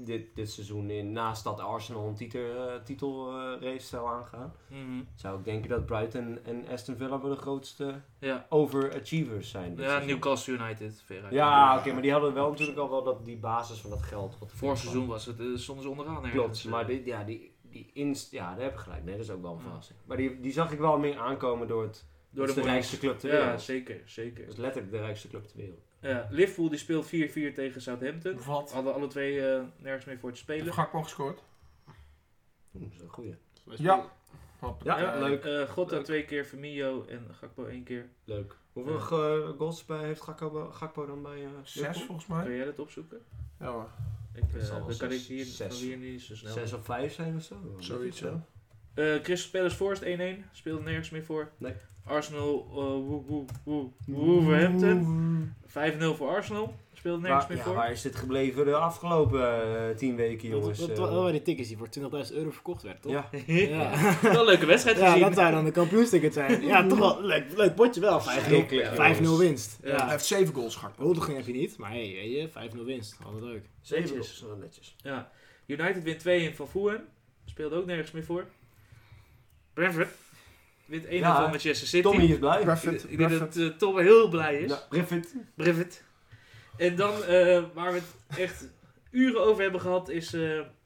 B: Dit, dit seizoen in, naast dat Arsenal een eh, titelrace titelrace zou aangaan,
A: Mhm.
B: zou ik denken dat Brighton en Aston Villa wel de grootste
A: Ja,
B: overachievers zijn. dit
A: ja
B: seizoen.
A: Newcastle United. Veruit.
B: Ja, oké, maar die hadden wel natuurlijk al wel dat, die basis van dat geld. Wat
A: Vorig seizoen was het eh, stonden ze onderaan. ergens.
B: Klopt, maar die, ja, die, die inst, ja, daar heb ik gelijk. Nee, dat is ook wel een
A: Ja.
B: verrassing. Maar die, die zag ik wel meer aankomen door het
A: Door
B: dat is de
A: Warriors.
B: rijkste club ter
A: Ja,
B: wereld.
A: zeker, zeker.
B: dat is letterlijk de rijkste club ter wereld.
A: Ja, Liverpool die speelt 4-4 tegen Southampton.
C: Wat?
A: Hadden alle twee eh, nergens meer voor te spelen.
C: Heeft Gakpo gescoord?
B: Oeh, dat is een goeie.
C: Ja. Wat?
B: Ja,
A: Ja,
B: leuk.
A: eh, Gotta
B: Leuk.
A: twee keer, Firmino en Gakpo één keer.
B: Leuk. Hoeveel
A: Ja.
B: ge- goals bij, heeft Gakpo, Gakpo dan bij eh
C: Zes volgens mij.
A: Kun jij dat opzoeken?
C: Ja hoor.
A: Ik, eh,
B: Het zal wel
A: dan kan ik
B: zes-
A: hier,
B: zes.
A: van hier niet zo snel.
B: Zes of vijf zijn of zo?
C: Zoiets,
B: ja.
C: ja.
A: Eh Crystal Palace Forest 1-1. Speelde nergens meer voor.
B: Nee.
A: Arsenal eh, Wo- Wo- Wo- Wolverhampton. 5-0 voor Arsenal. Speelde nergens
B: Waar,
A: meer
B: ja,
A: voor.
B: waar is dit gebleven de afgelopen eh, tien weken, jongens?
D: Dat, dat,
B: Eh,
D: dat waren die tickets die voor 20.000 euro verkocht werden, toch?
B: ja.
D: Ja.
A: Wel een leuke wedstrijd
D: Ja,
A: gezien.
D: dat zou dan de kampioenstickets zijn. Ja, toch wel. Leuk, leuk potje wel. 5-0
B: Schrikkelijk, jongens.
D: 5-0 winst.
A: Ja.
C: Hij
D: Ja.
C: heeft zeven goals Gakpo.
D: Huldiging heb je niet, maar hey, weet je, 5-0 winst. Altijd leuk.
B: Zeven
A: Netjes.
B: goals, dat is netjes.
A: Ja. United wint 2-1 van Fulham. Speelde ook nergens meer voor. Brentford wint 1-0
B: Ja,
A: van Manchester City.
B: Tommy is blij.
C: Breffett.
A: Ik denk dat eh, Tom heel blij is.
B: Ja, Griffith.
A: Brevet. En dan, eh, waar we het echt uren over hebben gehad, is eh,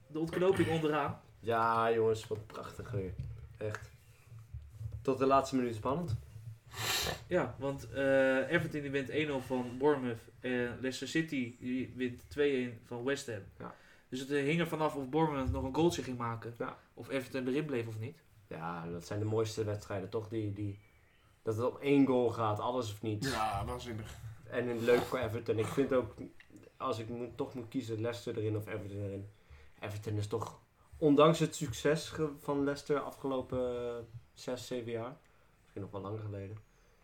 A: de ontknoping onderaan.
B: Ja, jongens, wat prachtig weer. Echt. Tot de laatste minuut spannend.
A: Ja, want eh, Everton die wint 1-0 van Bournemouth. En Leicester City die wint 2-1 van West Ham.
B: Ja.
A: Dus het eh, hing er vanaf of Bournemouth nog een goaltje ging maken.
B: Ja.
A: Of Everton erin bleef of niet.
B: Ja, dat zijn de mooiste wedstrijden, toch? Die, die, dat het om één goal gaat, alles of niets.
C: Ja, waanzinnig.
B: En het leuk voor Everton. Ik vind ook, als ik moet, toch moet kiezen, Leicester erin of Everton erin. Everton is toch, ondanks het succes ge- van Leicester afgelopen eh, zes, zeven jaar, misschien nog wel langer geleden,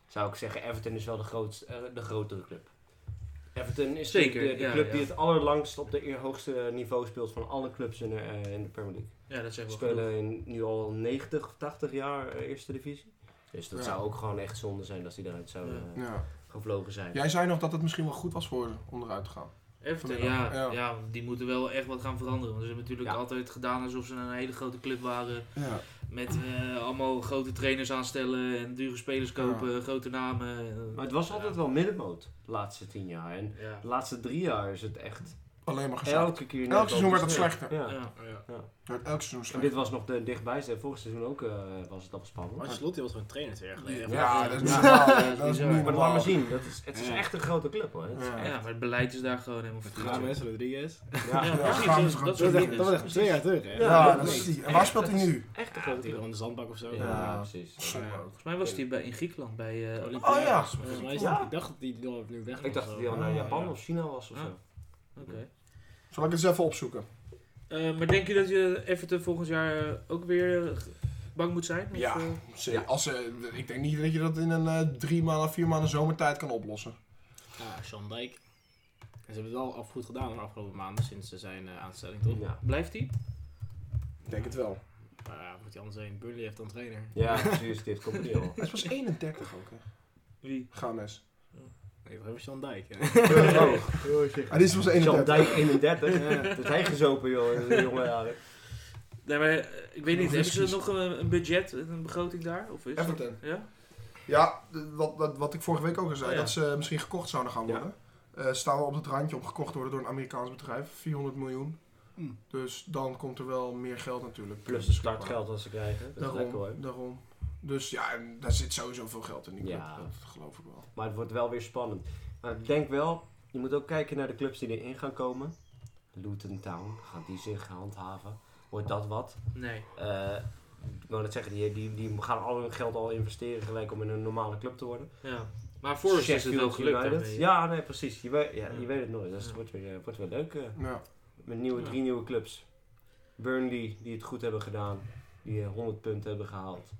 B: zou ik zeggen Everton is wel de, grootste, eh, de grotere club. Everton is
A: Zeker,
B: de, de
A: ja,
B: club
A: ja.
B: die het allerlangst op de eer- hoogste niveau speelt van alle clubs in de, eh, in de Premier League.
A: Ja, dat zijn
B: Ze
A: we
B: spelen in, nu al 90 of 80 jaar eh, eerste divisie. Dus dat
C: Ja.
B: zou ook gewoon echt zonde zijn als die eruit zouden
A: Ja.
B: eh,
C: Ja.
B: gevlogen zijn.
C: Jij zei nog dat het misschien wel goed was voor ze om eruit te gaan.
A: Everton, ja, ja.
C: Vanmiddag, ja.
A: want die moeten wel echt wat gaan veranderen. Want ze hebben natuurlijk
B: Ja.
A: altijd gedaan alsof ze een hele grote club waren.
C: Ja.
A: Met eh, allemaal grote trainers aanstellen en dure spelers kopen, grote namen. eh,
B: Maar het was
A: ja.
B: altijd wel middenmoot de laatste tien jaar. En
A: Ja.
B: de laatste drie jaar is het echt
C: Alleen maar gezakt.
B: elke keer... net
C: Elk seizoen
B: wat
C: werd het
B: sneller.
C: slechter.
B: Ja.
A: Ja.
D: Ja.
C: Werd elk seizoen
B: En
C: slechter.
B: dit was nog de dichtbijste. Vorig seizoen ook eh, was het al
C: Oh,
B: spannend.
D: Maar Slot was gewoon trainer twee jaar geleden.
C: Ja, dat is niet
B: Ja.
C: normaal.
A: Ja,
C: Dat is
A: bizar.
C: niet
A: Maar
B: Maar laat
C: normaal.
B: maar zien. Dat is, het is
D: Ja.
B: echt een grote club hoor. Het is
C: Ja.
A: ja,
B: echt-
A: maar het beleid is daar gewoon helemaal
D: Gaan
A: verkeerd.
D: mensen Rodriguez.
B: ja.
A: Ja,
C: Ja,
A: precies,
C: gaan
A: dat-
C: ze
A: dat soort
C: gewoon terug.
A: dingen.
D: Dat was echt twee jaar terug, hè?
C: Ja,
B: dat
C: dat
B: is-
C: is die. En waar speelt hij nu?
B: Echt een
D: Ja,
B: grote club.
D: tegen de zandbak of zo.
B: Ja,
C: Ja.
B: precies.
C: Zonde
D: Ja.
C: ook.
A: Volgens mij was die bij, in Griekenland bij eh Olympiakos.
C: Oh ja.
D: Volgens mij is
B: Ja.
D: dat- ik dacht dat die door nu weg was.
B: Ik dacht dat hij al
D: of zo.
B: naar
C: Ah,
B: Japan
C: ja.
B: of China was of
A: Ah.
B: zo.
A: Oké.
C: Zal ik het eens even opzoeken?
A: Eh, maar denk je dat je Everton volgend jaar eh, ook weer eh, bang moet zijn? Of,
C: Ja.
A: eh,
C: Ze- Als ze, ik denk niet dat je dat in een eh, drie maanden, vier maanden zomertijd kan oplossen.
D: Ja, Sean Dijk. En ze hebben het wel af goed gedaan de afgelopen maanden sinds ze zijn eh, aanstelling, toch?
B: Ja.
A: blijft hij?
C: Ik denk het wel.
D: Maar ja, moet hij anders zijn? Burnley heeft dan trainer.
B: Ja, precies. Dit komt niet al.
C: Het was 31 ook, hè?
A: Wie?
C: Games.
D: Nee, we hebben Sean Dijk. hè.
C: Ah, dit was
B: Jan
C: 31.
B: Dijk 31. Dat is hij gezopen, joh. Dat is een jonge jaren.
A: Nee, maar eh, ik weet niet.
C: Nog
A: Hebben ze
C: excuses.
A: nog een, een budget, een begroting daar? Of is dat-
C: Everton.
A: Ja?
C: Ja, d- wat, wat, wat ik vorige week ook al zei,
A: Ja.
C: dat ze misschien gekocht zouden gaan
B: Oh Ja.
C: worden. Eh, staan we op het randje om gekocht te worden door een Amerikaans bedrijf. 400 miljoen.
D: Hm.
C: Dus dan komt er wel meer geld natuurlijk.
B: Plus de startgeld dat ze krijgen. Dat is lekker hoor.
C: Daarom, daarom. Dus ja, en daar zit sowieso veel geld in die club.
B: Ja.
C: Dat geloof ik wel.
B: Maar het wordt wel weer spannend. Maar ik denk wel, je moet ook kijken naar de clubs die erin gaan komen. Luton Town, gaan die zich handhaven? Wordt dat wat?
A: Nee.
B: Eh, ik wou net zeggen, die, die, die gaan al hun geld al investeren gelijk om in een normale club te worden.
A: Ja. Maar Forest is het wel
B: Sheffield
A: gelukt
B: United.
A: daarmee.
B: Ja, nee, precies. Je weet, ja,
A: Ja.
B: je weet het nooit. Dat is-
A: Ja.
B: wordt, weer, eh, wordt weer leuk. eh,
C: Ja.
B: met nieuwe,
A: Ja.
B: drie nieuwe clubs. Burnley, die het goed hebben gedaan. Die eh, 100 punten hebben gehaald.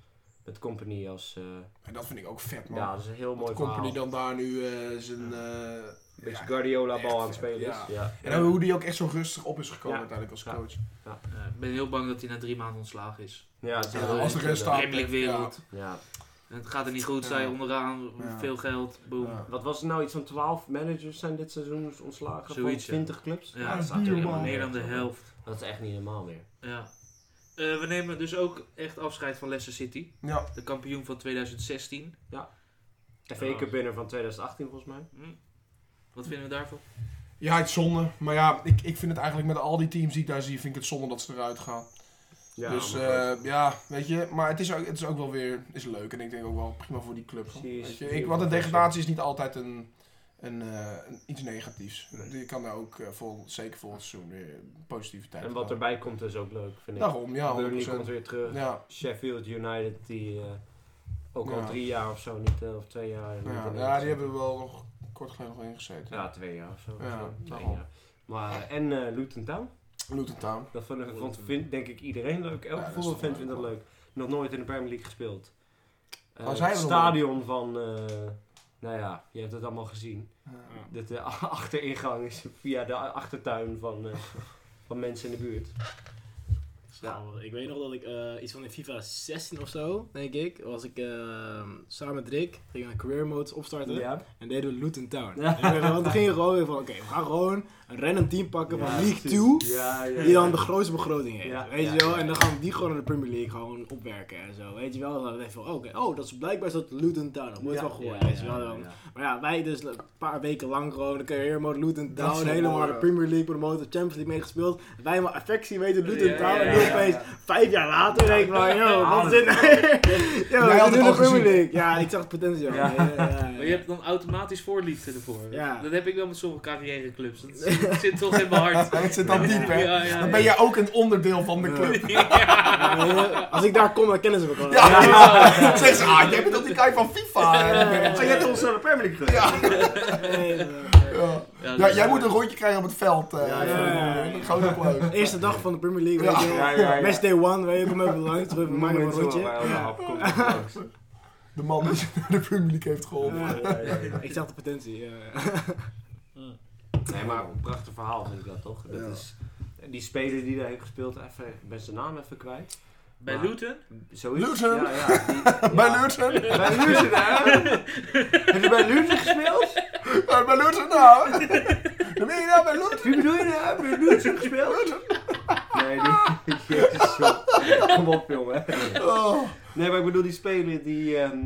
B: Met Company als... eh,
C: En dat vind ik ook vet, man.
A: Oh,
B: ja, dat is een heel mooi
C: dat company
B: verhaal.
C: dan daar nu eh, zijn... eh,
B: Beetje
C: ja.
B: Guardiola-bal
C: echt
B: aan het
C: vet,
B: spelen is.
C: ja.
B: Ja.
C: En dan hoe die ook echt zo rustig op is gekomen
B: Ja.
C: uiteindelijk als
B: Ja.
C: coach.
A: Eh, ik ben heel bang dat hij na drie maanden ontslagen is.
B: Ja, het is
A: Ja,
B: wel
A: als
C: de
B: echt,
C: rest
B: eh,
C: staat-
A: Premier League wereld.
B: Ja.
A: Het gaat er niet goed, sta je
C: Ja.
A: onderaan,
C: Ja.
A: veel geld, boom.
C: Ja.
B: Wat was het nou? Iets van 12 managers zijn dit seizoen ontslagen
A: Zoiets, ja.
B: van 20 clubs?
A: Ja,
C: dat
A: dat
C: is
A: staat natuurlijk
C: helemaal
A: meer dan
B: niet
A: de
B: zo.
A: helft.
B: Dat is echt niet normaal meer.
A: Ja. Eh, we nemen dus ook echt afscheid van Leicester City,
C: Ja.
A: de kampioen van 2016.
B: FA Cup winner van 2018 volgens mij.
A: Hm. Wat vinden we daarvan?
C: Ja, het is zonde. Maar ja, ik, ik vind het eigenlijk met al die teams die ik daar zie, vind ik het zonde dat ze eruit gaan.
B: Ja,
C: dus
B: maar
C: eh,
B: goed.
C: ja, weet je. Maar het is ook, het is ook wel weer is leuk. En ik denk ook wel prima voor die club.
B: Precies.
C: Weet je, ik, want een degradatie is niet altijd een, een, eh, een- iets negatiefs.
B: Nee.
C: Je kan daar ook, eh, vol, zeker volgend seizoen, weer positiviteit
B: en
C: in
B: wat
C: houden.
B: erbij komt is ook leuk, vind ik.
C: Daarom, Nou, ja,
B: Burnley komt
C: 100%.
B: weer terug.
C: Ja,
B: Sheffield United, die eh, ook al
C: Ja.
B: drie jaar of zo niet, eh, of twee jaar. niet
C: ja,
B: in de
C: ja, die
B: zitten.
C: hebben we wel nog kort geleden nog ingezeten.
B: Ja, twee jaar of zo.
C: Ja, nou.
B: Zo, twee
C: daarom.
B: jaar. Maar, en eh, Luton Town,
C: Luton Town.
B: dat vond, vond, vind, denk ik iedereen leuk.
C: Ja,
B: Elke
C: dat is
B: voetbalfan
C: toch
B: vindt dat
C: leuk,
B: leuk. Nog nooit in de Premier League gespeeld. Eh,
C: Waar zijn
B: het
C: we nog
B: stadion van, eh, nou ja, je hebt het allemaal gezien.
C: Ja.
B: Dat de achteringang is via de achtertuin van, eh, van mensen in de buurt.
D: Ja. Ik weet nog dat ik eh, iets van in FIFA 16 of zo, denk ik, was ik eh, samen met Rick, gingen we career modes opstarten
B: Ja.
D: en deden we Luton Town.
B: Ja.
D: En we- want toen gingen we gewoon weer van, oké, we gaan gewoon een random team pakken
B: Ja,
D: van League
B: precies.
D: 2,
B: Ja, ja,
D: die dan
B: ja.
D: de grootste begroting heeft,
B: Ja,
D: weet
B: ja,
D: je wel.
B: ja.
D: En dan gaan we die gewoon in de Premier League gewoon opwerken en zo, weet je wel. En dan denk ik van, oké, oh, dat is blijkbaar dat Luton Town, dat wordt
B: Ja,
D: wel
B: ja,
D: gehoord,
B: Ah,
D: weet je
B: ja,
D: wel.
B: ja,
D: Dan-
B: ja.
D: Maar ja, wij dus een paar weken lang gewoon de career mode Luton
C: Dat is
D: Town,
C: wel
D: helemaal
C: mooi,
D: de
C: ja.
D: Premier League promoten, Champions League meegespeeld. Wij helemaal affectie weten Luton
A: Ja,
D: Town
A: ja,
D: en nu
A: ja,
D: opeens vijf jaar later denk ik van, yo, wat is dit nou? Yo,
C: Jij
D: we
C: had het
D: doen
C: al
D: de
C: gezien.
D: Premier League. Ja, ik zag het potentieel.
B: Ja.
D: Ja, ja, ja,
A: Maar je hebt dan automatisch voorliefde ervoor.
D: Ja.
A: Dat heb ik wel met sommige carrièreclubs. Dat zit- zit toch in mijn hart.
C: Het zit dan diep, hè?
A: Ja, ja,
C: Dan ben
A: ja.
C: jij ook een onderdeel van de
D: Ja.
C: club.
D: Ja, weet je, Als ik daar kom, dan kennen ze me gewoon.
C: Ja,
D: Ja.
C: ja. Zeg ze, ah, jij bent toch die guy van FIFA? hè?
D: Ja.
B: Oh,
C: Ah, jij hebt ons-
B: naar de Premier League gegaan.
C: Ja.
D: Nee, eh,
C: Ja.
A: Ja,
C: Ja,
A: dat-
C: jij moet een rondje krijgen op het veld. eh
B: Ja, ja,
D: ja, ja.
C: Gewoon applaus.
D: Eh, Eerste dag van de Premier League, weet
C: Ja.
D: je wel.
B: Ja, ja, ja.
D: Match day one, weet je, kom even langs, we
B: Maar
D: maken een rondje. Ja.
C: De man die de Premier League heeft geholpen.
D: Ja.
B: eh,
D: Ik zag de potentie, eh. ja.
B: Nee, maar een prachtig verhaal vind ik dat toch? Dat
C: Ja.
B: is, die speler die daar heeft gespeeld, even, ik ben zijn naam even kwijt.
A: Bij
B: Maar-
A: Luton?
B: Zoiets.
C: Luton.
B: Ja, ja, die-
C: Bij
B: ja.
C: Luton?
B: Bij Luton, hè? Heb je bij Luton gespeeld?
C: Eh, Bij Luton nou? Dan ben je nou bij Luton.
B: Wie bedoel je nou? Heb je bij Luton gespeeld? Nee, die... Jezus, joh. Kom op, jongen.
C: Oh.
B: Nee, maar ik bedoel die speler die ehm,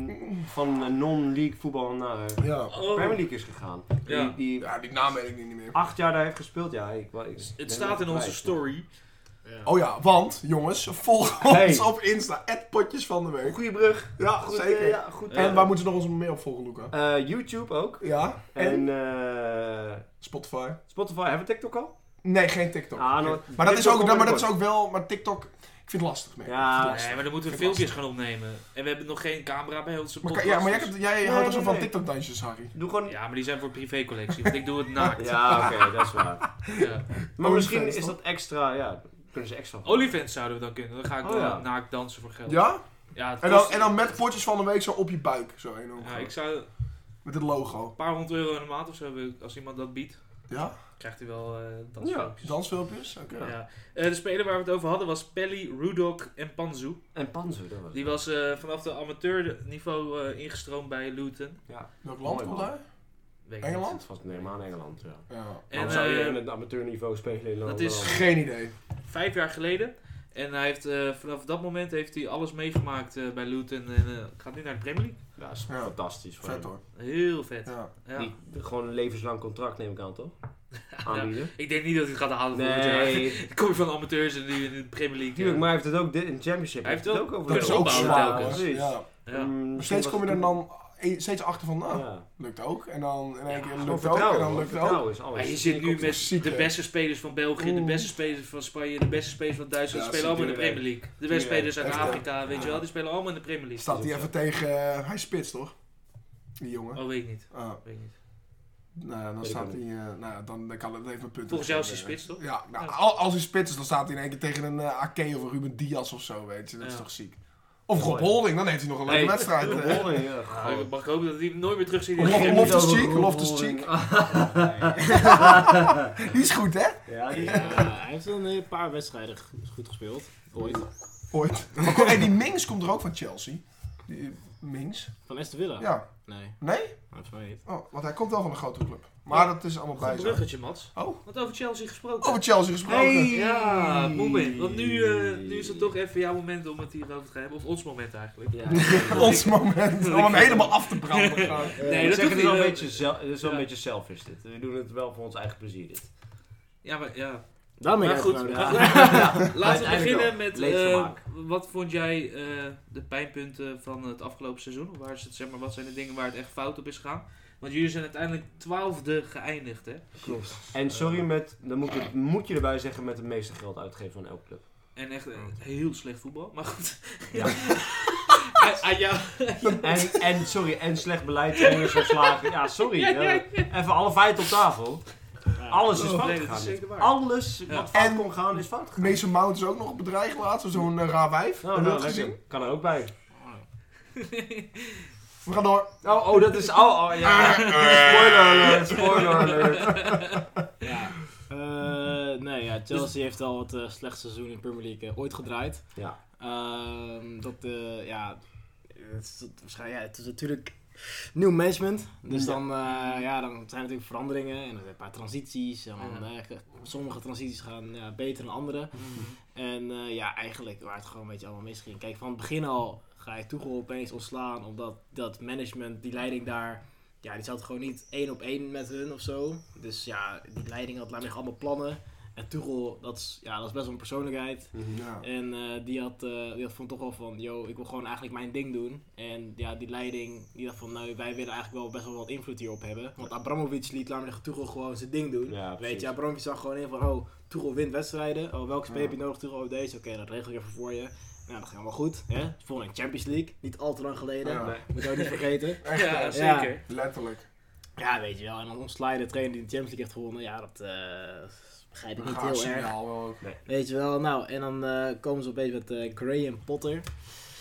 B: van eh, non-league voetbal naar
C: Ja.
A: Oh.
B: Premier League is gegaan.
A: Ja.
B: Die, die
C: ja, die naam weet ik niet meer.
B: acht jaar daar heeft gespeeld. Ja, ik, wa- ik ben
A: Het staat in
B: even
A: onze
B: kwijt.
A: story.
C: Oh ja, want jongens, volg
B: Hey.
C: ons op Insta. Potjes van de week.
B: Goeie brug.
C: Ja,
B: Goed,
C: zeker.
B: eh, ja, goed.
A: Ja.
C: En waar moeten ze nog ons mee op volgen, Luca?
B: Eh, YouTube ook.
C: Ja.
B: En
C: En
B: eh,
C: Spotify.
B: Spotify. Hebben we TikTok al?
C: Nee, geen TikTok.
B: Ah, nou,
C: maar dat is
B: TikTok
C: ook,
B: komt
C: maar dat is
B: binnenkort.
C: ook wel. Maar TikTok, ik vind het lastig. Nee.
B: Ja.
C: Ik vind het lastig.
A: Nee, maar dan moeten we
C: Vind ik
A: filmpjes gaan opnemen. En we hebben nog geen camera bij onze
C: Maar,
A: podcast. dus-
C: ka- ja, maar jij, hebt- jij houdt toch zo
B: nee,
C: van
B: nee.
C: TikTok dansjes, Harry.
B: Doe gewoon... Ja,
A: Ja, maar die zijn voor privécollectie, want ik doe het naakt.
B: oké. dat is waar.
A: Ja.
B: Maar
C: OnlyFans,
B: misschien is
C: toch?
B: dat extra... Ja, kunnen ze extra...
A: Olifants zouden we dan kunnen. Dan ga ik
B: Oh,
A: wel
B: ja.
A: naakt dansen voor geld.
C: Ja?
A: Ja, het
C: En dan,
A: kost-
C: en dan met potjes van de week zo op je buik. Zo enorm.
A: Ja, ik zou een
C: Met het logo.
A: paar honderd euro in de maand of zo hebben. Als iemand dat biedt,
C: Ja?
A: krijgt hij wel eh dansfilmpjes.
C: Dansfilmpjes? Oké.
A: Ja. Eh, de speler waar we het over hadden was Pelly, Rudok en Panzu.
B: En Panzer, dat was het.
A: Die was eh, vanaf de amateurniveau eh, ingestroomd bij Luton.
B: Ja.
C: Welk land
B: Mooi,
C: komt
B: man.
C: hij?
A: Weet ik
C: Engeland?
B: Dat was neem aan Engeland, ja.
C: Ja.
A: niet. En
B: En zou je
A: eh,
B: in het amateurniveau spelen in
A: dat
B: Londen?
A: is-
C: Geen idee.
A: vijf jaar geleden. En hij heeft, eh, vanaf dat moment heeft hij alles meegemaakt eh, bij Luton. En eh, gaat nu naar de Premier League.
B: Ja, dat is
C: Ja.
B: fantastisch. voor
C: Vet
B: hem.
C: hoor.
A: Heel vet.
C: Ja.
A: Ja.
B: Die, gewoon een levenslang contract neem ik aan, toch? Aanbieden.
A: Ik denk niet dat hij het gaat halen volgend jaar.
B: Nee,
A: Ik kom je van amateurs en nu in de Premier League.
B: Tuurlijk,
A: eh,
B: maar hij heeft het ook dit- in Championship.
A: Hij heeft
B: het
A: ook-
B: ook over
A: Kunnen
C: Dat is
A: we
C: ook
A: opbouwen
C: zwaar.
A: telkens.
C: hoor.
B: Precies. Mm,
C: Ja.
A: ja.
C: Maar steeds kom je er dan e- steeds achter van, nou,
B: Ja.
C: lukt ook. En dan in één keer
B: Gewoon
C: lukt ook. En dan
B: hoor.
C: lukt het ook.
B: Vertrouwen is
A: Maar je
B: alles.
A: zit nu
C: komt
A: met
C: ziek,
A: de
C: hè?
A: beste spelers van België, de
C: Oeh.
A: beste spelers van Spanje, de beste spelers van Duitsland.
C: Ja,
A: spelen allemaal in de
B: tuurlijk.
A: Premier League. De beste
B: Tuurlijk.
A: spelers uit
C: Echt, hè?
A: Afrika, weet je wel, die spelen allemaal in de Premier League.
C: Staat hij even tegen, eh, hij spits toch? Die jongen.
A: Oh, weet ik niet.
C: Ah,
A: Weet ik niet.
C: nou ja, dan
B: Weet ik
C: staat
B: ook
C: hij, eh, nou ja, dan, dan kan het even punten.
A: Volgens jou is hij
C: Eh,
A: spits, toch?
C: Ja, nou,
A: Ja.
C: al- als hij spits is, dan staat hij in één keer tegen een eh Ake of een Ruben Diaz of zo, weet je. Dat is
A: Ja.
C: toch ziek. Of Rob
B: Mooi.
C: Holding, dan heeft hij nog een leuke
B: Hey,
C: wedstrijd.
B: Rob
C: eh.
B: Holding, ja,
A: Maar
B: goh.
A: ik mag ik hopen dat hij hem nooit meer terug ziet. in
C: Of
A: de
C: Rob-
A: Premier League.
C: Loftus
B: Rob-
C: Cheek,
B: Rob-
C: Loftus
B: Holding.
C: Cheek. Die is goed, hè?
B: Ja, die-
D: Ja, hij heeft een eh, paar wedstrijden g- goed gespeeld, ooit.
C: Ooit. Maar kom- hey, die Mings komt er ook van Chelsea. Die Mings?
D: Van Aston Villa?
C: Ja.
D: Nee.
C: Nee?
D: Volgens mij niet.
C: Oh, want hij komt wel van een grote club. Maar dat is allemaal
A: Goed
C: bijzaak.
A: bruggetje, Mats.
C: Oh.
A: Wat over Chelsea gesproken.
C: Over Chelsea gesproken.
B: Hey.
A: Ja, moment. Want nu, eh, nu is het toch even jouw moment om het hierover te hebben. Of ons moment eigenlijk.
B: Ja.
C: Ons moment om hem helemaal af te branden.
A: Nee,
B: Ik
A: dat
B: zeg,
A: hoeft
B: het is wel
A: niet.
B: een beetje, zel- het is wel een
A: Ja.
B: beetje selfish dit. We doen het wel voor ons eigen plezier dit.
A: Ja, maar ja.
D: Daarom ben ik
A: Maar goed,
D: uitgenodigd.
A: maar
D: Ja.
A: goed. Laten we
B: Uiteindelijk
A: beginnen
B: wel.
A: met
B: Leedvermaak.
A: eh, wat vond jij eh, de pijnpunten van het afgelopen seizoen? Waar is het, zeg maar, wat zijn de dingen waar het echt fout op is gegaan? Want jullie zijn uiteindelijk twaalfde geëindigd, hè?
B: Klopt. En sorry, met, dan moet, je, moet je erbij zeggen met het meeste geld uitgeven van elke club.
A: En echt eh, heel slecht voetbal. Maar goed.
B: Ja.
A: Aan-
B: Ah,
A: aan jou.
B: En, en sorry, en slecht beleid, jongens verslagen. Ja, sorry. eh, even alle feiten op tafel. Alles is
A: Oh,
B: fout
A: nee, dat is
B: gegaan. dit.
A: zeker waar.
B: Alles
A: Ja.
B: wat fout
C: En-
B: kon gaan is fout gegaan.
C: Mason Mount is ook nog bedreigd laatst, zo'n eh, raar wijf.
B: Nou,
C: Hebben
B: nou,
C: we dat gezien?
B: lekker. Kan er ook bij.
C: We gaan door. Ah, eh.
B: Oh, oh, dat is... Oh, oh, ja. Spoiler alert, spoiler alert.
D: Ja. Eh, nee, ja,
B: Dus-
D: Chelsea heeft al het eh, slechtste seizoen in Premier League eh, ooit gedraaid.
B: Ja.
D: Ehm, dat, eh, ja, het is, dat- waarschijnlijk, ja, het is natuurlijk nieuw management. Dus
B: Ja.
D: dan, eh, ja, dan zijn er natuurlijk veranderingen en er zijn een paar transities. En dan, eh, sommige transities gaan ja, beter dan andere. En eh, ja, eigenlijk waar het gewoon een beetje allemaal misging. Kijk, van het begin al ga je Tuchel opeens ontslaan. Omdat dat management, die leiding daar... Ja, die zat gewoon niet één op één met hun of zo. Dus ja, die leiding had laat allemaal plannen. En Tuchel, dat is, ja, dat is best wel een persoonlijkheid.
C: Ja.
D: En eh, die, had, eh, die had vond toch wel van, yo, ik wil gewoon eigenlijk mijn ding doen. En ja, die leiding, die dacht van, nou, wij willen eigenlijk wel best wel wat invloed hierop hebben. Want Abramovic liet laat maar Tuchel gewoon zijn ding doen.
B: Ja,
D: Weet je,
B: precies.
D: Abramovic zag gewoon in van, oh, Tuchel wint wedstrijden. Oh, welke speler heb je nodig, Tuchel? Oh, deze. Oké, dat regel ik even voor je. Nou, dat ging allemaal goed. Hè? Volgende Champions League, niet al te lang geleden.
C: Ja.
B: Nee.
D: Moet je ook niet vergeten.
C: Echt,
A: Ja,
C: eh,
A: zeker.
C: letterlijk.
D: Ja, weet je wel. En dan ontslaan je de trainer die de Champions League heeft gewonnen. Ja, dat eh, begrijp ik
C: Een
D: niet
C: gaar
D: heel erg.
C: signaal wel ook.
D: Weet je wel, nou, en dan eh, komen ze opeens met eh, Graham Potter.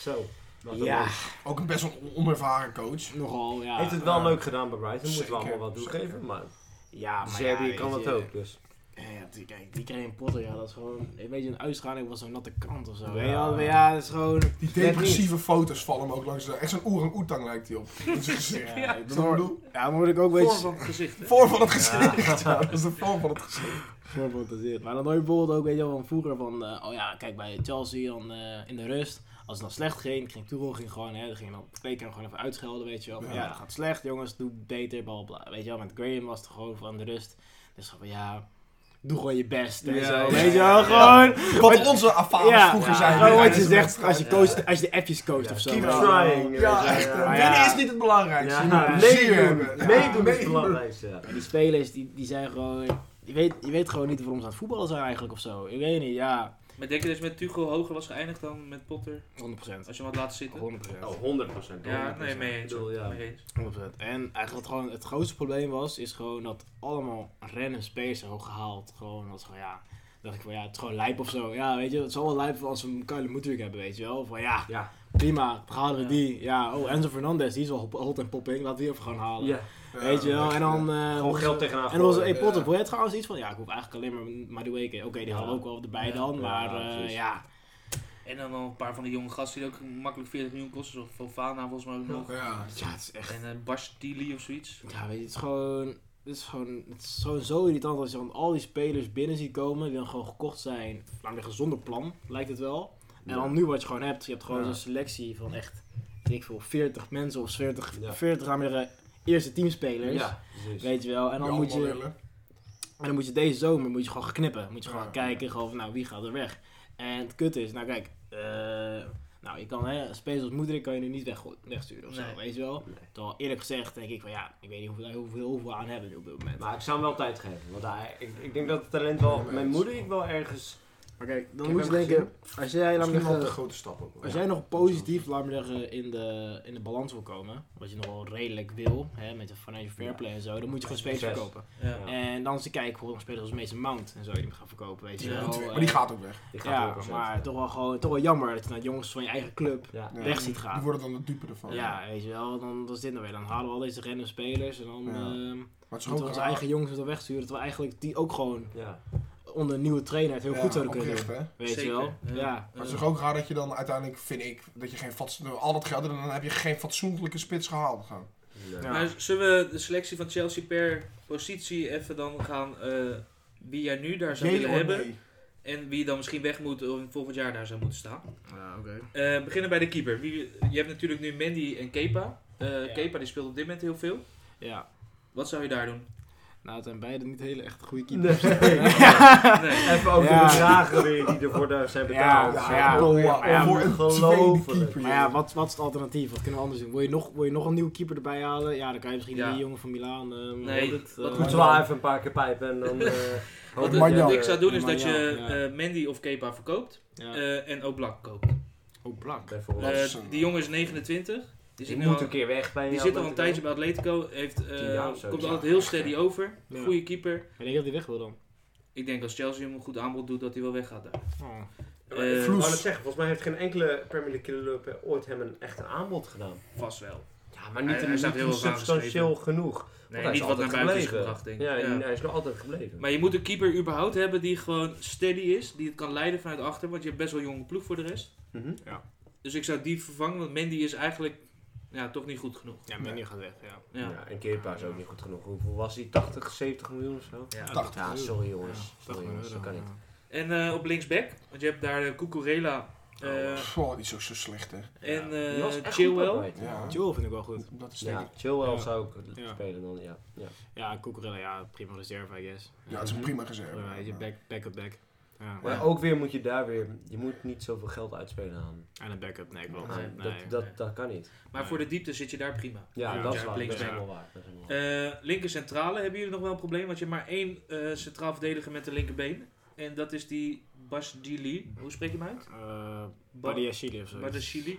B: Zo. wat een
D: Ja,
B: leuk.
C: Ook een best wel on- onervaren coach.
D: nogal, ja.
B: Heeft het wel leuk gedaan bij Brighton, moeten we
C: Zeker,
B: allemaal wat toegeven.
C: zeker.
B: Maar
D: Ja, maar
B: Serbië
D: ja,
B: kan
D: weet
B: dat
D: je,
B: ook, dus...
D: Ja, die, kijk, die Graham Potter, ja, dat is gewoon een beetje een uitschaling van zo'n natte krant of zo.
B: Ja.
D: Ja, ja, ja dat is gewoon...
C: Die
D: Net
C: depressieve foto's vallen hem ook langs. de- Echt zo'n oerang-oetang lijkt hij op. In zijn gezicht.
D: Ja,
A: Ja,
D: ik
C: Snap je wat ik bedoel?
D: ja, dan word ik ook een
A: Vorm
D: beetje...
A: van het gezicht. hè?
C: Vorm van het gezicht. Ja. dat is de vorm van het gezicht.
D: gefantaseerd. Maar dan hoor je bijvoorbeeld ook, weet je wel, van vroeger van... eh, oh ja, kijk, bij Chelsea dan eh, in de rust... Als het dan slecht ging, ging Tuchel ging gewoon, hè, dan ging dan twee keer gewoon even uitschelden, weet je wel. Van,
C: Ja.
D: ja, dat gaat slecht, jongens, doe beter, bla bla. bla. Weet je wel, met Graham was het gewoon van de rust. Dus van, ja, doe gewoon je best en
A: Ja,
D: zo,
A: ja,
D: weet je
A: ja,
D: wel,
A: ja.
D: gewoon...
C: Wat onze affaires
D: Ja,
C: vroeger
B: ja.
C: zijn.
B: Ja,
D: Gewoon wat je
B: Ja,
D: zegt als je, coacht, als je de appjes coacht
B: Ja,
D: of zo.
C: keep
D: weet je wel.
B: trying.
C: Ja, echt. eh,
D: Maar ja.
C: Winnen is niet het belangrijkste.
B: Ja,
C: Nou,
B: ja.
C: plezier
B: meedoen.
C: hebben. Ja,
B: Meedoen is het belangrijkste, ja.
D: En die spelers, die, die zijn gewoon... Je weet, je weet gewoon niet waarom ze aan het voetballen zijn eigenlijk of zo. Ik weet niet, ja...
A: Maar denk je dat je met Tuchel hoger was geëindigd dan met Potter?
D: 100%. 100%.
A: Als je hem had laten zitten?
B: Oh, 100 procent.
A: Ja, nee, mee eens.
B: bedoel, ja.
A: Mee eens.
D: 100%. En eigenlijk wat gewoon het grootste probleem was, is gewoon dat allemaal random spelers zijn gewoon gehaald. Gewoon, dat is gewoon, ja... dacht ik van, ja, het is gewoon lijp of zo. Ja, weet je, het zal wel lijp voor als we een Kyle Moedrik hebben, weet je wel. Van, ja,
B: Ja.
D: prima, dan halen we
A: Ja.
D: die. Ja, oh, Enzo Fernandez, die is wel hot en popping. Laten we die even gaan halen.
B: ja.
D: Weet je wel, en dan... eh,
B: Gewoon geld eh, tegenaan.
D: En dan was
B: gooien.
D: een
C: Ja.
D: Potter Boyet trouwens iets van, ja, ik hoef eigenlijk alleen maar Madueke. Oké, die
B: Ja.
D: hadden we ook wel erbij
A: Ja.
D: dan,
B: Ja,
D: maar eh,
B: precies.
D: ja.
A: En dan nog een paar van die jonge gasten die ook makkelijk 40 miljoen kosten. Zoals Fofana volgens mij ook nog.
C: Ja.
D: Ja, het is echt...
A: En eh Bastili of zoiets.
D: Ja, weet je, het is gewoon... Het is gewoon het is gewoon zo irritant als je dan al die spelers binnen ziet komen die dan gewoon gekocht zijn. Nou, een zonder plan, lijkt het wel.
B: Ja.
D: En dan nu wat je gewoon hebt, je hebt gewoon
B: Ja.
D: zo'n selectie van echt, weet ik veel, 40 mensen of 40,
B: Ja.
D: 40 aan weer, eh, eerste teamspelers.
B: Ja, precies.
D: Weet je wel, en dan, moet je,
C: Willen.
D: En dan moet je deze zomer moet je gewoon gaan knippen. Moet je gewoon
C: Ja.
D: kijken, gewoon van, nou, wie gaat er weg? En het kut is, nou kijk, eh, nou, je kan, hè, spelers als moeder kan je nu niet weg, wegsturen of
A: Nee.
D: zo, weet je wel?
B: Nee.
D: Terwijl eerlijk gezegd denk ik van, ja, ik weet niet hoeveel, hoeveel, hoeveel we aan hebben nu op dit moment.
B: Maar ik zou hem wel tijd geven. Want hij, ik, ik denk dat het talent wel. Mijn moeder, ik wel ergens.
D: Maar kijk, dan
B: Ik
D: moet
B: heb
D: je
B: hem
D: denken, als jij, laat me
C: Misschien wel een
D: zeggen,
C: grote stap ook. wel.
D: als jij nog positief, laat me zeggen, in de, in de balans wil komen, wat je nog wel redelijk wil, hè, met de financial fair play en zo, dan moet je gewoon spelers
B: Succes.
D: verkopen.
A: Ja.
D: En dan ze kijken voor spelers als Mason Mount en zo, die hem gaan verkopen, weet je
A: Ja,
D: wel.
C: Natuurlijk,
D: Eh,
C: Maar die gaat ook weg.
B: Die gaat
D: Ja,
B: 100%.
D: maar toch wel gewoon toch wel jammer dat je naar jongens van je eigen club
B: Ja.
C: Ja.
D: weg ziet
C: Die
D: gaan.
C: worden dan de dupe ervan.
D: Ja, weet je wel, dan dat is dit nou weer. Dan halen we al deze random spelers en dan
C: Ja.
D: ehm,
C: Maar het is
D: moeten we
C: ook
D: onze
C: raar.
D: eigen jongens weer wegsturen. Terwijl eigenlijk die ook gewoon
B: Ja.
D: onder een nieuwe trainer het heel
C: Ja,
D: goed zouden kunnen
C: oprecht,
D: doen.
C: hè.
D: Weet je
A: Zeker,
D: wel?
A: ja.
D: Ja.
C: Maar het is toch ook raar dat je dan uiteindelijk, vind ik, dat je geen fatso- al dat geld en dan heb je geen fatsoenlijke spits gehaald. Gewoon.
B: Nee.
D: Ja.
A: Maar zullen we de selectie van Chelsea per positie even dan gaan... eh, wie jij nu daar zou
C: Jee
A: willen
C: or
A: hebben.
C: nee.
A: En wie dan misschien weg moet of volgend jaar daar zou moeten staan.
D: Ja, oké.
A: Eh, beginnen bij de keeper. Wie, je hebt natuurlijk nu Mandy en Kepa. Eh,
D: Ja.
A: Kepa die speelt op dit moment heel veel.
D: Ja.
A: Wat zou je daar doen?
D: Nou, het zijn beide niet hele echt goede
B: Nee.
D: keepers.
A: Nee.
B: Even ook
D: Ja.
B: de bedragen weer die ervoor daar zijn betaald.
D: Ja, ja, ja, ja,
C: voor een tweede
B: ongelooflijk.
C: keeper.
D: Maar ja, wat, wat is het alternatief? Wat kunnen we anders doen? Wil je nog, wil je nog een nieuwe keeper erbij halen? Ja, dan kan je misschien
A: Ja.
D: die jongen van Milaan. ehm,
A: Nee,
D: hoe heet het,
A: wat
D: eh,
A: moet
B: Moeten we wel even een paar keer pijpen en dan... eh, hoop
A: Wat,
B: ik
C: Magnan.
B: dat
A: wat
B: je-
A: ik zou doen is
D: Maar
A: dat
D: ja,
A: je
D: ja.
A: eh, Mandy of Kepa verkoopt
D: ja.
A: eh, en Oblak koopt.
D: Oh, blank.
B: Bijvoorbeeld.
A: Eh,
C: is een-
A: die jongen is 29. Die
B: Die
A: zit, nu
B: moet
A: al,
B: een keer weg bij
A: die
B: jou,
A: zit al een
B: dat-
A: tijdje bij Atletico. Heeft, eh,
B: Tien jaar of zo,
A: komt
B: ja.
A: altijd heel steady over.
D: Ja.
A: Goede keeper.
D: Ik denk dat hij weg wil dan.
A: Ik denk als Chelsea hem een goed aanbod doet dat hij wel weggaat daar.
D: Oh.
B: Maar ik
A: Eh,
B: wou
C: Vloes.
B: net zeggen, volgens mij heeft geen enkele Premier League club eh, ooit hem een echt aanbod gedaan.
A: Vast wel.
B: Ja, maar niet,
A: Hij-
B: in
A: hij staat
B: niet
A: heel
B: in
A: wel
B: substantieel genoeg.
A: Nee,
B: Want hij is
A: niet wat naar
B: altijd
A: buiten is
B: gebleven.
A: gebracht denk ik.
B: Ja,
A: Ja.
B: en hij is nog altijd gebleven.
A: Maar je moet een keeper überhaupt hebben die gewoon steady is. Die het kan leiden vanuit achter. Want je hebt best wel jonge ploeg voor de rest.
B: Mhm.
A: Dus ik zou die vervangen. Want Mandy is eigenlijk ja, toch niet goed genoeg.
D: Ja, Menu gaat weg. Ja.
A: Ja.
B: Ja, en Kepa is ook niet goed genoeg. Hoeveel was hij? 80, 70 miljoen of zo?
A: Ja.
C: 80
B: Ja, sorry jongens.
D: dat
B: Sorry jongens, dat kan niet.
A: En eh, op linksback. Want je hebt daar eh, Cucurella eh,
C: Pff, oh, die is ook zo slecht, hè.
A: en
B: Die was echt
A: eh
B: goed
A: Chilwell.
B: voorbereid,
C: Ja.
B: ja.
D: Joel vind ik wel goed.
C: Dat is denk
B: Ja,
C: ik-
B: Chilwell
D: Ja.
B: zou ook
D: Ja.
B: spelen dan, ja. ja.
D: Ja, Cucurella, ja, prima reserve, I guess.
C: Ja, het is een prima reserve.
D: Ja, weet je, back- backup back. Ja.
B: Maar ook weer moet je daar weer... Je moet niet zoveel geld uitspelen aan.
D: En een backup, nee, klopt.
B: Nee,
D: Nee,
B: dat, dat, dat kan niet.
A: Maar voor de diepte zit je daar prima.
B: Ja, dat
D: Ja,
A: ja, dus
B: is waar. Dat is
A: linksback.
B: helemaal waar. Dat is helemaal waar.
A: Eh, linker centrale hebben jullie nog wel een probleem. Want je hebt maar één eh, centraal verdediger met de linkerbeen. En dat is die Basdili. Hoe spreek je hem uit?
D: Eh,
A: Ba-
D: Badiashile of zo.
A: Badashili.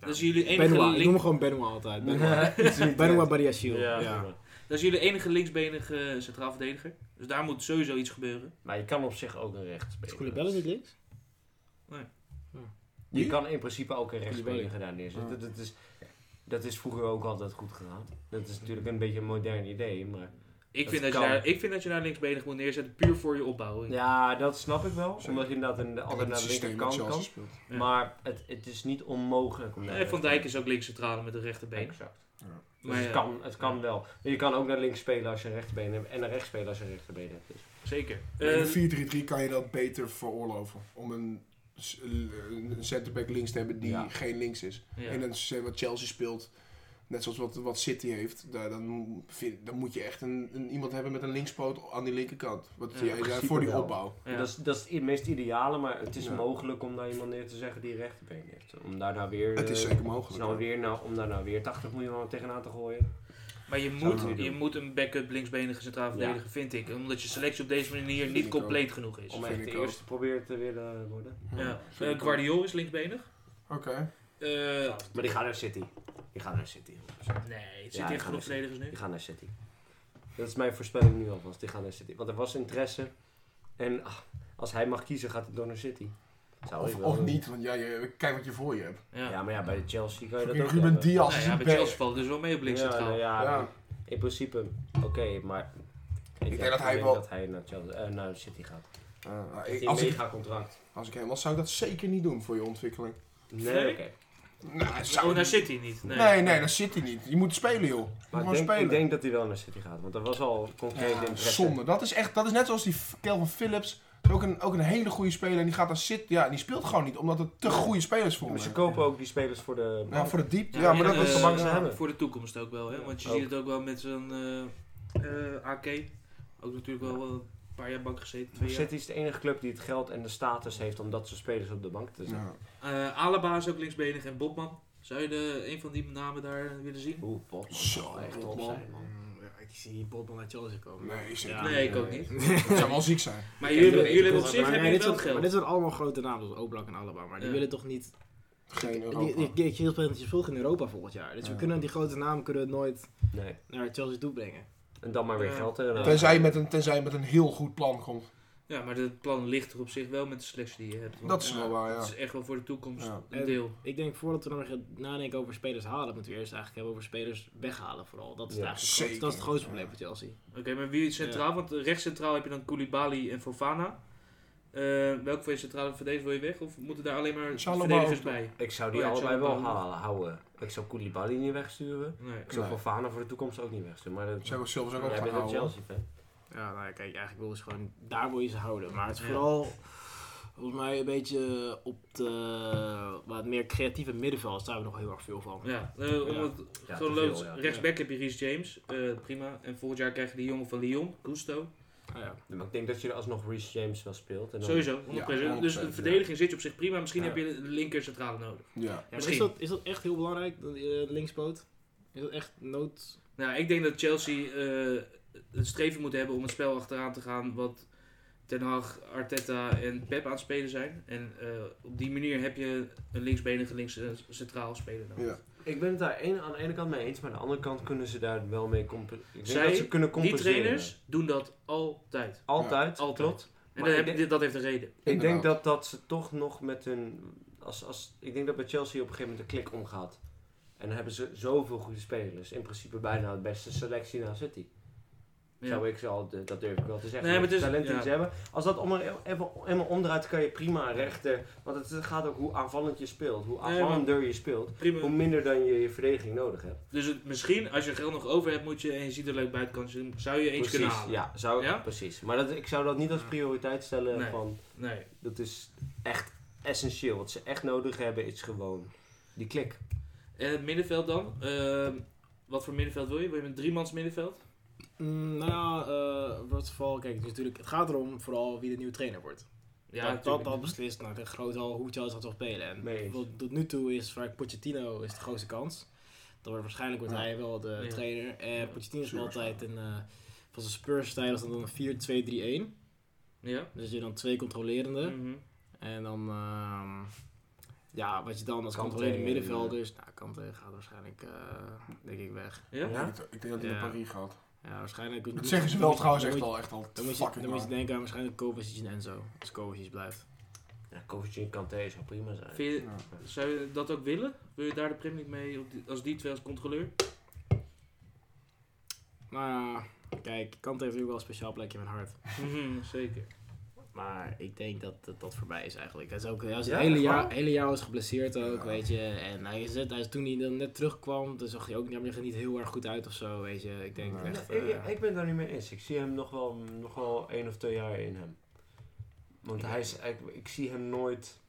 D: Ja.
A: Dat is jullie enige
D: Benoit, ik noem
A: link-
D: hem gewoon Benoit altijd. Benoit,
B: Ja, iets niet
D: Benoit
B: net.
D: Badiashile.
B: Ja,
D: Ja.
B: zeg maar.
A: dat is jullie enige linksbenige eh, centraal verdediger. Dus daar moet sowieso iets gebeuren.
B: Maar je kan op zich ook een rechts
D: Is Koulibaly niet links?
B: Je kan in principe ook een rechtsbeniger
D: Koulibaly. Ah.
B: daar neerzetten. Dat is, dat is vroeger ook altijd goed gedaan. Dat is natuurlijk een beetje een modern idee, maar...
A: Ik,
B: Dat
A: vind dat, je
B: kan.
A: daar, ik vind dat je daar linksbenig moet neerzetten. Puur voor je opbouw.
B: Ja, dat snap ik wel. Omdat je inderdaad een, altijd naar de linkerkant kan.
C: speelt.
A: Ja.
B: Maar het, het is niet onmogelijk om daar-
A: Eh, Van Dijk is ook links centrale met een rechterbeen.
B: Exact. Dus
A: Maar
B: het,
A: ja,
B: kan, het kan wel. Je kan ook naar links spelen als je een rechtsbeen hebt. En naar rechts spelen als je een rechterbeen hebt. Dus.
A: zeker.
C: In
A: Eh,
C: een 4-3-3 kan je dat beter veroorloven. Om een, s- een centerback links te hebben die
B: Ja.
C: geen links is.
A: ja.
C: En dan s- wat Chelsea speelt, net zoals wat, wat City heeft, daar, dan, vind- dan moet je echt een, een- iemand hebben met een linkspoot aan die linkerkant. Wat,
A: Ja,
C: jij-
B: in principe
C: voor die
B: wel.
C: opbouw.
A: Ja.
B: Dat, is, dat is het meest ideale, maar het is
C: Ja.
B: mogelijk om daar iemand neer te zeggen die een rechterbeen heeft. Om daarna weer,
C: Het is
B: eh,
C: zeker mogelijk.
B: snel weer, nou, om daarna weer 80 miljoen tegenaan te gooien.
A: Maar je
B: Zou
A: moet,
B: ik niet
A: je
B: doen.
A: moet een backup linksbenige centraal verdediger, vind ik. Omdat je selectie op deze manier
C: Vind
A: niet
C: ik ook.
A: compleet genoeg is.
B: Om
C: vind
B: echt de
C: ik ook.
B: eerste te proberen te willen worden.
A: Ja.
C: vind
A: Eh
C: ik ook.
A: Guardiol is linksbenig.
C: Oké.
A: Eh,
B: Maar die gaan naar City. Die gaan naar City.
A: nee, het
B: Ja, dus
A: zit
B: die
A: in
B: gaan
A: genoeg
B: naar
A: verdedigers nu.
B: Die gaan naar City. Dat is mijn voorspelling nu alvast. Die gaan naar City. Want er was interesse. En ah, als hij mag kiezen, gaat hij door naar City. Zou ik
C: Of,
B: wel
C: of
B: doen.
C: niet, want ja, je, kijk wat je voor je hebt.
A: Ja.
B: Ja, maar ja, bij Chelsea kan je dat
C: Fucking
B: ook
C: Ruben
B: hebben.
C: Diaz
A: nou
C: is
A: ja,
C: een
A: bij
C: back.
A: Chelsea valt dus wel mee op links
B: Ja,
A: centraal.
B: nou ja,
C: Ja.
B: in principe oké, maar...
C: denk dat hij wel-
B: dat hij naar, Chelsea, eh, naar City gaat.
C: Ah, nou,
B: Heeft
C: ik-
B: hij
C: als,
B: een
C: ik,
B: mega contract?
C: als ik hem was, zou ik dat zeker niet doen voor je ontwikkeling.
B: Nee,
A: Nee?
B: oké.
C: Nou,
A: Zou naar City niet? Nee.
C: Nee, nee, dat zit hij niet. Je moet spelen, joh. Je moet
B: Maar ik
C: gewoon
B: denk,
C: spelen.
B: ik denk dat hij wel naar City gaat, want er was al concreet
C: Ja,
B: interesse.
C: zonde. Dat is echt, dat is net zoals die Kelvin Phillips. Dat is Ook een, ook een hele goede speler. En die gaat daar zitten. Ja, en die speelt gewoon niet. Omdat het te goede spelers voor
B: Maar
C: hem
B: ze
C: zijn.
B: kopen ook die spelers voor de...
C: Ja, voor de diepte.
A: Ja,
C: Ja, maar
A: en,
C: dat
A: eh,
C: is
B: zo bang ze
C: ja.
B: hebben.
A: Voor de toekomst ook wel, hè?
B: Ja,
A: Want je
B: ook.
A: ziet het ook wel met zo'n eh, eh, AK. Ook natuurlijk wel een paar jaar bank gezeten, twee jaar.
B: City is de enige club die het geld en de status heeft om dat soort spelers op de bank te zetten.
C: Ja.
A: Eh, Alaba is ook linksbenig en Bobman. Zou je de, een van die namen daar willen zien?
B: Oeh, Botman.
C: Zo,
B: zou echt top
C: Botman.
B: zijn, man.
D: Mm, ja, ik zie Bobman naar Chelsea komen.
C: Nee, zeker
D: Ja.
C: niet.
A: Nee, ik ook niet.
C: Dat zou wel ziek zijn.
A: Maar
D: Ik
A: jullie,
D: bedoel,
A: hebben- jullie
D: ik bedoel,
A: hebben op zich
D: maar
A: hebben
D: dit
A: jullie wel
D: soort- Maar
A: geld.
D: dit zijn allemaal grote namen, zoals Oblak en Alaba. Maar die
A: Ja.
D: willen toch niet...
C: Geen
D: Die,
C: Europa.
D: die, die Chelsea speelt vroeg in Europa volgend jaar. Dus we
C: Ja.
D: kunnen die grote namen kunnen we nooit
B: Nee.
D: naar Chelsea toe brengen.
B: En dan maar weer
A: Ja.
B: geld erin.
C: Tenzij je met een, tenzij je met een heel goed plan komt.
A: Ja, maar het plan ligt er op zich wel met de selectie die je hebt. Want
C: Dat is wel waar,
A: dat
C: ja.
A: is echt wel voor de toekomst
C: Ja.
A: een deel.
D: Ik denk voordat we nog gaan nadenken over spelers halen, moeten we eerst eigenlijk hebben over spelers weghalen vooral. Dat is,
B: Ja,
D: eigenlijk het grootste-
C: zeker.
D: dat is het grootste probleem voor Chelsea.
A: Oké, maar wie is centraal? Want rechts centraal heb je dan Koulibaly en Fofana. Eh welke van je centrale verdedigers wil je weg? Of moeten daar alleen maar
C: Salomo
A: verdedigers
C: ook nog.
A: bij?
B: Ik zou die
A: Oh ja, ik
B: allebei
A: zou
B: wel
A: hem wel-
B: halen, houden. Ik zou Koulibaly niet wegsturen.
A: Nee.
B: Ik zou
C: Nee.
B: Fofana voor de toekomst ook niet wegsturen. Maar dat,
C: Zou ik zelfs ook op
B: jij
C: gaan
B: bent een
C: houden.
B: Chelsea-fan.
D: Ja, nou ja, kijk, eigenlijk wil je ze gewoon, daar wil je ze houden. Maar het is
A: Ja.
D: vooral volgens mij een beetje op de, wat meer creatieve middenveld. Daar hebben we nog heel erg veel van.
A: Ja, eh, om
D: Ja.
A: het
B: Ja,
A: gewoon
B: te veel,
A: loods.
B: ja.
A: Rechtsback heb je Rhys James, eh, prima. En volgend jaar krijg je die jongen van Lyon, Gusto.
D: Ah, ja.
B: Maar ik denk dat je er alsnog Reece James wel speelt. En dan
A: Sowieso, 100%. dus
C: 100%,
A: de verdediging zit je op zich prima. Misschien
B: Ja.
A: heb je de linker centrale nodig.
C: Ja.
D: Ja, maar
A: Misschien.
D: is dat, is dat echt heel belangrijk, dat, eh, linkspoot? Is dat echt nood?
A: Nou, ik denk dat Chelsea eh, een streven moet hebben om het spel achteraan te gaan wat Ten Hag, Arteta en Pep aan het spelen zijn. En eh, op die manier heb je een linksbenige links eh, centraal speler nodig.
C: Ja.
B: Ik ben het daar een, aan de ene kant mee eens, maar aan de andere kant kunnen ze daar wel mee compenseren. Ik denk
A: Zij-
B: dat ze kunnen
A: Die
B: compenseren.
A: trainers doen dat altijd.
B: Altijd.
A: Altijd.
B: Klopt.
A: En
B: Maar
A: dat,
B: ik
A: heb- dat heeft een reden.
B: Ik denk
C: Inderdaad.
B: dat, dat ze toch nog met hun... Als, als, ik denk dat bij Chelsea op een gegeven moment de klik omgaat. En dan hebben ze zoveel goede spelers. In principe bijna de beste selectie na City.
A: Ja.
B: Zou ik ze al, de- dat durf ik wel te zeggen.
A: Nee, maar het is-
B: talent die
A: ja.
B: ze hebben. Als dat om, e- even, helemaal omdraait, kan je prima een rechter. Want het gaat ook hoe aanvallend je speelt. Hoe
A: maar-
B: aanvallender je speelt,
A: Prima.
B: hoe minder dan je je verdediging nodig hebt.
A: Dus het, misschien, als je geld nog over hebt, moet je en je ziet er leuk buitenkantje, zou je eens kunnen
B: Precies,
A: halen.
B: ja, zou,
A: Ja?
B: precies. Maar dat, ik zou dat niet als prioriteit stellen.
A: Nee.
B: Van,
A: Nee.
B: dat is echt essentieel. Wat ze echt nodig hebben is gewoon die klik.
A: En het middenveld dan? Ehm, wat voor middenveld wil je? Wil je een driemans middenveld?
D: Mm, nou ja, eh, wat vooral, kijk, het, is natuurlijk, het gaat erom vooral wie de nieuwe trainer wordt. Ja, dat, dat,
A: natuurlijk.
D: dat beslist nou, de groot al hoe Chelsea dat zal spelen. En
B: Mee eens.
D: wat tot nu toe is vaak Pochettino is de grootste kans. Dan wordt waarschijnlijk wordt
C: Ja.
D: hij wel de
A: Ja.
D: trainer. En
A: Ja.
D: Pochettino is
C: Spurs.
D: altijd een, eh, van zijn Spurs-stijl is dat dan een 4-2-3-1.
A: Ja.
D: Dus je dan twee controlerende.
A: Mhm.
D: En dan, ehm, ja, wat je dan als
B: Kante
D: controlerende
B: en,
D: middenvelders... Nou, Kante gaat waarschijnlijk, eh, denk ik, weg.
A: Ja?
C: Ik denk dat- Ik denk dat hij
D: Ja.
C: naar Parijs gaat.
D: Ja, waarschijnlijk...
C: Dat zeggen ze wel trouwens
D: Dan
C: echt
D: moet
C: al, echt al
D: je- Dan moet, je,
C: fucking
D: dan moet je
C: lang.
D: denken aan waarschijnlijk Kovacic en Enzo. Als Kovacic blijft.
B: Ja, Kovacic kan Kanté zou prima zijn.
A: Vind je,
C: Ja.
A: zou je dat ook willen? Wil je daar de Premier League mee op die- als die twee als controleur?
D: Nou ja, kijk, Kante heeft natuurlijk wel een speciaal plekje in mijn hart.
A: Mhm, Zeker.
D: Maar ik denk dat dat, dat voorbij is eigenlijk. Hij is ook hij was het
B: Ja,
D: hele,
B: echt waar?
D: jaar, hele jaar was geblesseerd ook,
C: Ja.
D: weet je. En hij is, net- hij is, toen hij dan net terugkwam, toen zag hij ook ja, maar hij gaat niet heel erg goed uit of zo, weet je. Ik denk
C: Nee.
D: echt...
B: Nee, ik,
D: eh,
B: ik ben het daar niet mee eens. Ik zie hem nog wel, nog wel één of twee jaar in hem. Want hij is, ik, ik zie hem nooit...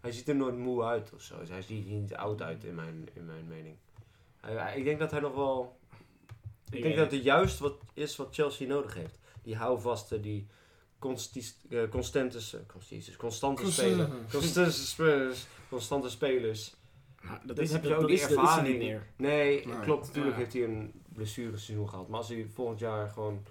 B: Hij ziet er nooit moe uit of zo. Dus hij ziet er niet oud uit in mijn, in mijn mening. Hij- hij- ik denk dat hij nog wel... Ik,
D: Ik
B: denk
D: weet
B: dat het juist wat is wat Chelsea nodig heeft. Die houvasten, die constis- eh, constante, s- constis- constante
C: Constante.
B: spelers. Constante spelers. Constante spelers.
D: maar
B: dit heb je ook
D: dat
B: die
D: is, dat is er niet
B: ervaring.
D: meer.
B: Nee,
C: Nee.
B: klopt. Natuurlijk
D: Ja.
B: heeft hij een blessureseizoen gehad. Maar als hij volgend jaar gewoon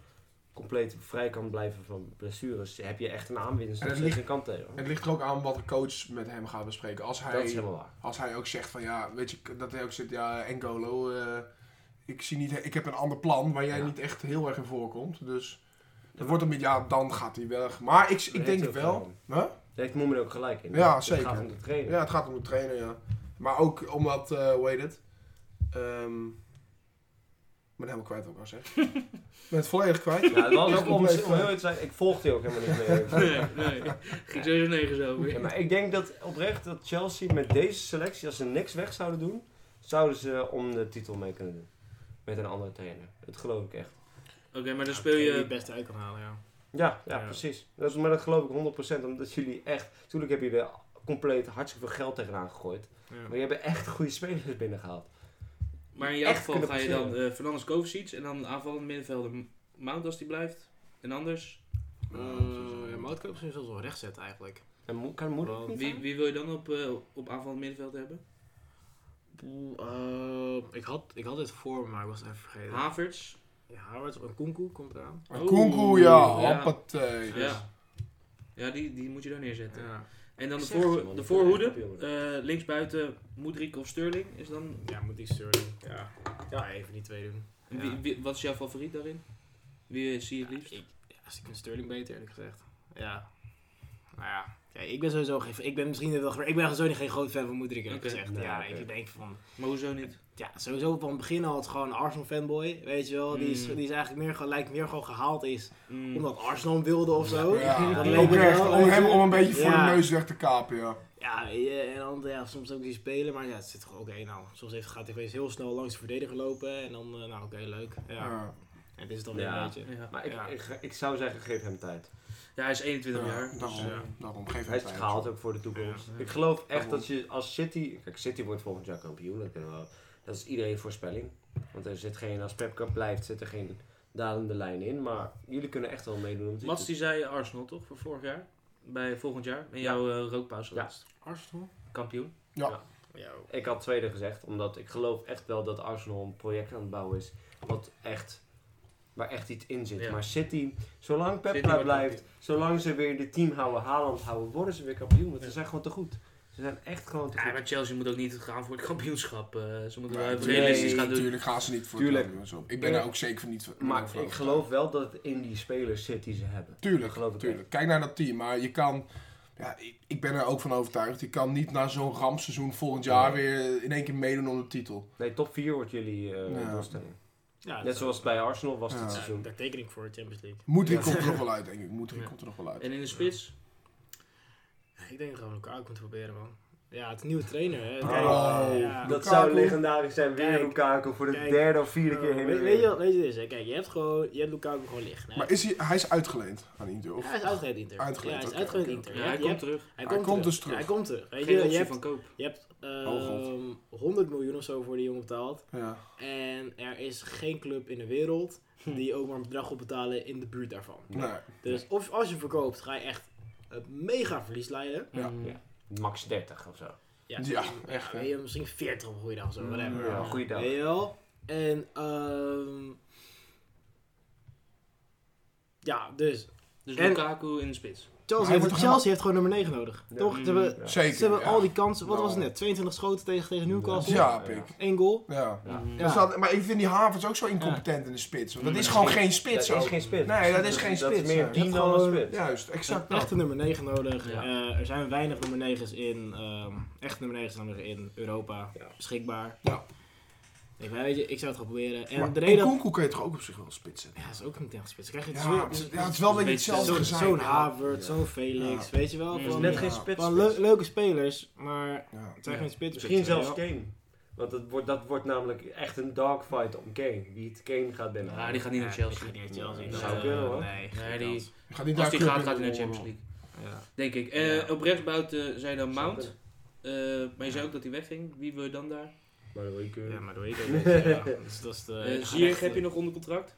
B: compleet vrij kan blijven van blessures, heb je echt een aanwinst.
C: En
B: Dat
C: het
B: is
C: ligt-
B: een kant tegen.
C: Het ligt er ook aan wat de coach met hem gaat bespreken. Als
B: Dat is
C: hij,
B: helemaal waar.
C: als hij ook zegt van ja, weet je, dat hij ook zegt, ja, Engolo, eh, ik, zie niet, ik heb een ander plan waar jij
B: Ja.
C: niet echt heel erg in voorkomt. Dus dat wordt hem, ja, dan gaat hij weg. Maar ik, ik
B: Daar
C: denk
B: heeft
C: het
B: hij ook
C: wel. Huh?
B: Daar heeft Moemen ook gelijk in.
C: Ja,
B: het
C: zeker.
B: gaat om de trainer.
C: Ja, het gaat om de trainer, ja. Maar ook omdat, eh hoe heet het? Ehm, ik ben helemaal kwijt wat ik al zeg. Ik ben het volledig kwijt.
B: Ja, het was
C: Ik
B: ook om, om heel
C: bleef, eh,
B: eerlijk te zijn, ik volgde die ook helemaal niet meer.
A: Nee, nee. Ging sowieso nergens over.
B: Ja, maar ik denk dat oprecht dat Chelsea met deze selectie, als ze niks weg zouden doen, zouden ze om de titel mee kunnen doen. Met een andere trainer. Dat geloof ik echt.
A: Oké, maar dan
D: Ja,
A: speel
D: die het
A: je...
D: beste uit kan halen, ja.
B: Ja, ja,
D: Ja.
B: precies. Dat is, maar dat geloof ik 100%. Omdat jullie echt... Tuurlijk heb je er compleet hartstikke veel geld tegenaan gegooid.
D: Ja. Eh,
B: Maar je hebt echt goede spelers binnengehaald.
A: Maar in jouw
B: Echt
A: geval
B: kunnen
A: ga je dan
B: presteren.
A: eh Fernandes Kovacic en dan aanvallend middenvelder M- Mount als die blijft. En anders,
B: Oh,
D: Eh, ja, Moutkoop is zelfs wel recht zetten eigenlijk.
B: En mo kan moeder
D: Want
B: niet
A: wie,
B: aan?
A: wie wil je dan op, eh, op aanvallend middenveld hebben?
D: Oeh, eh, ik, had, ik had dit voor, me, maar ik was het even vergeten.
A: Havertz.
D: ja, Havertz of Nkunku komt eraan.
C: Een
A: Oeh,
C: Kunku, ja.
B: Oh,
A: ja.
C: Hoppatee.
A: Ja, ja die, die moet je daar neerzetten.
D: Ja,
A: En dan de,
B: Ik zeg het je,
A: voor,
B: man.
A: de
B: Ik
A: voorhoede.
B: ben echt op,
A: eh linksbuiten Moedrik of Sterling is dan...
D: ja moet ik sturen. Ja. ja, even die twee doen.
A: en
D: Ja.
A: Wie, wie- wat is jouw favoriet daarin? Wie eh, zie je het liefst?
D: Ik, ja, ik vind Sterling beter, eerlijk gezegd. Ja. Nou ja. ja ik ben sowieso geen... Ik ben misschien net wel... Ik ben sowieso niet geen groot fan van Moedrik, eerlijk
A: Oké.
D: gezegd.
B: Nee,
D: ja,
B: oké.
D: ik denk van...
A: Maar hoezo niet?
D: Ja, sowieso van het begin al het gewoon een Arsenal-fanboy, weet je wel. Die is,
A: Mm.
D: die is eigenlijk meer, gewoon- lijkt meer gewoon gehaald is
A: Mm.
D: omdat Arsenal hem wilde of zo.
C: Ja,
D: Dat leek
C: ook
D: het wel,
C: echt, om
D: weet
C: hem
D: je.
C: om een beetje voor
D: Oh, Ja.
C: de neus weg te kapen, ja.
D: Ja, ja, en dan ja, soms ook die spelen, maar ja, het zit gewoon oké. nou, soms heeft, gaat hij opeens heel snel langs de verdediger lopen en dan, eh, nou oké, leuk. Ja.
C: Ja.
D: En dit is dan weer
B: Ja.
D: een beetje.
A: Ja.
B: Maar ik,
D: Ja.
B: ik, ik zou zeggen, geef hem tijd.
A: ja, hij is 21 jaar.
C: daarom,
A: Dus, ja.
C: daarom geef
B: Hij is
C: het tijd.
B: gehaald ook voor de toekomst.
A: Ja.
B: Ik geloof echt
C: Daarom.
B: dat je als City... Kijk, City wordt volgend jaar kampioen. Dat, kunnen we wel- dat is iedereen voorspelling. Want er zit geen... Als Pep Cup blijft, zit er geen dalende lijn in. Maar jullie kunnen echt wel meedoen om
A: Mats
B: titel.
A: die zei Arsenal toch voor vorig jaar? Bij volgend jaar? In jouw eh, rookpauze
B: Ja.
A: geweest.
D: Arsenal?
A: Kampioen.
D: Ja. hoor.
B: Ik had tweede gezegd, omdat ik geloof echt wel dat Arsenal een project aan het bouwen is. Wat echt, waar echt iets in zit.
A: Ja.
B: Maar City, zolang Pep
A: City
B: daar
A: wordt
B: blijft, zolang ze weer in het team houden, Haaland houden, worden ze weer kampioen. Want
A: Ja.
B: ze zijn gewoon te goed. Ze zijn echt gewoon te
A: Ja,
B: goed.
A: maar Chelsea moet ook niet gaan voor het kampioenschap. eh, ze moeten wel
C: Nee,
A: even realistisch gaan doen.
C: natuurlijk gaan ze niet voor
B: Tuurlijk.
C: het kampioenschap. Ik ben
B: Ja.
C: daar ook zeker van niet van.
B: Maar
C: van
B: ik geloof wel dat het in die spelers zit die ze hebben.
C: Tuurlijk,
B: Dat geloof ik
C: tuurlijk. Kijk naar dat team. Maar je kan, ja, ik, ik ben er ook van overtuigd, je kan niet na zo'n rampseizoen volgend jaar weer in één keer meedoen om de titel.
B: Nee, top 4 wordt jullie eh
C: Ja.
B: doelstelling.
D: Ja, dat-
B: Net zoals het bij Arsenal was
C: Ja.
B: dit
D: Ja,
B: seizoen.
D: daar teken ik voor de Champions League.
C: Moedrik
B: Ja.
C: komt er nog wel uit, denk ik. Moedrik
A: Ja.
C: komt er nog wel uit.
A: En in de spits?
D: Ja, ik denk dat we elkaar ook moeten proberen, man. Ja, het is een nieuwe trainer, hè.
B: Oh,
D: ja.
B: Dat
C: Lukaku.
B: zou legendarisch zijn. Weer
D: Kijk.
B: Lukaku voor de
D: Kijk.
B: derde of vierde keer
D: Oh,
B: heen.
D: weet,
B: en
D: weet je
B: weer.
D: wat, weet je wat het is, hè? Kijk, je hebt gewoon, je hebt Lukaku gewoon liggen. hè.
C: Maar is hij, hij is uitgeleend aan Inter,
D: Ja,
C: of?
D: hij is uitgeleid Inter.
C: Uitgeleend,
D: ja, hij
C: oké,
D: is uitgeleid
C: oké,
D: Inter.
A: Ja,
D: Je
A: hij
D: hebt-
A: komt
D: je hebt-
A: terug.
D: hij
C: Hij
D: komt
C: komt
D: terug.
C: dus terug.
D: Ja, hij komt terug. Weet je,
A: Geen
D: je
A: optie
D: hebt,
A: van koop.
D: je hebt
C: Oh, God.
D: ehm, 100 miljoen of zo voor die jongen betaald.
C: Ja.
D: En er is geen club in de wereld
C: Hm.
D: die ook maar een bedrag wil betalen in de buurt daarvan.
C: Nee.
D: Dus of als je verkoopt, ga je echt een mega verlies leiden.
C: Ja.
A: Mm.
B: Ja. Max 30 of zo.
D: Ja,
C: Ja,
D: echt.
C: echt, hè. Mm,
D: weet je, misschien 40 op een goede dag of zo, whatever.
B: Ja, goeiedag.
D: Weet je wel? En, ehm ja, dus.
A: Dus
D: En-
A: Lukaku in de spits.
D: Chelsea,
C: hij
D: heeft,
C: wordt toch
D: Chelsea heeft gewoon nummer 9 nodig.
B: Ja.
D: Toch? Ze hebben,
B: Ja.
C: Zeker.
D: ze hebben
C: ja.
D: al die kansen. Wat
C: Nou.
D: was het net? 22 schoten tegen, tegen Newcastle.
C: Ja, pik.
D: Eén goal.
C: Ja.
B: Ja.
A: Mm.
D: Ja.
C: Dus dat- maar ik vind die Havert ook zo incompetent in de spits. Want dat is gewoon geen spits.
B: Dat is
C: ook.
B: geen spits.
C: Nee, dat is geen
B: Dat
C: spits,
B: is meer
C: hè.
B: team
D: Dat
B: dan een
D: gewoon-
B: spits.
C: Juist,
D: Ze
C: exact
D: hebben echt
C: dat.
D: een nummer 9 nodig.
A: Ja.
D: Eh, er zijn weinig nummer 9's in. ehm echt nummer 9's nodig in Europa.
B: Ja.
D: Beschikbaar.
C: Ja.
D: Ik weet je, ik zou het gaan proberen. En
C: Maar
D: de reden dat...
C: Nkunku kun je toch ook op zich wel spitsen?
D: Ja, dat is ook niet echt spits. Dan Krijg je het
C: Ja, het is-
D: zo-
C: ja, het is wel een beetje
A: Beetje
C: hetzelfde
D: Zo'n
C: gezin.
D: zo'n Havertz,
B: Ja.
D: zo'n Felix,
C: Ja.
D: weet je wel.
A: Ja.
B: Het is
D: Van,
B: net
C: Ja.
B: geen spits.
D: van leu- leuke spelers, maar
C: Ja.
D: het zijn
A: Ja.
D: geen spits.
B: Misschien zelfs Kane. Want dat wordt, dat wordt namelijk echt een dogfight om Kane. Wie het Kane gaat binnen.
A: Ja, Ah, die gaat niet naar Chelsea.
D: Ik ga niet naar Chelsea.
B: Nee,
D: Dat
B: zou
D: eh,
B: kunnen, hoor.
D: Nee, geen
A: Nee, die-
D: kans.
C: Je Gaat niet
A: Als
C: daar
A: die
C: club
A: gaat,
C: in
A: gaat hij naar
C: de
A: Champions
C: oorlog.
A: League.
D: Ja.
A: Denk ik. Eh,
B: Ja.
A: Op rechtsbuiten zei dan
B: Zou
A: Mount.
B: kunnen.
A: Eh, maar je zei ook dat hij wegging. Wie wil je dan daar?
B: Maar dat wil ik, eh,
D: Ja, maar door je ook niet, ja. Dus dat is de-
A: Eh
D: de
A: Ziyech
D: gerechte-
A: heb je nog onder contract.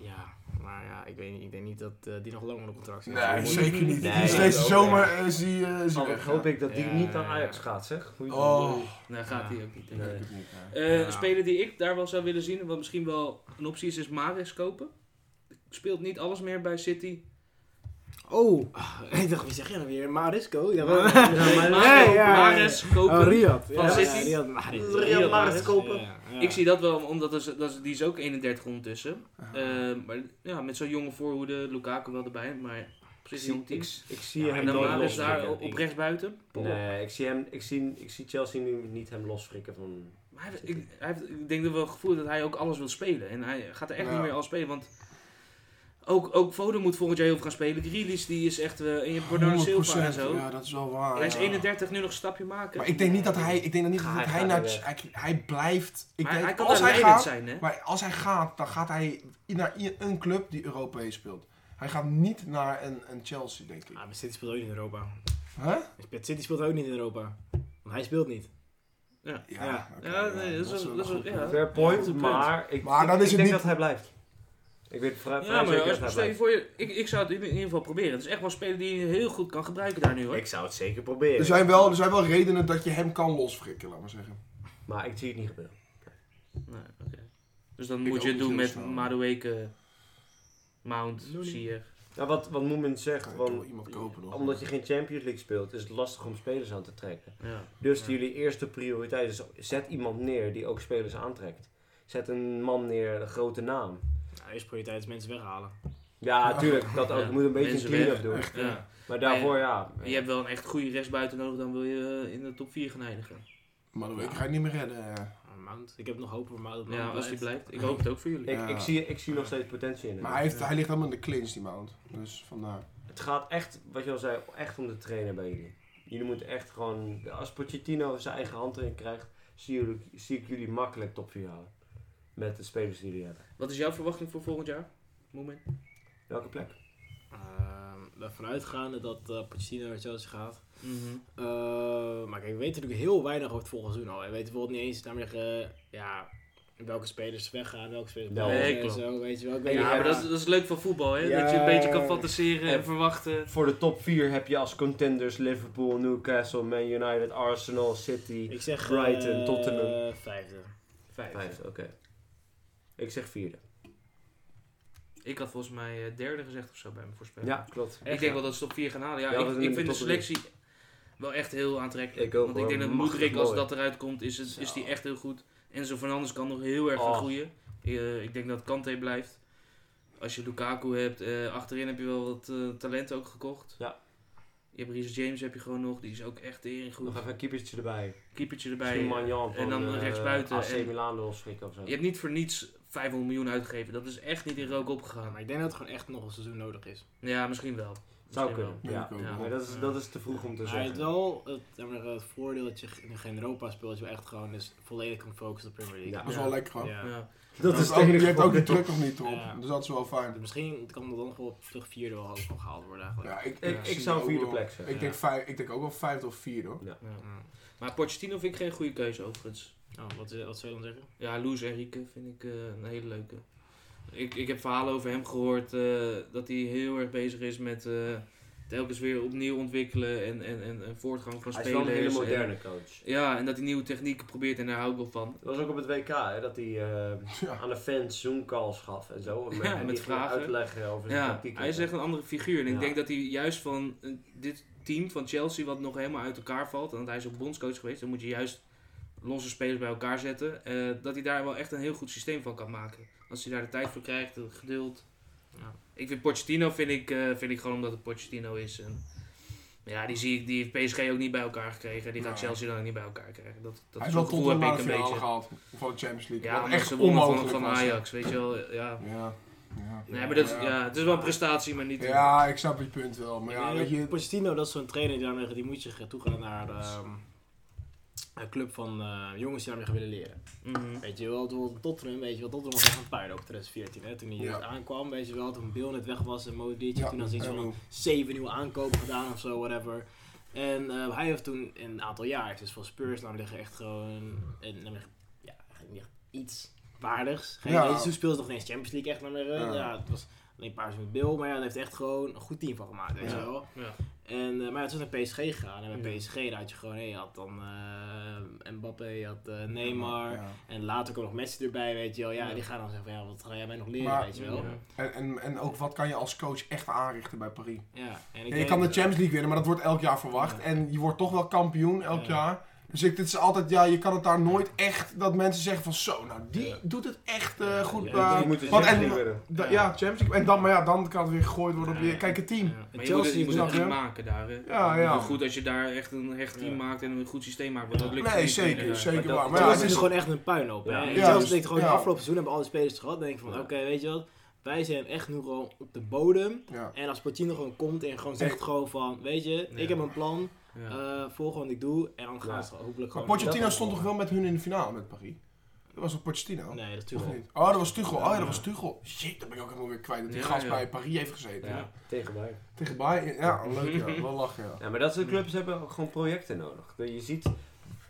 D: Ja, maar ja, ik, weet niet, ik denk niet dat eh, die nog lang onder contract zit.
C: Nee, zeker niet.
B: Nee,
C: Steeds
B: ook
C: deze zomer eh, is die, eh, is die
B: Oh,
C: weg.
B: hoop ik dat die
D: Ja,
B: niet naar
D: ja,
B: Ajax
D: ja.
B: gaat, zeg. Hoe je-
C: Oh,
A: Nou, gaat
D: Ja.
A: hij ook niet. denk ik.
C: nee,
B: Nee.
C: ik het niet. nee.
A: Eh,
D: Ja.
A: Een speler die ik daar wel zou willen zien, wat misschien wel een optie is, is Mares kopen. Speelt niet alles meer bij City.
D: Oh, ik dacht, wie zeg jij nou weer? Marisco? Ja,
B: Ja,
D: maar-
B: maar-
D: Nee, ja,
A: Mares kopen.
D: Oh, Riyad.
A: Van
D: ja,
A: City.
D: ja, Riyad Mahrez.
B: Riyad Mahrez
D: Riyad Mahrez,
B: kopen.
D: ja, ja.
A: Ik zie dat wel, omdat dat is, dat is- die is ook 31 ondertussen. Eh, maar ja, met zo'n jonge voorhoede, Lukaku wel erbij, maar
B: Ik
A: precies een
B: zie,
A: jong team.
B: ik, ik zie
D: Ja,
A: en
B: hem
A: dan
D: nooit
A: Mares
D: losgekeken,
A: daar op,
D: denk
A: op
D: ik.
A: rechtsbuiten.
B: Nee, ik zie, hem, ik, zie, ik zie Chelsea nu niet hem losfrikken van...
A: Maar hij, heeft- ik, hij heeft, ik denk dat wel het gevoel dat hij ook alles wil spelen. En hij gaat er echt
C: Ja.
A: niet meer al spelen. Want ook, ook Foden moet volgend jaar heel veel gaan spelen. Grealish die is echt... eh en je hebt Bernardo Silva en
C: 100%,
A: zo.
C: Ja, dat is wel waar.
A: hij is
C: ja.
A: 31, nu nog een stapje maken.
C: Maar ik denk niet dat hij, ik denk dat niet
B: Hij
C: dat hij
B: gaat
C: naar,
B: weg.
C: hij, hij blijft. Ik
A: Maar
C: denk,
A: hij kan
C: als
A: daar
C: hij
A: leidend
C: gaat,
A: zijn, hè?
C: maar als hij gaat, dan gaat hij naar i- een club die Europees speelt. Hij gaat niet naar een, een Chelsea, denk ik.
D: Ah, maar City speelt ook niet in Europa.
C: Huh?
D: City speelt ook niet in Europa. Want hij speelt niet. Ja.
C: oké,
A: Ja, nee, dat is wel- dat is wel-
C: goed.
A: ja.
B: Fair
A: Ja,
B: point,
A: goed
B: maar ik,
C: Maar dan
B: ik-
C: is
B: ik
C: het
B: denk
C: niet-
B: dat hij blijft. Ik weet vrij, vrij
A: Ja, maar
B: zeker
A: als,
B: dat hij
A: stel je
B: blijft.
A: voor je... Ik, ik zou het in, in ieder geval proberen. Het is echt wel een speler die je heel goed kan gebruiken daar nu, hoor.
B: Ik zou het zeker proberen.
C: Er zijn, wel, er zijn wel redenen dat je hem kan losfrikken, laat maar zeggen.
B: Maar ik zie het niet gebeuren.
A: Nee, oké. Dus dan
C: Ik
A: moet je
C: ook
A: het
C: niet
A: doen
C: heel
A: met
C: snel.
A: Madueke, Mount,
D: Looney.
A: Sier.
B: Nou, wat, wat Moemen zegt,
C: Kan je
B: van,
C: toch iemand kopen nog?
B: omdat je geen Champions League speelt, is het lastig om spelers aan te trekken.
A: Ja.
B: Dus
A: Ja.
B: jullie eerste prioriteit is, zet iemand neer die ook spelers aantrekt. Zet een man neer, een grote naam.
D: Nou, eerste prioriteit is mensen weghalen.
B: Ja, tuurlijk, dat ook.
A: Ja.
B: Je moet een beetje
A: Mensen
B: een clean-up
A: weg.
B: doen.
C: Echt,
A: ja.
B: Maar daarvoor, ja.
A: Je hebt wel een echt goede rechtsbuiten nodig, dan wil je eh, in de top 4 gaan eindigen.
C: Maar dan weet ik, ga je niet meer redden. eh.
D: Maar Ah, Mount. Ik heb nog hoop voor Mount. dat
A: Ja,
D: Mount
A: als die
D: blijft.
A: blijft. Ik hoop het ook voor jullie.
B: Ik,
C: Ja.
B: ik, zie, ik zie nog steeds potentie in hem.
C: Maar hij, heeft, hij ligt helemaal in de clinch, die Mount. Dus vandaar.
B: Het gaat echt, wat je al zei, echt om de trainer bij jullie. Jullie moeten echt gewoon, als Pochettino zijn eigen hand erin krijgt, zie, jullie, zie ik jullie makkelijk top 4 halen. met de spelers die jullie hebben.
A: Wat is jouw verwachting voor volgend jaar? Moment.
B: Welke plek?
D: Ehm, Daarvan uitgaande dat eh Pochettino naar Chelsea gaat.
A: Mhm.
D: Eh, maar kijk, we weten natuurlijk heel weinig over het volgende seizoen al. We weten bijvoorbeeld niet eens namelijk, eh, ja, welke spelers weggaan, welke spelers
B: Nee,
D: blijven en
A: klopt.
D: zo. Weet je wel. Ik
A: Ja,
D: weet niet,
A: maar dat is, dat is leuk van voetbal, hè?
D: Ja.
A: Dat je een beetje kan fantaseren en
B: Ja.
A: verwachten.
B: Voor de top 4 heb je als contenders Liverpool, Newcastle, Man United, Arsenal, City.
D: Ik zeg
B: Brighton,
D: eh,
B: Tottenham.
D: Vijfde.
A: Vijf.
B: Vijfde, oké. Ik zeg vierde.
A: Ik had volgens mij eh, derde gezegd of zo bij mijn voorspelling.
B: Ja, klopt.
A: Ik denk wel dat ze top 4 gaan halen. Ja,
B: Ja, dat
A: ik,
B: is
A: ik
B: in
A: vind
B: de
A: de
B: top drie.
A: selectie wel echt heel aantrekkelijk.
B: Ik ook,
A: Want ik
B: hoor.
A: denk dat
B: Machtig
A: Moedrik, als
B: mooi.
A: dat eruit komt, is, het, is die
B: Zo.
A: echt heel goed. En zo Fernandes kan nog heel erg gaan
B: Oh.
A: groeien. Eh, ik denk dat Kante blijft. Als je Lukaku hebt, eh, achterin heb je wel wat eh, talent ook gekocht.
B: Ja.
A: Je hebt Reece James heb je gewoon nog, die is ook echt erin goed.
B: Nog even een keepertje erbij.
A: Keepertje erbij.
B: Misschien Magnan van
A: en dan
B: eh,
A: rechtsbuiten
B: AC
A: en-
B: Milan of schrikken of zo.
A: Je hebt niet voor niets 500 miljoen uitgegeven. Dat is echt niet in rook opgegaan.
D: Maar ik denk dat het gewoon echt nog een seizoen nodig is.
A: Ja, misschien wel.
B: Zou
A: Misschien
B: kunnen.
A: wel.
C: Ja,
B: Ja.
C: ik ook.
A: Ja.
B: Maar dat is, dat is te vroeg om te
D: Hij heeft
B: zeggen.
D: wel het, namelijk, het voordeel dat je in geen Europa speelt, dat je wel echt gewoon dus volledig kan focussen op de Premier League.
B: Ja.
C: Dat is
A: Ja.
C: wel lekker gewoon.
D: Ja.
A: Ja.
B: Dat
C: Dat
B: is
C: is
B: het
C: ook, je
B: enige
C: hebt ook die
B: voordeel.
C: druk nog niet op.
D: Ja.
C: Dus dat is wel fijn.
D: Misschien kan dat dan nog wel terug vierde wel hoog gehaald worden eigenlijk.
C: Ja, ik,
B: Ik- ik
C: zie
B: zou
C: ook
B: vierde
C: wel-
B: plek zeggen,
C: Ik,
D: ja.
C: denk vijf, ik denk ook wel vijfde of vierde hoor.
A: Ja.
D: Ja.
A: Maar Pochettino vind ik geen goede keuze overigens.
D: Oh, wat, wat zou je dan zeggen?
A: Ja, Luis Enrique vind ik eh, een hele leuke. Ik, ik heb verhalen over hem gehoord eh, dat hij heel erg bezig is met eh, telkens weer opnieuw ontwikkelen en, en, en, en voortgang van
B: Hij is wel
A: spelers.
B: een hele
A: en-
B: moderne coach.
A: ja, en dat hij nieuwe technieken probeert en daar hou ik wel van.
B: Dat was ook op het WK, hè, dat hij eh,
C: Ja.
B: aan de fans Zoom-calls gaf en zo. en
A: Ja,
B: die
A: met
B: ging
A: vragen.
B: uitleggen over zijn
A: Ja,
B: tactiek.
A: hij is echt een andere figuur. En ik
B: Ja.
A: denk dat hij juist van eh, dit team van Chelsea, wat nog helemaal uit elkaar valt, en want hij is ook bondscoach geweest, dan moet je juist losse spelers bij elkaar zetten, eh, dat hij daar wel echt een heel goed systeem van kan maken. Als hij daar de tijd voor krijgt, het geduld.
D: Ja.
A: Ik vind Pochettino, vind ik, eh, vind ik gewoon omdat het Pochettino is. En, ja, die, zie ik, die heeft PSG ook niet bij elkaar gekregen. Die gaat
C: Nee.
A: Chelsea dan ook niet bij elkaar krijgen. Dat, dat
C: Hij is
A: zo'n
C: wel tot de
A: gevoel heb
C: finale
A: ik een beetje.
C: gehaald van de Champions League.
A: Ja,
C: Wat
A: maar
C: echt
A: ze wonnen van,
C: onmogelijk
A: van
C: was, hè.
A: Ajax, weet je wel. Ja.
C: Ja. Ja.
A: Nee, maar dat, is- ja, het is wel een prestatie, maar niet... een-
C: Ja, ik snap je punt wel. Maar ja,
D: Ik
C: weet
D: denk dat
C: je,
D: Pochettino, dat is zo'n trainer die, daarmee- die moet je gaan toegaan naar de, ehm, een club van eh, jongens die daarmee gaan willen leren.
A: Mhm.
D: Weet je wel, bijvoorbeeld Tottenham, weet je wel, Tottenham was echt een puin ook 2014. Hè, toen hij
C: Ja.
D: aankwam, weet je wel, toen Bill net weg was en Modric,
C: Ja,
D: toen had ze iets
C: en
D: van
C: hoe.
D: zeven nieuwe aankopen gedaan of zo, whatever. En eh, hij heeft toen in een aantal jaar, dus van Spurs, namelijk echt gewoon, en, namelijk, ja, eigenlijk niet echt iets waardigs. Geen,
C: Ja.
D: ja. Toen speelde ze nog eens Champions League echt, namelijk, eh,
C: Ja.
D: ja. het was alleen een paar seizoenen met Bill, maar ja, hij heeft echt gewoon een goed team van gemaakt, weet je
C: Ja.
D: wel.
A: Ja.
D: En, eh, maar ja, toen is naar PSG gegaan. En bij
A: Ja.
D: PSG daar had je gewoon, hey, je had dan eh, Mbappé, je had eh, Neymar.
C: Ja.
D: En later kwam nog Messi erbij, weet je wel. Ja,
A: Ja.
D: die gaan dan zeggen van, ja, wat ga jij mij nog leren,
C: Maar-
D: weet je wel. Ja,
A: Ja.
C: En, en, en ook wat kan je als coach echt aanrichten bij Paris?
D: en ik
C: Ja, je
D: denk-
C: kan de Champions League winnen, maar dat wordt elk jaar verwacht.
D: Ja.
C: En je wordt toch wel kampioen elk
D: Ja.
C: jaar. Dus ik, dit is altijd, ja, je kan het daar nooit echt dat mensen zeggen van zo, nou die
D: Ja.
C: doet het echt eh,
D: Ja,
C: goed.
D: ja,
C: eh,
B: die moeten
C: want
B: Champions
C: en-
B: League winnen.
C: da-
D: Ja.
C: ja, Champions League. En dan, maar ja, dan kan het weer gegooid worden op
D: Ja.
C: je, kijk het team.
D: Ja.
A: Maar
D: En
A: je moet, het- je
D: Chelsea
A: moet
D: moet
A: het
C: snap
A: echt
C: je?
A: maken daar. Hè?
C: Ja,
A: Het
C: ja.
A: is goed als je daar echt een hecht team
D: Ja.
A: maakt en een goed systeem maakt. Want dat
D: Ja.
A: lukt
C: Nee,
A: niet
C: zeker,
A: iedereen.
C: zeker
B: Maar
C: waar.
B: dat-
C: Maar
D: Chelsea
C: ja, het
D: is er
C: is,
D: gewoon echt een puin op.
B: Ja.
D: Ja. En
B: Ja,
D: Chelsea
C: dus-
D: denkt gewoon,
C: ja.
D: de afgelopen seizoen hebben we alle spelers gehad. denk ik van,
B: Ja.
D: oké, weet je wat. Wij zijn echt nu gewoon op de bodem.
C: ja.
D: En als Pochettino gewoon komt en gewoon zegt gewoon van, weet je,
A: Ja.
D: ik heb een plan.
A: Ja.
D: eh, volg gewoon wat ik doe. En dan gaan
B: Ja.
D: ze hopelijk
C: Maar
D: gewoon...
C: Pochettino
D: dat-
C: stond toch wel met hun in de finale met Paris? Dat was toch Pochettino?
D: Nee, dat is
C: Of
D: natuurlijk
C: niet? Oh, dat was Tuchel. Oh ja,
D: Ja.
C: dat was Tuchel. Shit, dat ben ik ook helemaal weer kwijt. Dat die
A: Ja,
C: gast
A: ja.
C: bij Paris heeft gezeten.
A: Ja.
B: Tegen mij.
C: Tegen Bayern. Ja, leuk ja. Wel lachen ja.
B: Ja, maar dat soort clubs hebben ook gewoon projecten nodig. Je ziet,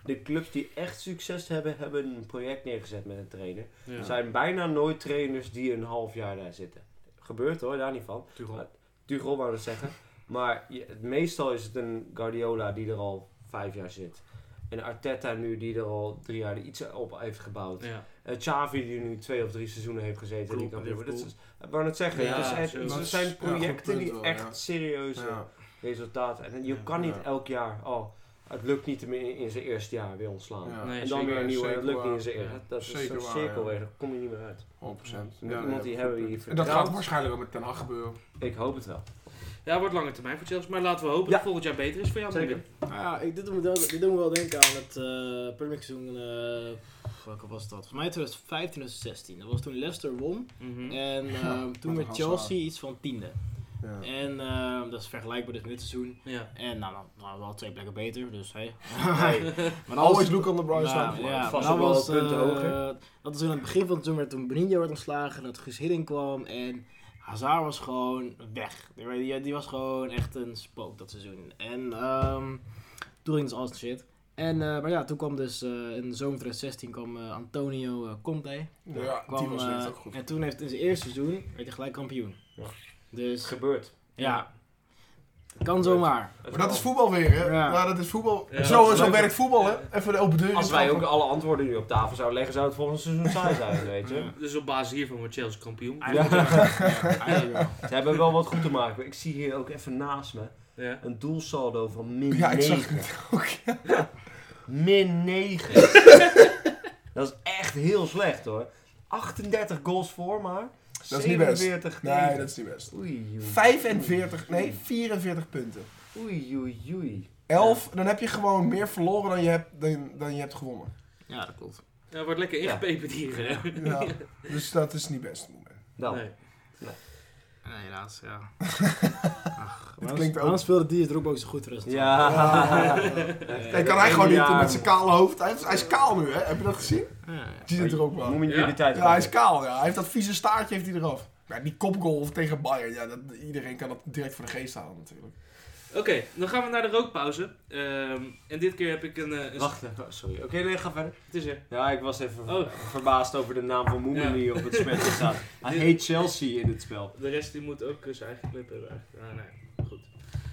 B: de clubs die echt succes hebben, hebben een project neergezet met een trainer. Er zijn bijna nooit trainers die een half jaar daar zitten. Gebeurt hoor, daar niet van.
D: Tuchel.
B: Tuchel wou dat zeggen. Maar je- het- meestal is het een Guardiola die er al vijf jaar zit. Een Arteta nu die er al drie jaar iets op heeft gebouwd.
A: Ja.
B: Eh, Xavi die nu twee of drie seizoenen heeft gezeten.
D: Klopt,
B: die kampioen wordt.
D: Liverpool.
B: Dat is- ik wou net zeggen,
A: Ja,
B: het, is- het-
A: zo.
B: het
A: Dat
C: is- ja,
B: zijn
C: goed
B: projecten
C: punt
B: die
C: wel,
B: echt
C: ja.
B: serieuze
C: Ja.
B: resultaten. En je
D: Ja,
B: kan niet
C: ja.
B: elk jaar, oh, het lukt niet hem in, in zijn eerste jaar weer ontslaan.
C: Ja.
A: Nee,
B: en dan eh,
A: zeker.
B: weer een nieuwe, en het
C: Zeker
B: lukt niet
C: waar.
B: in zijn eerste.
A: Ja.
B: Dat is
C: Zeker
B: zo'n
C: waar,
B: cirkelweg,
C: ja.
B: daar kom je niet meer uit.
C: 100%. Ja,
B: Moet
C: ja,
B: iemand die hebben
C: goed
B: die
C: punt. En dat gaat
B: vertrouwt.
C: waarschijnlijk ook met Ten Hag gebeuren.
B: Ik hoop het wel.
A: ja, wordt lange termijn voor Chelsea. Maar laten we hopen
B: Ja.
A: dat volgend jaar beter is voor jou.
B: Zeker.
A: Robin.
D: Nou ja, ik, dit, doet me wel, dit doet me wel denken aan het eh Premier League seizoen. eh, pff, welke was dat? Volgens mij 2015, 2016. Dat was toen Leicester won.
A: Mhm.
D: En eh, toen
C: Met
D: werd
C: Hazard.
D: Chelsea iets van tiende.
C: Ja.
D: En ehm, dat is vergelijkbaar dus met dit seizoen.
A: Ja.
D: En nou, nou, nou wel twee plekken beter, dus hey. maar
C: Always look on the bright side.
D: nou, ja,
A: Vast
D: maar
A: ook
D: dat
A: wel
D: was,
A: punten
D: eh,
A: hoger.
D: Dat is in het begin van het seizoen werd toen Benitho werd ontslagen, dat Guus Hiddink kwam en Hazard was gewoon weg. Die, die, die was gewoon echt een spook dat seizoen. En ehm, toen ging dus alles shit. En, eh, maar ja, toen kwam dus eh, in de zomer 2016 kwam eh, Antonio eh, Conte.
C: Ja,
D: Kwam,
C: die was echt
D: eh,
C: ook goed.
D: En toen heeft in zijn eerste seizoen werd hij gelijk kampioen.
B: Ja.
D: Dus
B: Gebeurt.
D: ja, kan zomaar.
B: Het
C: Maar dat
B: kan.
C: is voetbal weer, hè?
D: Ja.
C: Ja, dat is voetbal.
A: Ja.
C: zo
A: Dat is
C: zo
A: leuk.
C: werkt voetbal, hè? Even de open deur.
B: Als wij ook alle antwoorden nu op tafel zouden leggen, zou het volgend seizoen saai zijn, weet je.
D: Ja.
A: Dus op basis hiervan wordt Chelsea kampioen.
B: Ja.
D: Eigenlijk wel.
B: Ze hebben wel wat goed te maken. Ik zie hier ook even naast me
A: Ja.
B: een doelsaldo van min
C: Ja, ik zag
B: 9.
C: het ook.
B: Min 9. dat is echt heel slecht hoor. 38 goals voor, maar
C: Dat is niet best.
B: 47
C: Nee,
B: tegen.
C: dat is niet best.
B: Oei, oei.
C: 45, nee, 44 punten.
B: Oei, oei, oei.
C: 11, dan heb je gewoon meer verloren dan je hebt, dan, dan je hebt gewonnen.
D: Ja, dat klopt.
A: Ja, wordt lekker
B: Ja.
A: ingepeperd hier. hè?
C: Ja. dus dat is niet best.
B: Nou,
A: Nee.
D: Nee, helaas, ja. Ach,
C: Het klinkt ook-
D: waarom speelde die het ook zo goed Eh, voor ons?
B: Ja.
C: Ja. Hij kan hij gewoon niet
B: Ja.
C: met zijn kale hoofd. Hij is, hij is kaal nu, hè? Heb je dat gezien?
D: oh,
C: Die zit er ook wel.
B: Moet je
A: Ja?
B: die tijd
C: Ja, hij is kaal, ja. Hij heeft dat vieze staartje heeft hij eraf. Maar die kopgoal tegen Bayern, ja, dat, iedereen kan dat direct voor de geest halen natuurlijk.
A: Oké, dan gaan we naar de rookpauze. Ehm, en dit keer heb ik een... eh, een-
B: Wacht even, oh, sorry. Oké, nee, ga verder.
A: Het is er.
B: Ja, ik was even
A: Oh.
B: verbaasd over de naam van Moemen
A: Ja.
B: die op het spel staat. Hij heet Chelsea in het spel.
A: De rest die moet ook eh, zijn eigen club hebben. eigenlijk. Ah, nee, goed.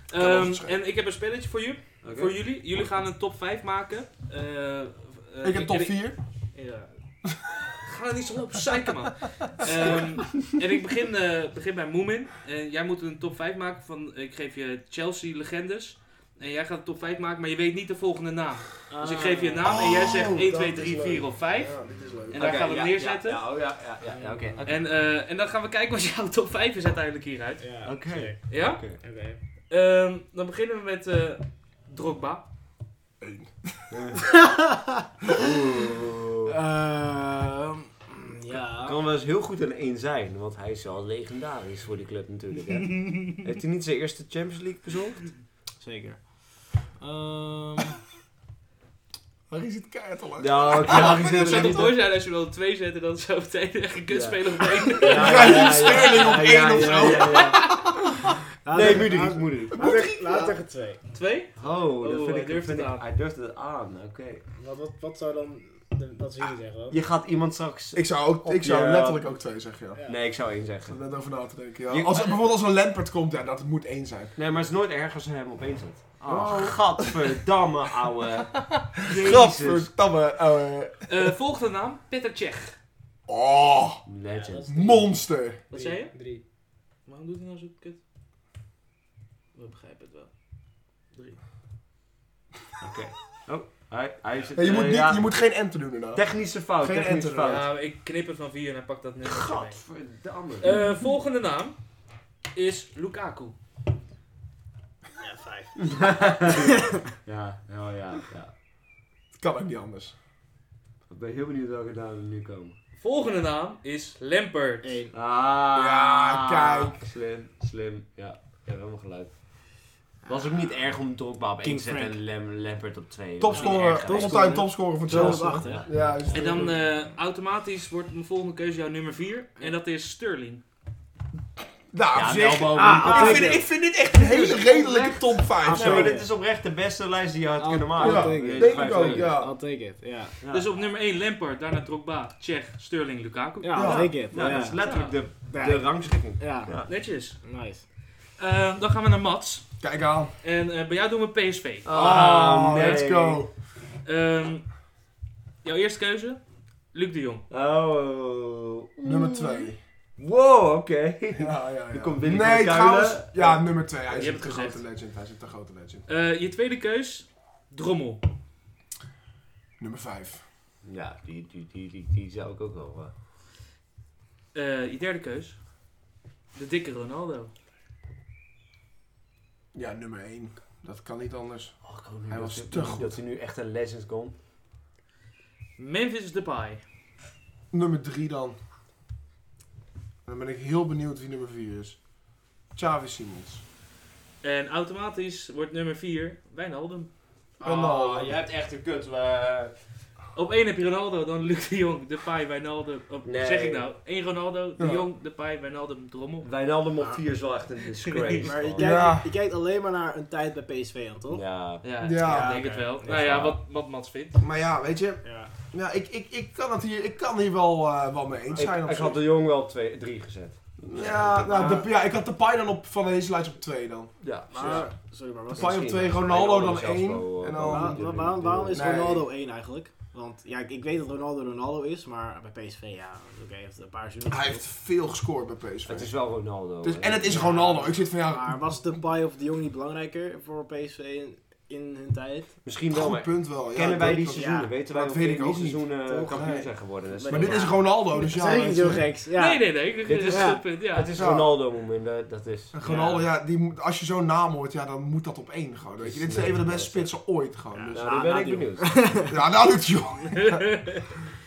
C: Kan wel
A: Ehm,
C: verschillen.
A: en ik heb een spelletje voor jullie. Voor jullie. Jullie gaan een top 5 maken. Eh, eh,
C: Ik heb top
A: en
C: 4.
A: Ja. Ga er niet zo op zeiken, man. Ehm, en ik begin, eh, begin bij Moomin. En jij moet een top 5 maken van... Ik geef je Chelsea legendes. En jij gaat een top 5 maken, maar je weet niet de volgende naam. Dus ik geef je een naam en jij zegt
C: Oh,
A: 1,
C: dat
A: 2,
C: is
A: 3,
C: leuk.
A: 4 of 5.
C: Ja, dit is leuk.
A: En daar gaan we hem neerzetten.
B: Ja, ja,
D: eh.
B: oh, ja, ja, ja, ja, oké. oké.
A: En, eh, en dan gaan we kijken wat jouw top 5 is uiteindelijk hieruit.
D: Ja,
B: Oké.
A: Ja?
B: Oké.
D: Oké.
A: Ehm, dan beginnen we met eh, Drogba.
B: Oeh.
D: Ehm, Ja.
B: Kan wel eens heel goed in één zijn, want hij is al legendarisch voor die club natuurlijk. Hè? Heeft hij niet zijn eerste Champions League bezorgd?
D: Zeker. Ehm,
C: Maar hij zit keihard al uit.
B: Ja, oké.
A: Het
B: Ja,
A: zou toch mooi zijn als je er dan twee zet en dan zo meteen echt een kutspeler op één.
B: ja, ja,
C: Sterling op
B: ja,
C: één
B: ja,
C: of
B: ja,
C: zo.
B: ja, ja. Nee, Mudrik,
D: laat-
B: Mudrik.
D: laat- laat- Laat tegen twee.
A: Twee?
B: Oh,
A: Oh,
B: dat vind
A: hij
B: ik,
A: durft
B: vind
A: het
B: ik-
A: aan.
B: Hij durft het aan, oké.
D: Wat- Wat wat zou dan... de- Dat zou jullie zeggen, hoor.
B: Je gaat iemand straks...
C: Ik zou, ook, ik zou
B: Ja.
C: letterlijk ook twee zeggen, ja.
D: Ja.
B: Nee, ik zou één
C: Ik zat
B: zeggen.
C: net over na te denken. Ja.
B: Je-
C: Als, bijvoorbeeld als een Lampert komt, ja, dat moet één zijn.
B: Nee, maar het is nooit erg als ze hem op één zet. Oh,
C: Oh.
B: gadverdamme, ouwe. Jezus.
C: Gadverdamme. ouwe.
A: Eh, volgende naam, Peter Cech.
C: Oh,
D: Ja, dat
B: Legend.
D: is drie.
C: monster.
A: Wat zei je?
D: Drie.
A: Waarom doet hij nou zo kut? We begrijpen het wel. Drie.
B: Oké. Oh, hij, hij zit...
C: Ja, je,
B: eh,
C: moet niet,
B: ja,
C: je moet geen enten doen daarna.
B: Technische fout,
C: Geen
B: technische
C: enter,
B: fout.
A: Ja, ik knip het van vier en hij pakt dat net niet mee.
B: Gadverdamme.
A: Eh, volgende naam is Lukaku.
D: Ja, vijf.
B: ja, oh ja, ja.
C: Kan ook niet anders.
B: Ik ben heel benieuwd welke namen er nu komen.
A: Volgende naam is Lampert.
D: Eén.
B: Ah.
C: Ja, kijk.
B: Slim, slim. Ja, ik heb helemaal gelijk. Was ook niet erg om Drogba op één
D: King
B: te zetten
D: Frank.
B: en Lem Lampert op twee.
C: Topscorer,
B: Dat is niet erg,
C: all-time topscorer voor
D: Zo op
C: Chelsea.
D: acht, hè?
C: Ja, is
A: En dan eh, automatisch wordt mijn volgende keuze jouw nummer 4. En dat is Sterling.
C: Nou,
B: Ja,
C: op
B: wel
C: zich-
B: boven.
D: Ah,
B: Ah,
D: ah,
C: ik, vind, ik vind dit echt een hele redelijke top 5.
B: Nee, maar
D: Zo.
B: dit is oprecht de beste lijst die je had
D: Ah,
B: kunnen maken.
C: ah, ja,
D: denk ik.
B: Deze
C: denk
B: vijf
C: ik ook,
B: spelers.
C: ja.
D: I'll take it, ja.
B: Ja.
A: Dus op nummer 1 Lampert, daarna Drogba, Cech, Sterling, Lukaku.
D: Ja,
C: Ja.
D: I'll take it.
B: Ja, dat is letterlijk de,
D: Ja.
B: de rangschikking.
D: Ja,
B: Ja.
A: Netjes.
D: nice.
A: Eh, dan gaan we naar Mats.
C: Kijk aan.
A: En eh, bij jou doen we PSV.
C: Ah, let's go.
A: Ehm, jouw eerste keuze? Luc de Jong.
B: Oh.
C: Nummer 2.
B: Wow, oké.
C: Ja, ja, ja.
B: Die komt binnen
C: Nee,
B: met de
C: trouwens.
B: kuilen.
C: Ja, nummer 2. Hij
A: Je
C: is
A: hebt
C: echt een
A: het
C: grote
A: gezegd.
C: legend. Hij is echt een grote legend.
A: Eh, je tweede keus? Drommel.
C: Nummer 5.
B: Ja, die, die, die, die, die zou ik ook wel. eh,
A: Eh, je derde keus? De dikke Ronaldo.
C: Ja, nummer 1. Dat kan niet anders.
B: Oh, ik hoop nu
C: Hij
B: dat
C: was
B: ze-
C: te goed.
B: Dat hij nu echt een Legends komt.
A: Memphis Depay.
C: Nummer 3 dan. Dan ben ik heel benieuwd wie nummer 4 is. Xavi Simons.
A: En automatisch wordt nummer 4 Wijnaldum.
C: Ronaldo.
B: Oh, je hebt echt een kut. maar-
A: Op 1 heb je Ronaldo, dan Luc de Jong, Depay, Wijnaldum. Op,
B: Nee.
A: Zeg ik nou? 1 Ronaldo, de
C: Ja.
A: Jong, Depay, Wijnaldum, Drommel.
B: Wijnaldum op 4 is wel echt een disgrace.
D: Maar je
B: man.
D: kijkt,
C: Ja.
D: je kijkt alleen maar naar een tijd bij PSV aan, toch?
B: Ja.
A: Ja,
C: Ja.
A: ik denk het wel.
D: Ja,
A: nou ja,
B: ja.
A: wat, wat Mats vindt.
C: Maar ja, weet je,
D: Ja.
C: ja, ik, ik, ik kan het hier, ik kan hier wel, eh, wel mee eens
B: Ik,
C: zijn. op
B: ik
C: zich.
B: had de Jong wel 3 gezet.
C: ja, nou,
D: Ja.
C: de, ja, ik had de Pai dan op van Heesluis op 2 dan.
B: Ja.
D: Maar, sorry, maar
C: De
D: was
C: Pai op
B: Dus misschien.
C: 2, Ronaldo dan
B: Ronaldo zelfs
C: 1.
B: wel,
C: En
B: eh,
C: dan,
D: Waar- waar- waarom, waarom is
C: Nee.
D: Ronaldo 1 eigenlijk? Want ja, ik, ik weet dat Ronaldo Ronaldo is, maar bij PSV, ja, oké, hij heeft een paar zoenen.
C: hij heeft veel gescoord bij PSV.
B: Het is wel Ronaldo. eh.
C: Dus,
B: hè.
C: en het is Ronaldo. Ik zit van ja,
D: Maar was de Pai of de Jong niet belangrijker voor PSV in, in hun tijd?
B: Misschien wel,
C: goed
B: maar
C: punt wel. Ja,
B: kennen wij
C: dat-
B: die
C: dat-
B: seizoenen?
D: ja,
B: Weten wij
C: dat
B: of
C: weet
B: die
C: ik ook niet.
B: seizoenen eh,
C: Toch?
B: kampioen
C: Nee.
B: zijn geworden? Dus
D: Maar
C: Maar
B: dat
C: dit is
B: maakt-
C: Ronaldo, dus ja.
D: dat is niet
C: weet
D: zo
C: je.
D: geks. Ja.
A: Nee, nee, nee. Dit
B: Dit
A: is
D: is-
A: een goed punt. Ja.
B: Het is
C: Ja.
B: Ronaldo moment, eh, dat is.
C: En Ronaldo, ja, die, moet- als je zo'n naam hoort, ja, dan moet dat op één gewoon. Weet je. Dit is
B: Nee,
C: een van de
B: dat
C: beste
B: is-
C: spitsen ooit gewoon.
D: Ja.
C: Dus,
B: Nou, daar
D: na
B: ben ik
D: die
B: benieuwd.
C: ja, nou doet jong.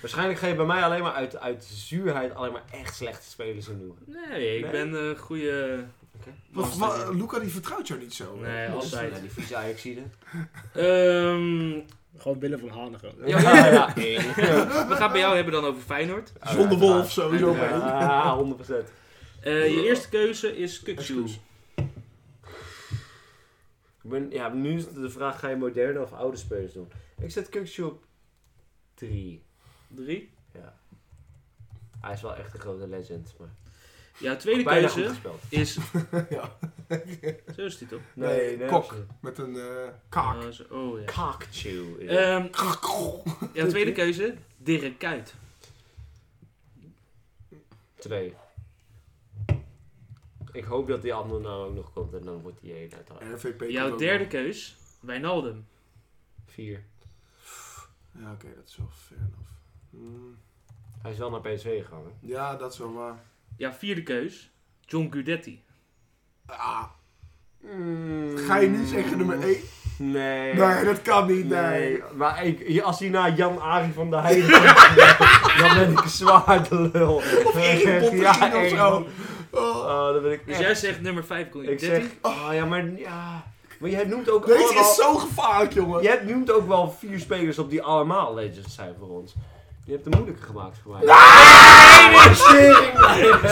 B: Waarschijnlijk ga je bij mij alleen maar uit, uit zuurheid alleen maar echt slechte spelers in doen.
A: Nee, ik
B: Nee.
A: ben een goede...
C: Wat- wat- Luca die vertrouwt jou niet zo.
A: Nee,
C: Dus-
A: altijd.
B: Ja, die vieze Ajaxide.
A: Ehm,
D: Gewoon Willem van Hanen gewoon.
A: Ja,
B: ja, ja. één.
A: we gaan bij jou hebben dan over Feyenoord.
C: Zonder Wolf sowieso.
A: Uiteraard.
C: man.
B: Ja, 100%.
A: Eh, je eerste keuze is Kukzu.
B: Ik ben, ja, nu is de vraag, ga je moderne of oude spelers doen? Ik zet Kukcu op 3.
A: Drie.
B: Ja. Hij is wel echt een grote legend, maar
A: Jouw tweede
B: bijna goed
A: keuze
B: gespeeld.
A: is...
C: Ja.
A: Zo is die toch?
C: Nee, kok. Met een eh, kaak.
A: Oh, zo- oh ja.
B: Kakchu.
A: Ehm,
C: Krak.
A: jouw tweede keuze, Dirk Kuyt.
B: 2. Ik hoop dat die andere naam ook nog komt en dan wordt die 1 uiteraard.
C: RVP. komt
A: Jouw
C: ook
A: derde keus, Wijnaldum.
B: 4.
C: nog. Ja, oké, dat is wel fair enough. Hmm.
B: Hij is wel naar PSV gegaan. hè?
C: Ja, dat is wel waar.
A: Jouw vierde keus, John Guidetti.
C: Ah, ga je nu zeggen nummer 1?
B: Nee.
C: Nee, dat kan niet, nee.
B: Nee, maar ik, als hij naar Jan Arie van der Heijden komt, dan ben ik zwaar de lul.
C: Of Erik Pottersien
B: Ja,
C: of
B: Erik
C: zo.
B: Pot-
C: Oh,
B: Oh, dan ben ik
A: Dus
B: echt-
A: jij zegt nummer vijf, John
B: Ik
A: Guidetti.
B: zeg, oh ja, maar ja. Maar jij noemt ook
C: deze
B: allemaal...
C: is zo gevaarlijk, jongen.
B: Jij noemt ook wel vier spelers op die allemaal legends zijn voor ons. Je hebt het moeilijker gemaakt voor mij.
C: Ah,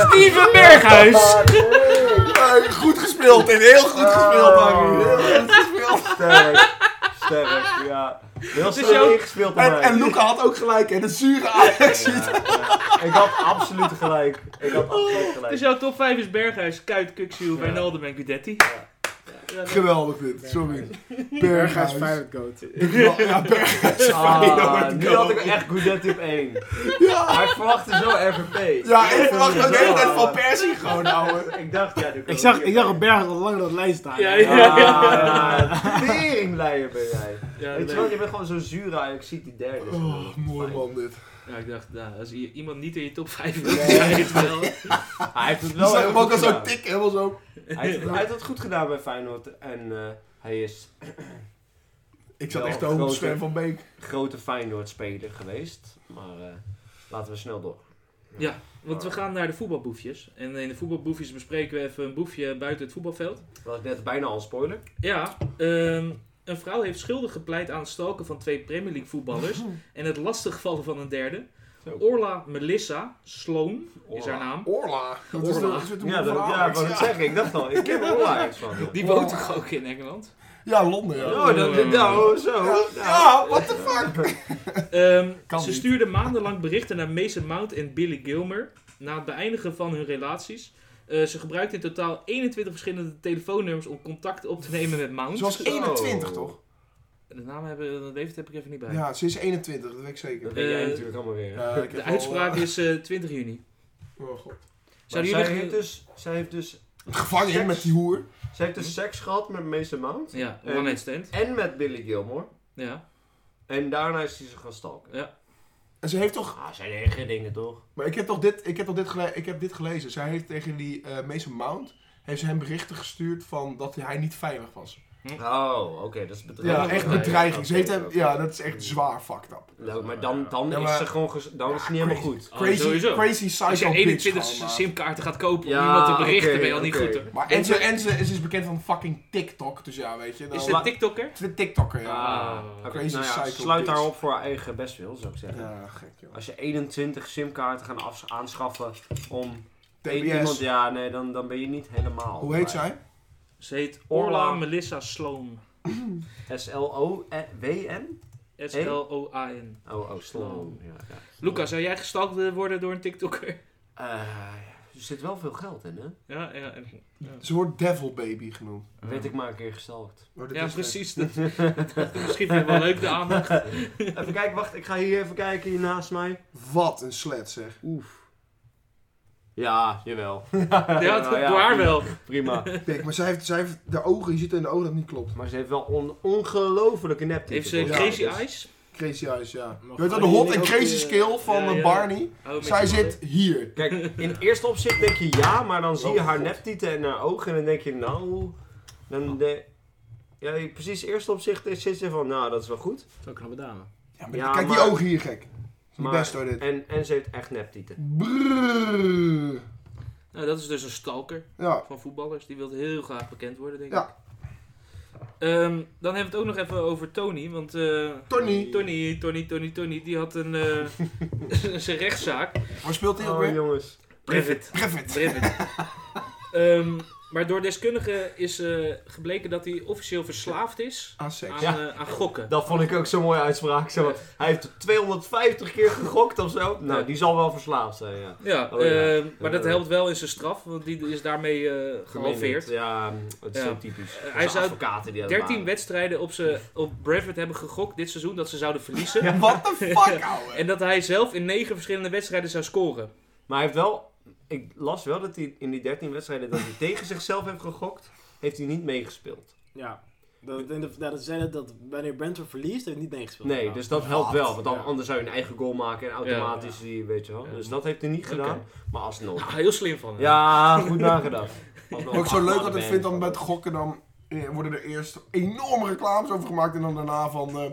A: Steven Berghuis!
C: Nee, goed gespeeld en heel goed gespeeld,
B: Oh.
C: Harry. Heel goed gespeeld.
B: Sterk. Sterk, ja. Heel
A: is jouw-
B: snel ingespeeld door
C: En,
B: mij.
C: en Luca had ook gelijk, en de zure Ajax.
B: Ja, ja. Ik had absoluut gelijk. Ik had absoluut gelijk.
A: Dus jouw top 5 is Berghuis, Kuyt, Kukzu,
B: Ja.
A: Wijnaldum en Guidetti.
C: Geweldig dit, sorry.
D: Berghuis
C: Berghuis.
D: Feyenoord Goat.
C: Ik wil- Ja, Berghuis.
B: Ah, nu had ik
C: Feyenoord.
B: echt Goudet op 1.
C: Ja.
B: Maar ik verwachtte zo RVP.
C: Ja, ik verwacht ook de hele tijd van
B: per.
C: Persie gewoon, ouwe.
B: Ik dacht, ja, nu
D: Ik zag, ik zag op Berghuis al lang dat lijst staan.
A: Ja,
B: Ja,
A: ja.
B: ja. Teringleier ben jij.
A: Ja,
B: Weet je
A: leuk.
B: wel, je bent gewoon zo zuur aan. Ik zie die derde. is
C: Oh,
B: gewoon
C: mooi
B: fijn.
C: man dit.
A: Ja, ik dacht, nou, als i- iemand niet in je top 5 wil, dan is het wel.
B: Hij heeft het
C: Die
B: wel
C: zag
B: heel
C: hem ook
B: goed
C: al zo
B: gedaan.
C: tik, helemaal zo.
B: Hij heeft, hij heeft het goed gedaan bij Feyenoord. En eh, hij is
C: Ik zat
B: Wel
C: echt te hoog op
B: grote-
C: Sven van Beek.
B: grote Feyenoord-speler geweest. Maar eh, laten we snel door.
A: Want we gaan naar de voetbalboefjes. En in de voetbalboefjes bespreken we even een boefje buiten het voetbalveld.
B: Was ik net bijna al een spoiler.
A: Ja, ehm, een vrouw heeft schuldig gepleit aan het stalken van twee Premier League voetballers. en het lastigvallen van een derde.
B: Zo.
A: Orla Melissa Sloan is
B: nou
A: haar naam.
C: Orla. Dat is
A: Orla.
C: de- is het de
B: Ja,
C: boel
B: dat,
C: van
B: ja,
C: Ajax,
B: wat ik zeg, ik dacht al, ik ken er wel iets van.
A: Die
C: Orla.
A: woont toch ook in Engeland?
C: Ja, Londen, ja.
A: Ja.
B: Oh, dat, dat- nou, zo.
C: Ja, what the fuck?
A: Ehm,
C: Kan
A: ze
C: niet.
A: stuurde maandenlang berichten naar Mason Mount en Billy Gilmer. Na het beëindigen van hun relaties. Eh, ze gebruikte in totaal 21 verschillende telefoonnummers om contact op te nemen met Mount.
C: Ze was 21, toch?
A: De naam hebben, de leeftijd heb ik even niet bij.
C: Ja, ze is 21, dat weet ik
B: Dat
C: zeker.
B: weet jij
A: Eh,
B: natuurlijk allemaal weer.
C: Ja, ik heb
A: De
C: al,
A: uitspraak
C: eh,
A: is eh, 20 juni.
C: Oh god.
B: Maar
A: Zouden
B: zij,
A: jullie...
B: heeft dus, zij, heeft dus,
C: Gevangen in met die hoer.
B: zij heeft
C: Hm?
B: dus seks gehad met Mason Mount.
A: Ja,
B: Eh,
A: one night stand.
B: En met Billy Gilmore.
A: Ja.
B: En daarna is hij ze gaan stalken.
C: En ze heeft toch...
B: Ah, zijn eigen dingen toch?
C: Maar ik heb toch dit, ik heb toch dit, gele- ik heb dit gelezen. Zij heeft tegen die eh Mason Mount... Heeft ze hem berichten gestuurd van dat hij niet veilig was.
B: Oh, oké, dat is bedreiging.
C: Ja, echt bedreiging. Ze heeft hem, ja, dat is echt zwaar fucked up.
B: Leuk, Nou, maar dan, dan
C: Ja, maar-
B: is ze gewoon ges- dan is het niet helemaal goed.
A: Oh,
C: Crazy,
A: sowieso.
C: crazy psycho
A: Als je
C: bitch
A: 21
C: gewoon, maar.
A: simkaarten gaat kopen
B: Ja,
A: om iemand te berichten,
B: oké,
A: ben je al niet
B: oké.
A: goed hoor.
C: Maar en, ze, en ze, ze is dus bekend van fucking TikTok, dus ja, weet je. Dan,
A: Is
B: la-
A: het TikToker?
C: Ze is een TikToker, ja.
A: Ah,
B: Oké,
C: crazy
B: nou ja,
C: psycho
B: sluit
C: bitch.
B: daarop voor haar eigen bestwil, zou ik zeggen.
C: Ja, gek joh.
B: Als je 21 simkaarten gaan afs- aanschaffen om één iemand,
C: TBS.
B: ja, nee, dan, dan ben je niet helemaal.
C: Hoe heet
B: bij.
C: zij?
A: Ze heet
B: Orla.
A: Orla Melissa Sloan.
B: S-L-O-W-N?
A: S-L-O-A-N.
B: E Oh, oh, Sloan. Ja, ja.
A: Luca, zou jij gestalkt willen worden door een TikToker?
B: Eh, er zit wel veel geld in, hè?
A: Ja, ja. en-
C: Ze wordt Devil Baby genoemd.
B: Weet ik maar een keer gestalkt.
C: Maar dat
A: Ja,
C: is-
A: precies. Dat, misschien vind je wel leuk de aandacht.
B: Even kijken, wacht, ik ga hier even kijken, hier naast mij.
C: Wat een slet zeg.
B: Oef. Ja, jawel.
A: Ja,
B: Nou
A: dat- door haar wel.
B: Prima.
C: Kijk, maar zij heeft, zij heeft de ogen, je ziet in de ogen dat het niet klopt.
B: Maar ze heeft wel on ongelofelijke neptieten.
A: Heeft ze
B: toch?
C: Ja,
A: crazy
B: dus-
A: eyes?
C: Crazy Eyes, ja.
D: Maar
C: Je weet wel, de
D: gewoon
C: hot
D: die
C: en
D: ook,
C: crazy
D: eh,
C: skill van
A: ja,
C: eh,
A: ja.
C: Barney.
A: Oh, met
C: Zij
A: je
C: zit hier.
B: Kijk, in eerste opzicht denk je ja, maar dan zie je
C: Oh,
B: haar
C: God.
B: neptieten en haar ogen en dan denk je nou... Dan de... Ja, precies, in eerste opzicht is- zit ze van nou, dat is wel goed.
D: Zo'n knappe dame.
C: Ja, maar
B: Ja,
C: kijk
B: maar-
C: die ogen hier gek. Maar,
B: Maar-
C: best hoor dit.
B: En, en ze heeft echt neptieten.
C: Brrrr.
A: Nou, dat is dus een stalker
C: Ja,
A: van voetballers. Die wil heel graag bekend worden, denk
C: Ja.
A: ik. Ehm, dan hebben we het ook nog even over Tony. Want eh,
C: Tony.
A: Tony, Tony, Tony, Tony, die had een eh, zijn rechtszaak.
C: Waar speelt hij ook
B: Oh
C: weer?
B: jongens.
A: Brevet.
C: Griffith.
A: Brevet. Ehm, maar door deskundigen is eh, gebleken dat hij officieel verslaafd is
C: Aan seks.
A: aan,
B: Ja.
A: eh, aan gokken.
B: Dat vond ik ook zo'n mooie uitspraak. Zo. Hij heeft 250 keer gegokt of zo. Nou, die zal wel verslaafd zijn, ja.
A: Ja,
B: Oh, ja.
A: ehm, maar dat
B: Eh.
A: helpt wel in zijn straf, want die is daarmee eh, gehalveerd.
B: Ja, het is
A: Ja.
B: zo typisch.
A: Eh, hij
B: hij
A: zou
B: advocaten die dat
A: 13
B: waren.
A: wedstrijden op, ze, op Brevet hebben gegokt dit seizoen dat ze zouden verliezen.
C: What the fuck, ouwe.
A: En dat hij zelf in 9 verschillende wedstrijden zou scoren.
B: Maar hij heeft wel... Ik las wel dat hij in die 13 wedstrijden dat hij tegen zichzelf heeft gegokt, heeft hij niet meegespeeld.
D: Ja. Dat, in de, dat zei dat, dat wanneer Brentford verliest, heeft hij niet meegespeeld.
B: Nee,
D: Nou,
B: dus dat helpt wel. Want dan,
D: Ja.
B: anders zou je een eigen goal maken en automatisch die, weet je wel.
A: Ja.
B: Dus dat heeft hij niet
A: Oké.
B: gedaan. Maar alsnog.
A: Nou, heel slim van hem.
B: Ja, goed nagedacht. Alsnog
C: Wat ik zo leuk
B: acht
C: altijd
B: man.
C: vind dan met gokken, dan eh, worden er eerst enorme reclames over gemaakt. En dan daarna van, eh,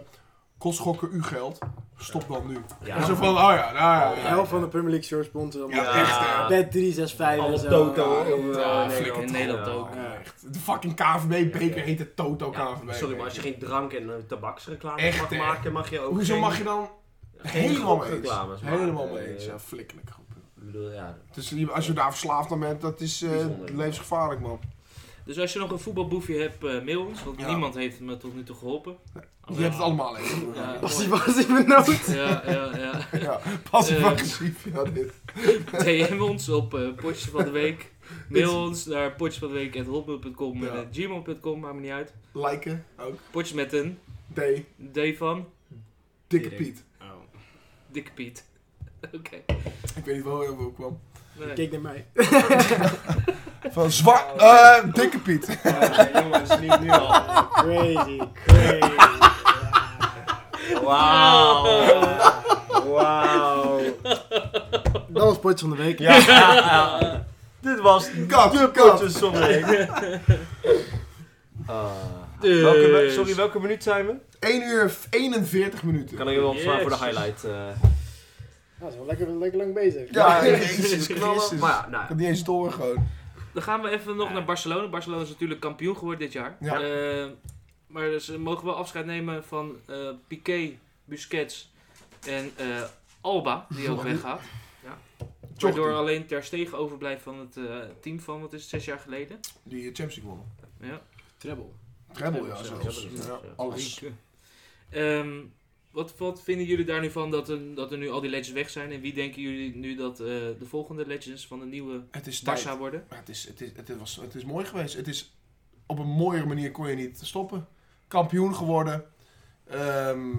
C: kost gokken u geld. Stop dan nu.
B: Ja.
C: En zo van, oh ja, nou ja.
D: De
C: ja.
D: helft van de Premier League shirts sponsor.
C: Ja,
D: allemaal. eh,
C: echt, hè.
D: Bet 365 en
B: Alle
D: zo.
B: Toto.
C: Ja,
B: eh,
A: ja,
B: in
D: Oh,
A: flikker, in Nederland
B: Ja.
A: ook.
C: Ja, echt. De fucking KVB-beker
B: Ja, ja.
C: heet het Toto
B: Ja,
C: KVB.
B: sorry, maar als je geen drank- en eh, tabaksreclame
C: Echt,
B: mag
C: hè?
B: maken, mag je ook
C: Hoezo
B: geen,
C: mag je dan
B: geen
C: helemaal mee eens?
B: gokreclames maken.
C: Helemaal mee
B: Eh,
C: eens, ja. Flikkelijk groepen.
B: Ik bedoel, ja.
C: Dus je- als je daar verslaafd aan bent, dat is eh,
B: Bijzonder.
C: levensgevaarlijk, man.
A: Dus als je nog een voetbalboefje hebt, eh, mail ons. Want
C: Ja.
A: niemand heeft me tot nu toe geholpen.
B: Oh,
C: Je hebt het allemaal even.
A: Ja.
D: Was hij was hij benoemd?
A: Ja, ja, ja.
C: Ja, passief
A: Eh.
C: agressief. Ja, dit.
A: DM ons op eh Potjes van de Week. Mail ons naar potjesvandeweek.hotmail.com en
C: Ja.
A: eh, gmail.com, maakt me niet uit.
C: Liken ook.
A: Potjes met een
C: D.
A: D van
C: Dikke
D: Dirk.
C: Piet.
D: Oh.
A: Dikke Piet. Oké.
C: Ik weet niet eh, waar hij over kwam.
A: Nee.
D: Kijk naar mij.
C: Van zwart. eh dikke Piet.
B: jongens, niet nu al.
D: Crazy, crazy.
B: Wauw. Wauw.
D: Dat was potje van de week.
B: Ja. Dit was
C: Kap,
B: de
C: kap.
B: potje zonneweek.
A: Dus.
B: Eh, welke, we- sorry, welke minuut zijn we?
C: 1 uur f- 41 minuten.
B: Kan ik wel opslaan voor de
A: Jezus.
B: highlight. eh.
D: Dat is wel lekker, lekker lang bezig.
C: Ja,
B: Ja,
C: jezus Christus.
B: Maar ja,
C: Ik
B: nou,
C: heb niet eens door gewoon.
A: Dan gaan we even nog naar Barcelona. Barcelona is natuurlijk kampioen geworden dit jaar.
C: Ja.
A: Eh, maar ze mogen wel afscheid nemen van eh Piqué, Busquets en eh, Alba, die ook
C: Jordi.
A: weggaat. Waardoor
C: Jordi,
A: alleen Ter Stegen overblijft van het eh, team van, wat is het, zes jaar geleden?
C: die eh, Champions League wonnen.
A: Ja.
D: Treble.
C: Treble, ja,
D: Ja,
C: zelfs.
B: Treble,
C: Ja,
B: ja.
C: alles.
A: Ehm, wat, wat vinden jullie daar nu van dat er, dat er nu al die legends weg zijn? En wie denken jullie nu dat eh, de volgende legends van de nieuwe
C: Het is tijd.
A: Barça worden?
C: Maar het, is, het, is, het, was, het is mooi geweest. Het is, op een mooiere manier kon je niet stoppen. Kampioen geworden. Ehm,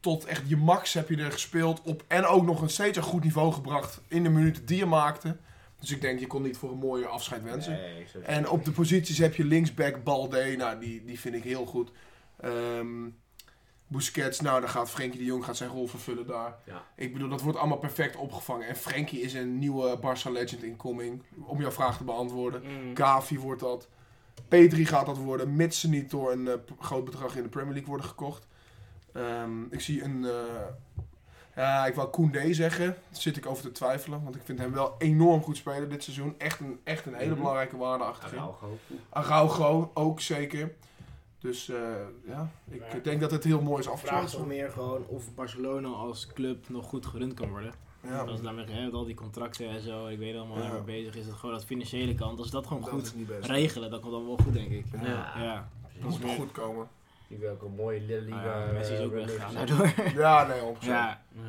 C: tot echt je max heb je er gespeeld op. En ook nog een steeds een goed niveau gebracht in de minuten die je maakte. Dus ik denk, je kon niet voor een mooier afscheid wensen.
B: Nee, zo-
C: En op de posities heb je linksback Balde. Nou, die, die vind ik heel goed. Ehm, Busquets, nou, dan gaat Frenkie de Jong gaat zijn rol vervullen daar.
B: Ja.
C: Ik bedoel, dat wordt allemaal perfect opgevangen. En Frenkie is een nieuwe Barca legend incoming. Om jouw vraag te beantwoorden.
A: Mm.
C: Gavi wordt dat. P3 gaat dat worden, mits ze niet door een eh, p- groot bedrag in de Premier League worden gekocht. Ehm, ik zie een. eh, ja, ik wou Koundé zeggen. Daar zit ik over te twijfelen. Want ik vind hem wel enorm goed spelen dit seizoen. Echt een, echt een hele
B: Mhm.
C: belangrijke waarde achterin.
B: Araujo.
C: Araujo ook zeker. Dus eh, ja, ik
D: Maar-
C: denk dat het heel mooi is
D: De vraag is toch
C: afgesloten.
D: meer gewoon of Barcelona als club nog goed gerund kan worden.
C: Ja,
D: Als het daarmee hè, met al die contracten en zo, ik weet allemaal waar
C: Ja.
D: mee bezig is. Dat gewoon dat financiële kant, als ze dat gewoon
C: dat
D: goed
C: is niet best.
D: regelen, dan komt dat wel goed, denk ik.
C: Ja.
B: Ja.
D: Ja,
C: Dat moet nog goed komen.
B: Die wil ook een mooie Lille
D: Ah,
B: Liga.
D: Messi is
B: eh,
D: ook
B: runner.
D: weggegaan daardoor.
C: Ja, nee, op zich.
D: Ja,
A: Ja.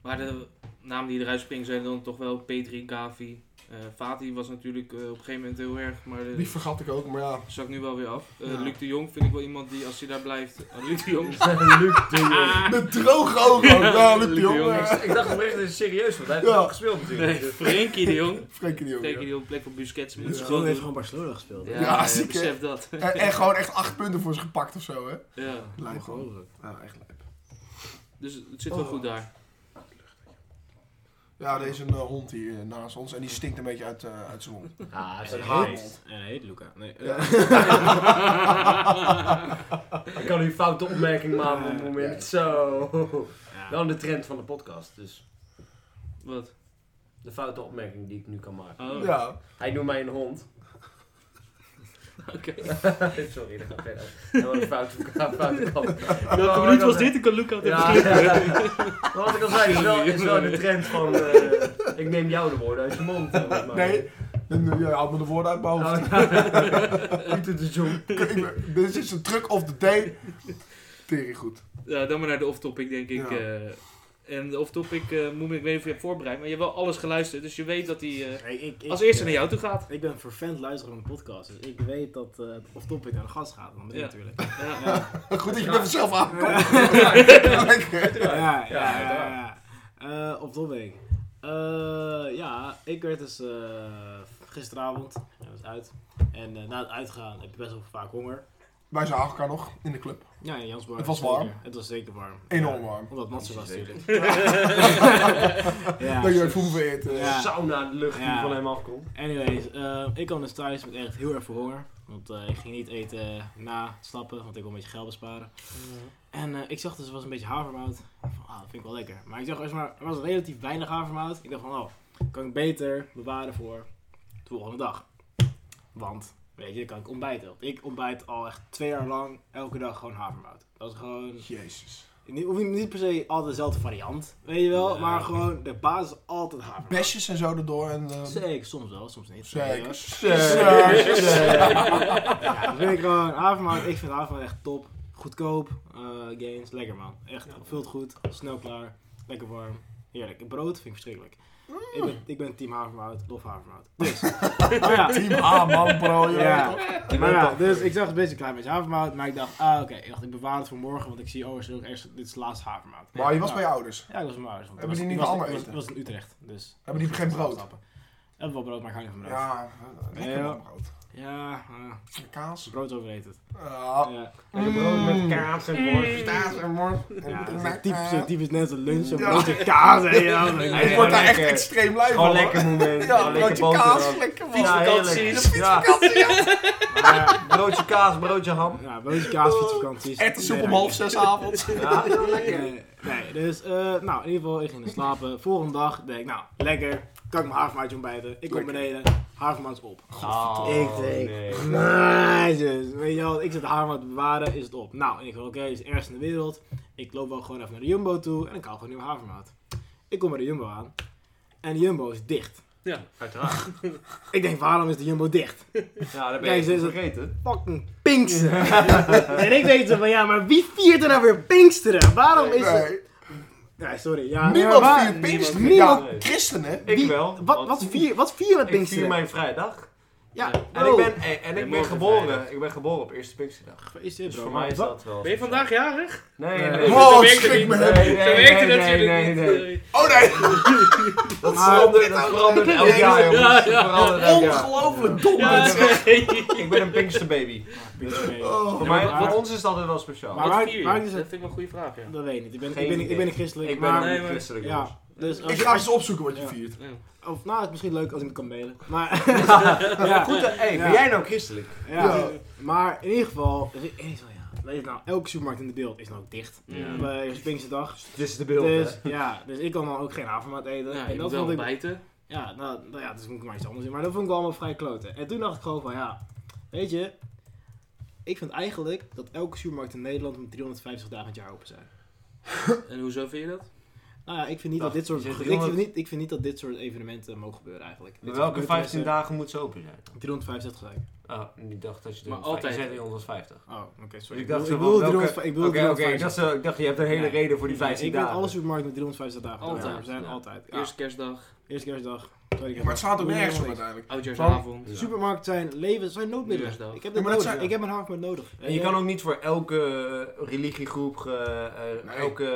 A: Maar de namen die eruit springen zijn dan toch wel P3, Gavi. Eh Fati was natuurlijk eh, op een gegeven moment heel erg, maar
C: Die
A: eh
C: vergat ik ook, maar ja.
A: zak nu wel weer af. Eh,
C: Ja.
A: Luc de Jong vind ik wel iemand die, als hij daar blijft... eh, Luc de Jong.
B: Luc de Jong.
C: De droge ogen ook. Ja, Luc de Jong. eh,
B: Ik dacht oprecht dat het serieus was. Hij heeft
C: Ja.
B: wel gespeeld
A: Nee,
B: natuurlijk.
A: Frenkie de Jong.
C: Frenkie de Jong.
A: Frenkie de
C: ja.
A: Jong, plek van Busquets.
D: het
A: Moet ze
D: school
A: gewoon
D: heeft
A: doen.
D: gewoon Barcelona gespeeld.
A: Ja,
C: Ja,
A: eh,
C: ziek, hè?
A: besef dat.
C: En, en gewoon echt acht punten voor ze gepakt of zo, hè?
A: ja.
C: Lijp gewoon.
D: Ongelooflijk.
C: Ja, echt lijp.
A: Dus het zit wel
C: Oh.
A: goed daar.
C: Ja, er is een eh, hond hier eh, naast ons en die stinkt een beetje uit, eh, uit zijn mond.
B: Ah, hij is
D: En
B: een
D: hij
B: haat.
D: heet- En hij heet Luca. Nee. eh,
B: Ik kan nu een foute opmerking maken op het moment. Zo.
D: ja.
B: Wel de trend van de podcast, dus.
A: Wat?
B: De foute opmerking die ik nu kan maken.
A: Oh,
C: Ja.
B: Hij noemt mij een hond.
A: oké.
B: Sorry, dat gaat verder. Dat was een foute, foute kant.
A: Welke
B: Oh,
A: minuut
B: dat-
A: was dit? Ik kan Luca het even
B: Ja,
A: klikken.
B: Maar wat ik al zei, is wel, is wel de trend van... eh, ik neem jou de woorden uit je mond. eh, maar-
C: Nee, dan, ja, haalt eh, me de woorden uit mijn hoofd.
B: Oh, ja. Pieter de Jong.
C: Ik- ik- Dit is een truc of the day. Tering goed.
A: Ja, dan maar naar de off-topic, denk ik.
C: Ja.
A: eh. en de off-topic, eh, moet ik, ik weet niet of je hebt voorbereid, maar je hebt wel alles geluisterd. Dus je weet dat hij eh,
D: Ik- ik- ik-
A: als eerste naar jou toe gaat.
D: Ik ben vervent luisteren van de podcast, dus ik weet dat eh of topic naar de gast gaat, dan ben ik
A: Ja.
D: natuurlijk.
A: Ja.
C: Goed dat je met mezelf aankomt. Lekker.
D: Ja, ja, ja. ja,
B: uiteraard.
D: Eh, op topic. Eh, ja, ik werd dus eh, gisteravond, hij was uit. En eh, na het uitgaan heb je best wel vaak honger.
C: Wij zagen elkaar nog in de club.
D: Ja, in Jansborg.
C: Het was warm.
D: Zeker. Het was zeker warm.
C: Enorm
D: Ja,
C: warm.
D: omdat Matsen was
B: Zeker.
D: natuurlijk.
C: Dat je
D: ja.
C: het voel vereerd. eh.
D: Ja.
B: Sauna de lucht die
D: Ja.
B: van hem afkomt.
D: Anyways, eh, ik kwam dus thuis met echt heel erg veel honger. Want eh, ik ging niet eten na het snappen, want ik wil een beetje geld besparen. En eh, ik zag dus er was een beetje havermout. Van, ah, dat vind ik wel lekker. Maar ik zag er was, er was relatief weinig havermout. Ik dacht van, oh, kan ik beter bewaren voor de volgende dag. Want, weet je, dan kan ik ontbijten. Want ik ontbijt al echt twee jaar lang elke dag gewoon havermout. Dat is gewoon...
C: Jezus.
D: Niet, hoef je niet per se altijd dezelfde variant, weet je wel.
B: Nee.
D: Maar gewoon, de basis is altijd havermout.
C: Besjes en zo erdoor en... eh,
D: Zeker, soms wel, soms niet.
C: Zeker.
D: Zeker.
C: Zeker. Zeker.
D: Ja, dus ben ik gewoon havermout. Ik vind havermout echt top. Goedkoop. eh, gains. Lekker man. Echt. Vult goed. Snel klaar. Lekker warm. Heerlijk. En brood vind ik verschrikkelijk. Ik, ben, ik ben team havermout. Lof havermout. Dus. maar ja.
C: Team A man bro. je
D: Ja.
C: weet toch?
D: Maar ja, dus ik zag een beetje een klein beetje havermout. Maar ik dacht, ah oké. Ik dacht, ik bewaar het voor morgen. Want ik zie, oh, er is ook eerst, dit is de laatste havermout.
C: Maar je was
D: Ja.
C: bij je ouders.
D: Ja, ik was bij mijn ouders. want
C: Hebben
D: ik
C: die niet
D: was- ik was-
C: allemaal
D: ik was-
C: eten?
D: Ik was in Utrecht. Dus.
C: Hebben die geen brood?
D: Stappen. Hebben wel brood, maar ik hou niet van brood. Ja.
C: Ja, lekker
D: Ja.
C: man brood.
D: Ja. eh,
C: Kaas. Ah,
D: brood overheet het.
C: Ja.
D: Ja.
B: Lekker brood met
C: Mm.
B: kaas en worst.
C: Kaas en mor.
D: Ja, dat is
C: En-
D: een typisch, zo'n typisch net een lunch, een
C: Ja.
D: broodje kaas en ja.
B: Nee,
C: eh, Ik
B: gewoon
C: word daar echt
B: lekker.
C: extreem lui
B: Gewoon
C: van.
B: lekker
C: hoor.
B: moment.
C: Ja,
B: Gewoon
C: broodje
B: lekker
C: kaas,
B: boterham.
C: lekker man.
B: Ja,
A: Fietsvakanties.
B: heerlijk. Ja,
C: Fietsvakantie, ja.
D: Maar, eh,
B: broodje kaas, broodje ham.
D: ja, broodje kaas, fietsvakanties.
C: Erwtensoep om half zes avonds.
B: Ja,
D: Nee, Eh, nee, dus eh, nou, in ieder geval, ik ging er slapen. Volgende dag denk ik, nou, lekker, kan ik mijn havermoutje ontbijten. Ik kom
C: Lekker.
D: beneden, havermout is op.
B: Oh,
D: ik denk,
B: nee.
D: Jezus, weet je wel, ik zit de havermout te bewaren, is het op. Nou, en ik wil oké, het is ergens in de wereld. Ik loop wel gewoon even naar de Jumbo toe en ik haal gewoon nieuwe havermout. Ik kom bij de Jumbo aan en de Jumbo is dicht.
B: Uiteraard.
D: Ik denk, waarom is de Jumbo dicht?
B: Ja, dat ben
D: Kijk,
B: je
D: ze is-
B: vergeten.
D: fucking Pinksteren. en ik denk zo van, ja, maar wie viert er nou weer Pinksteren? Waarom is het...
C: Nee,
D: Nee, sorry. Ja,
C: Niemand
D: maar-
C: viert Pinksteren.
D: niemand-
C: Ja, christenen.
B: Ik
D: Wie-
B: wel.
D: Wat, wat, vier, wat vier met
B: Ik vier
D: Pinksteren?
B: mijn vrijdag.
D: Ja,
B: En ik ben, en, en
A: Nee,
B: ik ben
A: morgen
B: geboren.
A: vrijdag.
B: Ik ben geboren op eerste Pinksterdag. Dus voor mij is dat wel...
A: Ben je vandaag jarig?
B: Nee,
D: Nee.
B: nee.
A: Zo
C: Wow,
A: werkt het
C: Oh, schrik
A: niet.
C: me.
A: Zo
B: Nee, nee,
A: werkt het
B: nee,
A: natuurlijk
B: nee,
A: niet.
B: nee.
A: Nee.
C: Oh nee,
B: Dat
D: Maar-
B: verandert, dat verandert elk
C: Ja,
B: jaar,
A: ja,
B: jongens.
A: ja.
B: Dat verandert elk jaar.
C: ongelooflijk dom.
A: Ja,
C: dit.
A: nee.
B: Ik ben een Pinksterbaby. Voor,
C: Oh.
B: mij,
D: maar-
B: voor ons is dat altijd wel speciaal.
D: Maar-
A: Wat
D: waar-
A: vier je?
D: waar
A: Dat
D: is het?
A: vind ik wel een goede vraag, ja.
D: Dat weet ik niet. Ik ben, ik
B: Geen
D: ben, ik ben een
B: idee.
D: christelijk,
B: ik ben
D: maar...
A: nee,
B: niet
A: maar-
B: christelijk,
D: ja.
B: jongens.
D: Dus als
C: Ik
D: je-
C: ga eens opzoeken wat je
D: Ja.
C: viert.
A: Ja.
D: Of nou, het is misschien leuk als ik me kan mailen. Maar,
B: Ja, goed, hè? hey, ben
D: Ja.
B: jij nou christelijk?
D: ja.
C: Ja.
D: maar in ieder geval, er is- er is wel, ja, weet je nou, elke supermarkt in de beeld is nou dicht.
A: Ja.
D: Bij Pinksterdag.
B: Dit is de beeld,
D: Dus, ja, dus ik kan dan ook geen avondmaat eten.
A: Ja,
D: en
A: je moet
D: dat
A: wel
D: vond ik,
A: bijten.
D: ja, nou, nou ja, dus moet ik maar iets anders doen. Maar dat vond ik wel allemaal vrij kloten. En toen dacht ik gewoon van, ja, weet je, ik vind eigenlijk dat elke supermarkt in Nederland moet 350 dagen het jaar open zijn.
A: En hoezo vind je dat?
D: Nou ja, ik vind niet,
B: Wacht,
D: dat, dit soort,
B: je zegt
D: ik vind
B: 300
D: niet, ik vind niet dat dit soort evenementen mogen gebeuren eigenlijk. Dit
B: Maar
D: soort
B: welke 15
D: gebeurtenissen-
B: dagen moet ze open zijn?
D: 365 zei ik.
B: Oh, ik dacht dat je...
A: Maar
B: 350
A: altijd.
B: Je zei 350.
D: Oh, oké,
B: Dus
D: sorry.
B: ik dacht,
D: ik
B: wel,
D: bedoel
B: welke-
D: 350 ik bedoel
B: Oké, oké, ik
D: 350.
B: dacht, zo- ik dacht, je hebt een hele
D: Nee.
B: reden voor die
D: Nee,
B: 15
D: ik vind
B: dagen.
D: alle supermarkten met 350 dagen
A: Altijd.
D: open zijn.
B: Ja.
D: Altijd. Ja.
A: Eerste kerstdag,
D: Eerste kerstdag, tweede kerstdag.
C: Maar het slaat ook
D: Doe
C: nergens op
D: helemaal niks.
C: uiteindelijk.
A: oudjaarsavond.
B: Ja.
D: Supermarkten zijn leven, zijn noodmiddelen.
A: Nieuwjaarsdag.
D: Ik heb,
C: Ja,
D: dat
C: maar dat
D: nodig.
C: zijn-
D: ik heb een hardmaat nodig.
B: En je kan ook niet voor elke eh, religiegroep, eh, eh,
C: Nee.
B: elke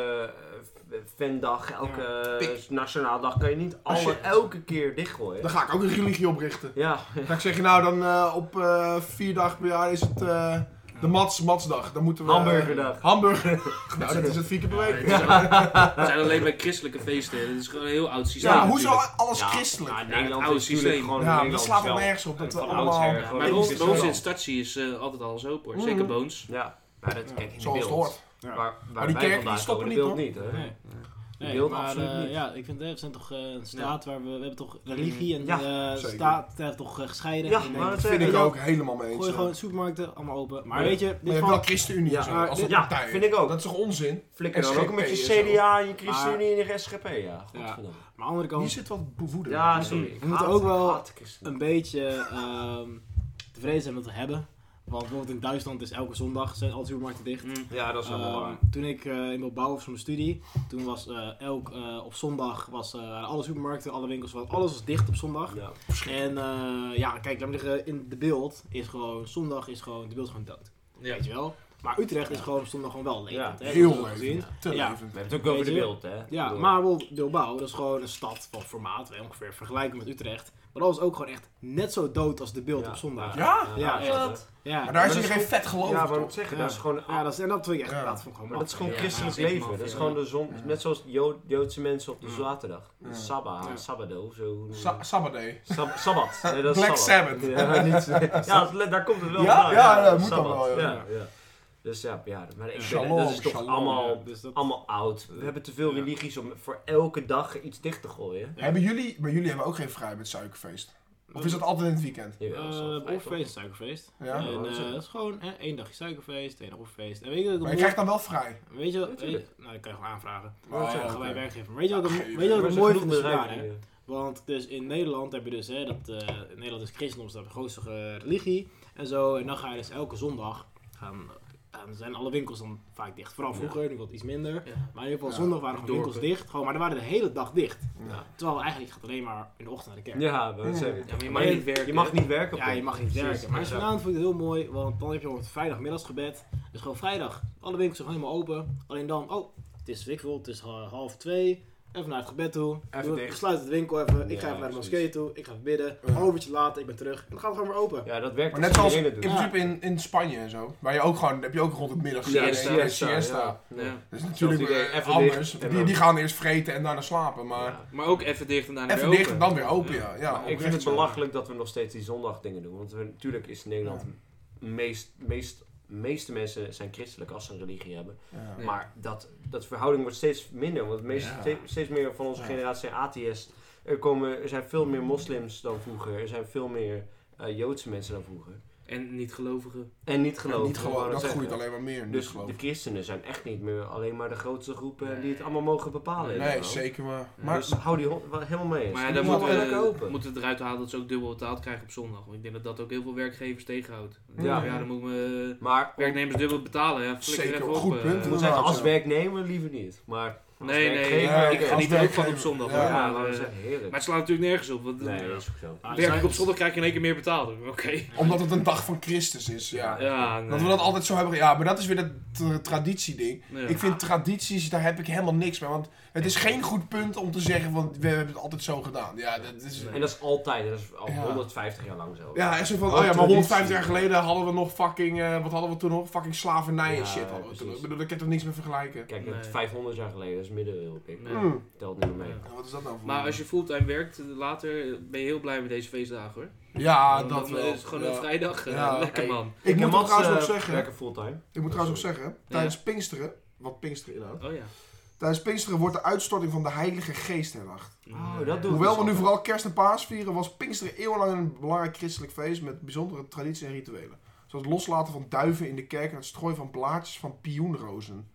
B: eh, fandag, elke
C: Pik.
B: eh, nationaal dag, kan je niet
C: Als je-
B: alle, elke keer dichtgooien.
C: Dan ga ik ook een religie oprichten.
B: Ja,
C: Dan zeg je nou, dan eh, op eh, vier dagen per jaar is het eh, de Mats, Matsdag. Dan moeten we... eh,
B: hamburgerdag.
C: Hamburger. nou, dat is het vier keer per week. Ja,
A: Het zijn alleen maar christelijke feesten. Het is gewoon een heel oud systeem.
C: maar
B: Ja,
C: hoezo
B: natuurlijk.
C: alles
B: Ja,
C: christelijk?
B: nou,
A: Ja,
B: Nederland
A: het oude
B: is natuurlijk
A: systeem.
B: gewoon
C: Ja, maar dat
B: Nederland
C: slaat wel
B: wel-
C: nergens op. Dat we
B: van
C: allemaal...
B: oudsher gewoon
A: maar
B: een
A: bij ons,
B: christelijk
A: bij ons in
B: land.
A: Statie is eh, altijd alles open hoor.
C: Mhm.
A: Zeker Boons.
B: Ja, maar dat kijk in de
C: Zoals het
B: beeld.
C: hoort.
D: Ja.
B: Waar, waar
C: Maar die
B: wij
C: kerken, die
B: vandaan
C: stoppen
B: komen,
C: niet,
B: dat
C: hoor.
B: beeld niet, hè?
D: Nee. Nee,
B: beeld
D: maar,
B: absoluut
D: eh,
B: niet.
D: ja, ik vind eh, we zijn toch eh, een staat waar we, we hebben toch religie en
B: Ja,
D: eh,
C: zeker.
D: staat eh, toch eh, gescheiden.
B: Ja,
D: En ik denk,
B: maar dat
C: Dat vind
B: Zeker.
C: ik ook helemaal mee eens.
D: gooi
C: ja.
D: gewoon supermarkten allemaal open. Maar
B: Ja.
D: weet je,
C: Maar
D: dit
C: je hebt
D: van,
C: wel ChristenUnie
B: Ja,
C: en zo, als
D: dit-
B: ja,
C: partij.
B: vind ik ook.
C: Dat is toch onzin?
B: Flikker dan
C: SGP
B: ook met je
C: en zo.
B: CDA en je ChristenUnie en je SGP, ja. Godverdomme.
D: maar aan de andere
C: Hier
D: kant
C: zit wat bewoeden.
B: Ja, sorry. Ik
D: We moeten
B: haat-
D: ook wel
B: ik haat christenen.
D: een beetje ehm, tevreden zijn dat we hebben. Want bijvoorbeeld in Duitsland is elke zondag zijn alle supermarkten dicht.
A: Mm.
B: Ja, dat is wel
D: Ehm,
B: waar.
D: toen ik eh, in Bilbao was voor mijn studie, toen was eh, elk, eh, op zondag was, eh, alle supermarkten, alle winkels, was- alles was dicht op zondag.
B: Ja.
D: En eh, ja, kijk, laat me zeggen, in de beeld is gewoon, zondag is gewoon, de beeld is gewoon dood.
A: Ja.
D: Weet je wel? Maar Utrecht is gewoon op zondag gewoon wel levend.
B: Ja.
D: hè,
C: Heel
D: dat hebben we
C: levend.
D: gezien.
C: Te
D: Ja.
C: levend.
B: We hebben het ook over
D: Weet
B: de
D: je?
B: beeld, hè? Ik
D: Ja,
B: bedoel,
D: maar bijvoorbeeld Bilbao, dat is gewoon een stad van formaat, hè, ongeveer vergelijkbaar met Utrecht. Maar dat was ook gewoon echt net zo dood als de beeld op zondag. Ja,
C: Ja?
D: Ja,
B: echt, hè?
C: Maar daar is
B: Maar dat
C: iedereen vet
B: Ja,
C: gelovig,
B: maar wat
C: toch?
B: ik zeg,
D: Ja.
B: dat is gewoon...
D: Ja, dat is, en dat vind ik echt,
C: Ja.
D: dat vond ik gewoon
B: Maar dat is
D: maf.
B: gewoon
A: Ja,
B: christelijk
A: ja,
B: leven.
A: helemaal
B: Dat is
A: veel.
B: gewoon de zon,
C: Ja.
B: net zoals Jo- Joodse mensen op de
D: Ja.
B: zaterdag.
C: Ja.
B: Sabba,
D: Ja.
B: Sabado of zo. hoe noem je
C: Sa-
B: dat?
C: Sabbatday.
B: Sab- Sabbat. Nee, dat is
C: Black
B: Sabbat.
C: Sabbath.
B: Ja, niet- ja, dat le- daar komt het wel
C: Ja?
B: vandaan,
C: Ja, dat moet
B: Sabbat,
C: dan wel, ja.
B: Ja, ja. Dus ja, ja maar ik
C: Shalom,
B: vind, dat is toch
C: shalom,
B: allemaal,
D: dus dat-
B: allemaal oud. We hebben te veel
D: Ja.
B: religies om voor elke dag iets dicht te gooien.
C: Hebben jullie, maar jullie hebben ook geen vrij met suikerfeest. Of is dat altijd in het weekend?
B: Jawel, dat is wel
D: Eh,
B: vrij,
D: offerfeest en suikerfeest.
C: Ja.
D: en,
B: dat is
D: eh,
B: het.
D: dat is gewoon hè, één dagje suikerfeest, één offerfeest. En weet je wat
C: Maar
D: ik
C: je krijgt dan wel vrij.
D: mooi- Weet je wat?
B: Natuurlijk.
D: weet- nou, dat kan je gewoon aanvragen.
C: Oh,
D: Ga
C: oké.
D: bij je werkgever. Maar Weet je wat ik
C: Ja,
D: weet je
B: toch?
D: wat
B: Er
D: ik
B: zijn
D: mooi
B: genoeg
D: vind is gedaan,
B: bedrijven
D: hè?
B: die,
D: Want dus in Nederland heb je dus, hè, dat, eh, in Nederland is christendom de grootste eh, religie en zo. En dan ga je dus elke zondag gaan, en zijn alle winkels dan vaak dicht. Vooral
B: Ja.
D: vroeger, nu wat iets minder.
A: Ja.
D: Maar in ieder geval,
C: Ja,
D: zondag waren gewoon
A: dorpen.
D: winkels dicht. Gewoon, maar er waren de hele dag dicht.
B: Ja.
D: Terwijl eigenlijk gaat alleen maar in de ochtend naar de
B: eh,
D: kerk.
B: Ja, maar dat zijn-
C: Ja,
A: maar je
B: je
A: mag
B: mag
A: niet werken,
B: Je
A: hè?
B: mag niet werken. op
D: Ja, je
B: een-
D: mag niet
B: Precies,
D: werken. Maar
B: exact.
D: vanavond vond ik het heel mooi, want dan heb je op vrijdag middagsgebed. Dus gewoon vrijdag. Alle winkels zijn helemaal open. Alleen dan, oh, het is weet ik veel, het is eh, half twee. Even naar het gebed toe.
B: Even
D: Doe-
B: dicht.
D: sluit het winkel even. Ik
B: Ja,
D: ga even naar de
B: precies.
D: moskee toe. Ik ga even bidden.
C: Ja.
D: Een overtje later, ik ben terug. En dan gaat het gewoon weer open.
B: Ja, dat werkt
C: Maar net
B: als
C: zoals
B: iedereen
C: in
B: het doet.
C: principe in, in Spanje en zo. Waar je ook gewoon, heb je ook rond het middag
A: Ja,
C: siesta.
A: siesta,
C: en siesta.
B: Ja.
A: Ja.
C: Dat is natuurlijk
B: Zelfs idee,
C: eh,
B: even
C: anders.
B: dicht en
C: Die,
B: dan-
C: die gaan eerst vreten en daarna slapen. Maar
B: Ja.
A: Maar ook even dicht en daarna
C: even
A: weer
C: dicht en
A: open.
C: dan weer open, ja. ja
B: Maar ik
C: oprecht
B: vind het
C: zo.
B: belachelijk dat we nog steeds die zondagdingen doen. Want we, natuurlijk is Nederland... Meest, meest, meeste mensen zijn christelijk als ze een religie hebben.
C: Ja.
B: Maar dat, dat verhouding wordt steeds minder. Want de meeste,
C: Ja.
B: ste- steeds meer van onze
C: Ja.
B: generatie zijn atheïst. Er, komen, er zijn veel meer moslims dan vroeger. Er zijn veel meer eh, Joodse mensen dan vroeger.
A: En niet gelovigen.
B: En niet
C: En
B: geloven.
C: Niet
B: wou
C: geloof,
B: net
C: dat
B: zeggen.
C: groeit alleen maar meer. Niet
B: Dus
C: geloof.
B: de christenen zijn echt niet meer alleen maar de grootste groepen die het allemaal mogen bepalen. in
C: Nee,
B: Nederland.
C: zeker maar.
A: Ja,
C: Maar
B: dus hou die hond wel helemaal mee.
A: Maar ja,
B: dan
A: dan moeten
B: we
A: we,
B: open.
A: moeten we eruit halen dat ze ook dubbel betaald krijgen op zondag. Want ik denk dat dat ook heel veel werkgevers tegenhoudt.
B: Ja.
A: Ja, ja dan moeten we
B: maar
A: werknemers dubbel betalen. Ja, flikker
C: Zeker,
A: even op.
C: goed
A: eh.
C: punt.
B: ik moet zeggen, als werknemer liever niet. Maar als
A: Nee, nee,
B: werkgever-
C: Ja,
A: ik
C: oké,
A: geniet
C: als
A: er ook van op
C: werkgever.
A: zondag.
C: Ja.
A: hoor,
B: Ja,
A: maar,
B: maar dat
A: eh,
B: is echt heerlijk.
A: maar het slaat natuurlijk nergens op. Want,
B: nee, dat is ook zo.
D: Maar
C: Ah,
A: werk ik op
D: zij-
A: zondag krijg je in één keer meer betaald. Oké.
C: omdat het een dag van Christus is, ja.
A: Ja, nee.
C: Dat we dat altijd zo hebben. ge- Ja, maar dat is weer dat tra- traditieding.
A: Ja.
C: Ik vind tradities, daar heb ik helemaal niks mee. Want het is geen goed punt om te zeggen, want we hebben het altijd zo gedaan. Ja, dat is...
A: Nee.
B: En dat is altijd, dat is al
C: Ja.
B: 150 jaar lang zo.
C: Ja, echt zo van,
B: Oh,
C: oh ja, maar
B: traditie.
C: 150 jaar geleden hadden we nog fucking, eh, wat hadden we toen nog? Fucking slavernij en
B: Ja,
C: shit hadden we toen.
B: precies.
C: Ik bedoel, ik kan er niks mee vergelijken.
B: Kijk, dat
A: Nee.
B: 500 jaar geleden is is middenwilpik.
A: Ja.
C: Mm.
B: Telt niet meer mee.
C: Ja, wat is dat nou voor
A: Maar als je fulltime werkt, eh, later ben je heel blij met deze feestdagen hoor.
C: Ja,
A: Dan
C: dat wel.
A: is het gewoon een
C: Ja.
A: vrijdag. eh,
C: Ja.
A: lekker
B: Hey.
A: man.
C: Ik moet
B: Mats,
C: trouwens nog
B: eh,
C: zeggen,
B: Werken fulltime.
C: ik moet trouwens nog
B: Sorry.
C: zeggen, tijdens Pinksteren, wat Pinksteren inhoudt,
A: Oh ja.
C: tijdens Pinksteren wordt de uitstorting van de Heilige Geest herdacht.
B: Oh, dat doen
C: Hoewel we nu
B: altijd.
C: vooral kerst en paas vieren, was Pinksteren eeuwenlang een belangrijk christelijk feest met bijzondere tradities en rituelen. Zoals het loslaten van duiven in de kerk en het strooien van blaadjes van pioenrozen.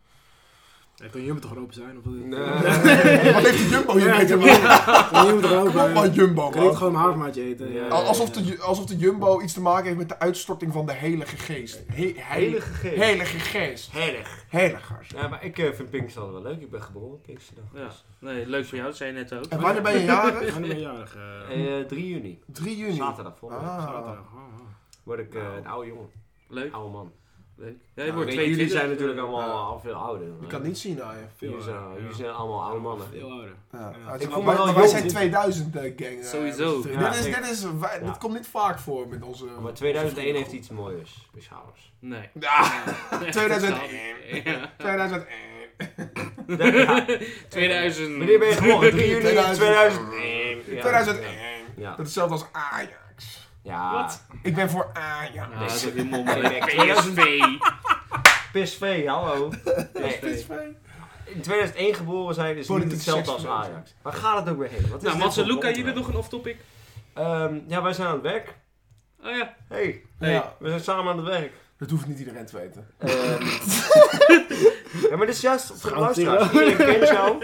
D: Ja, kan Jumbo toch open zijn? Of wat?
B: Nee.
C: Wat heeft de Jumbo hier mee te
D: Jumbo.
C: maken?
D: Kan Jumbo toch open
C: Kom op man,
D: zijn?
C: Jumbo
D: Kan ik
C: man.
D: gewoon een havermaatje eten?
B: Ja.
C: Al- Alsof de, ju- alsof de Jumbo iets te maken heeft met de uitstorting van de Heilige Geest. He- heilige,
B: Heilige geest.
C: heilige Geest.
B: Heilig.
C: Heiligers.
B: Ja, maar ik eh, vind Pinksteren wel leuk. Ik ben geboren op Pinksterdag. dus,
A: Ja. Nee, leuk voor jou, dat zei je net ook.
C: En wanneer ben je jarig?
D: Ik ben jarig. eh,
B: Eh, 3 juni.
C: 3 juni.
B: Zaterdag volgende week.
C: Ah.
D: zaterdag. Oh, oh.
B: Word ik eh, een oude jongen.
A: Leuk,
B: Oude man.
A: leuk. Ja, je
C: Nou,
A: wordt
B: Weet je, jullie
A: 22.
B: zijn natuurlijk allemaal
C: Ja.
B: al veel ouder.
C: Je
B: maar
C: kan niet eh, zien aan je.
D: Veel
B: Jullie zijn,
D: ouder,
B: jullie
D: ja.
B: zijn allemaal oude mannen.
D: Veel ouder.
C: Ja.
D: Ja.
C: Ah,
B: Ik
C: maar
B: voel me
C: wij-
B: wel
C: maar wij
B: jong.
C: zijn 2000 eh, gang. eh,
A: Sowieso.
C: dus
B: Ja,
C: dit, is,
B: ik-
C: dit, is, wij- dit
B: ja.
C: komt niet vaak voor met onze...
B: Maar 2001 heeft iets moois, speciaals.
A: Nee.
B: Ah,
C: Ja,
A: Nee,
C: 2001.
A: Ja.
C: 2000...
B: Ja.
A: 2000.
B: Wanneer ben je geboren? 3 juni
C: 2000.
B: 2001. Ja.
C: 2001.
B: Ja.
C: Dat is hetzelfde als Ajax.
B: Ja.
A: Wat?
C: Ik ben voor Ajax.
A: Ja, Nou, dat is ook weer mommelig.
B: Nee, nee,
A: PSV.
B: PSV, hallo. Nee,
A: PSV.
B: in 2001 geboren zijn is niet
C: Politiek
B: hetzelfde als
C: seksisme.
B: Ajax. Waar gaat het ook weer heen? Wat is
A: Nou,
B: dit
A: Mats en
B: voor
A: Luca, jullie
B: onderwerp?
A: nog een off-topic?
B: Ehm, ja, wij zijn aan het werk.
A: Oh ja.
B: Hey,
A: Hey.
C: Ja,
B: we zijn samen aan het werk.
C: dat hoeft niet iedereen te weten.
B: Ehm, ja, maar dit is juist voor de
D: Gaat ie
B: luisteraars. Iedereen kent jou.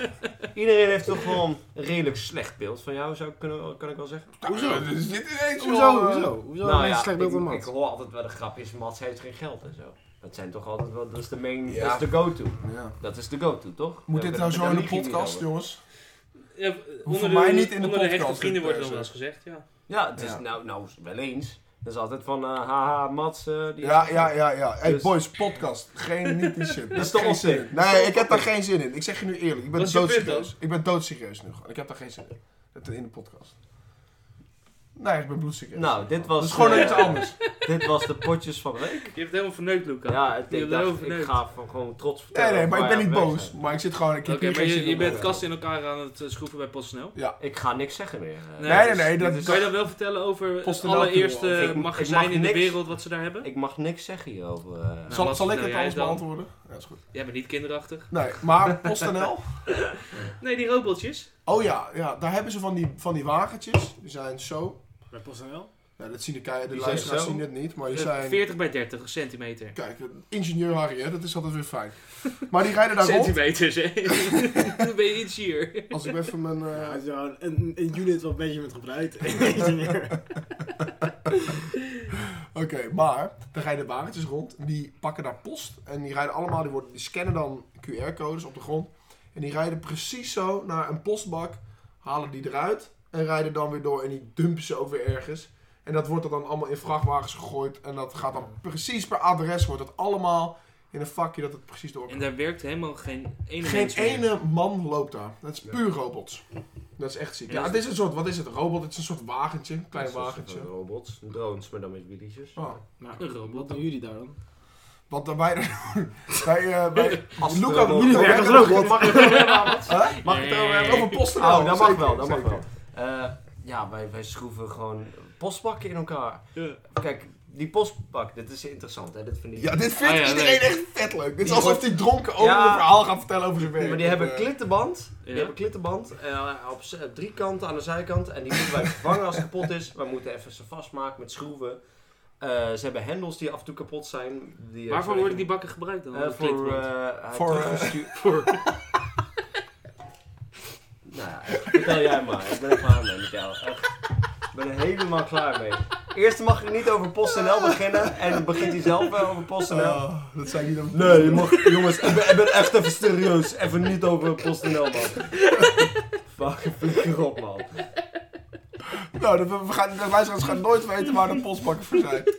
B: Iedereen heeft toch gewoon een redelijk slecht beeld van jou, zou ik kunnen, kan ik wel zeggen.
D: Hoezo?
C: Nou, dit is dit ineens,
D: Hoezo?
C: joh.
D: Hoezo? Hoezo?
B: Nou
D: mensen
B: ja,
D: slecht beeld
B: ik,
D: van
B: ik
D: Mats.
B: hoor altijd wel de grap is, Mats heeft geen geld en zo. Dat zijn toch altijd wel, dat is de main,
C: Ja.
B: dat is de go-to.
C: Ja.
B: Dat is de go-to, toch?
C: Moet
B: Ja,
C: dit
B: daar- daar
C: nou zo in de
B: lieg je niet
C: podcast,
B: over.
C: jongens?
A: Ja, eh, onder
C: mij
A: de,
C: niet in de
A: onder hechte
C: podcast,
A: vrienden
C: dit
A: wordt dan
C: deze.
A: wel eens gezegd, ja.
B: Ja, het is
C: Ja.
B: Nou, nou wel eens. Dat is altijd van, eh, haha, Mats. eh, die
C: Ja, ja, ja, ja. Hey
B: Dus-
C: boys, podcast. Geen, niet die shit. Dat
B: is
C: is
B: toch
C: geen
B: onzin?
C: zin in. Nee, ik heb daar geen zin in. Ik zeg je nu eerlijk. Ik ben
A: Wat is je punt
C: doodserieus. Ik ben doodserieus nu gewoon. Ik heb daar geen zin in. Dat in de podcast. Nee, ik ben bloedserieus.
B: Nou, dit was...
C: dat is gewoon
B: eh,
C: iets anders.
B: Dit was de potjes van de week.
A: Je hebt het helemaal verneukt, Luca.
B: Ja, het-
A: Je
B: ik,
A: hebt
B: dacht,
A: erover
B: ik
A: verneukt.
B: ga van gewoon trots
C: Nee,
B: vertellen.
C: nee, maar ik
B: waar
C: ben
B: we
C: niet
B: aan het
C: boos.
B: werk
C: Maar ik zit gewoon... Ik
A: Oké,
C: heb hier
A: maar
C: geen
A: je,
C: zin
A: je
C: in.
B: eh,
A: bent kasten in elkaar aan het eh, schroeven bij PostNL.
B: zijn. Ik ga niks zeggen meer. eh.
A: Nee,
C: nee, nee,
B: Dit
C: dat-
B: is-
A: Kan je dan wel vertellen over het
C: PostNL
A: allereerste
C: tool.
B: Ik- ik
A: magazijn
B: mag
A: in de
B: niks.
A: wereld wat ze daar hebben?
B: Ik mag niks zeggen hierover. eh.
A: Nou,
C: Zal, zal ik
A: nou,
C: het
A: jij
C: alles
A: dan.
C: beantwoorden? Ja, is goed.
A: Jij bent niet kinderachtig.
C: Nee, maar PostNL...
A: Nee, die robotjes.
C: Oh ja, ja, daar hebben ze van die, van die wagentjes. Die zijn zo...
D: Bij PostNL?
C: Ja, dat zien de, kei- de
B: Die zijn
C: luisteraars
B: zo.
C: zien het niet, maar Oh, die
A: Eh,
C: zijn...
A: 40 bij 30 centimeter.
C: Kijk, ingenieur Harry, hè, dat is altijd weer fijn. Maar die rijden daar rond.
A: Centimeters, hè? Dan ben je iets hier.
C: Als ik even mijn... eh,
D: Ja, het is wel een, een unit wat Benjamin gebruikt. Engineer.
C: Oké, maar dan rijden wagentjes rond. Die pakken daar post. En die rijden allemaal, die, worden, die scannen dan QR-codes op de grond. En die rijden precies zo naar een postbak. Halen die eruit. En rijden dan weer door. En die dumpen ze ook weer ergens. En dat wordt er dan allemaal in vrachtwagens gegooid. En dat gaat dan precies per adres. Wordt dat allemaal in een vakje dat het precies door
A: En daar werkt helemaal geen ene
C: Geen
A: mens meer.
C: ene man loopt daar. Dat is puur robots. Dat is echt ziek. Ja, het
B: dus
C: is een soort, wat is het? Een robot? Het is een soort wagentje. Een klein
B: Dat is dus een soort
C: wagentje.
B: van Robots, drones, maar dan met wielietjes.
C: Oh.
D: Nou,
A: Een robot.
D: wat doen jullie daar dan?
C: Want dan wij... wij, eh, wij
B: Als eh,
C: Luca,
B: de robot-
C: Luca
D: Ja,
C: werkt
D: als
C: er ook
D: robot.
C: Mag ik Huh?
B: Mag ik het over
A: Nee.
B: hebben?
C: Over posten nou,
B: Oh, dat mag wel, dat mag wel. Eh, ja, wij, wij schroeven gewoon postbakken in elkaar.
A: Ja.
B: Kijk, die postbak, dit is interessant, hè? Dit vind ik.
C: Ja, dit vindt
A: Ah, ja,
C: iedereen
A: nee.
C: echt vet leuk. Dit is
B: Die
C: alsof
B: wordt-
C: die dronken over
B: Ja.
C: een verhaal gaat vertellen over zijn werk.
B: Maar die hebben
C: Eh,
B: klittenband. Die
A: Ja.
B: hebben klittenband eh, op z- op drie kanten aan de zijkant. En die moeten wij vervangen als het kapot is. Wij moeten even ze vastmaken met schroeven. Eh, ze hebben hendels die af en toe kapot zijn. Die, eh,
A: Waarvoor worden die bakken gebruikt dan?
B: bakken?
A: Als het
B: Eh, voor.
A: klitband?
B: eh,
C: Voor,
B: teruggestu- voor. nou ja, vertel jij maar. Ik ben er klaar mee met jou. Echt. Ik ben er helemaal klaar mee. Eerst mag ik niet over PostNL beginnen. En dan begint hij zelf wel over PostNL.
C: oh, dat zei ik niet over
B: Nee, je mag, jongens, ik ben, ik ben echt even serieus. Even niet over PostNL, man. Fuck, flikker op, man.
C: Nou, dat, we gaan, de luisteraars gaan nooit weten waar de postbakken voor zijn.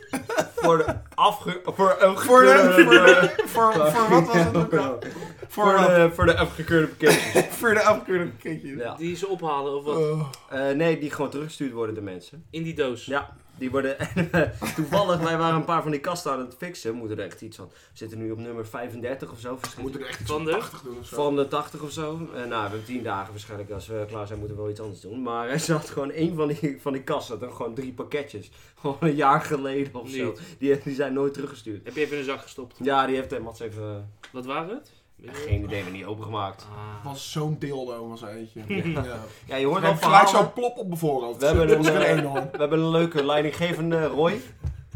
B: Voor de afge... Voor een
C: Voor, de,
B: gekeurde-
C: voor, de, voor, voor wat was het ook al?
B: Voor
C: Voor, de,
B: de, voor de afgekeurde pakketjes.
C: voor de afgekeurde kindjes.
B: Ja.
A: Die ze ophalen of wat?
C: Oh.
B: Eh, nee, die gewoon teruggestuurd worden, de mensen.
A: In die doos.
B: Ja. Die worden, en, eh, toevallig, wij waren een paar van die kasten aan het fixen. Moeten er echt iets van. We zitten nu op nummer 35 of zo.
C: We moeten er echt iets
A: Van
C: van
A: de-
C: 80 doen of zo.
B: Van de 80 of zo. Eh, nou, we hebben 10 dagen waarschijnlijk. Als we klaar zijn, moeten we wel iets anders doen. Maar eh, ze had gewoon één van die, van die kassen. Dan gewoon drie pakketjes. Gewoon een jaar geleden of zo. Die, die zijn nooit teruggestuurd.
A: Heb je even in de zak gestopt?
B: Ja, die heeft eh, Mats even.
A: Wat waren het?
B: eh, geen idee, maar niet opengemaakt.
A: Ah.
C: was zo'n dildo was eentje. Ja.
B: Ja, je hoort al
C: We hebben gelijk
B: verhalen.
C: zo'n plop op mijn voorhoofd.
B: We hebben
C: Dat is
B: een,
C: weer
B: eh,
C: één hoor.
B: We hebben een leuke leidinggevende Roy.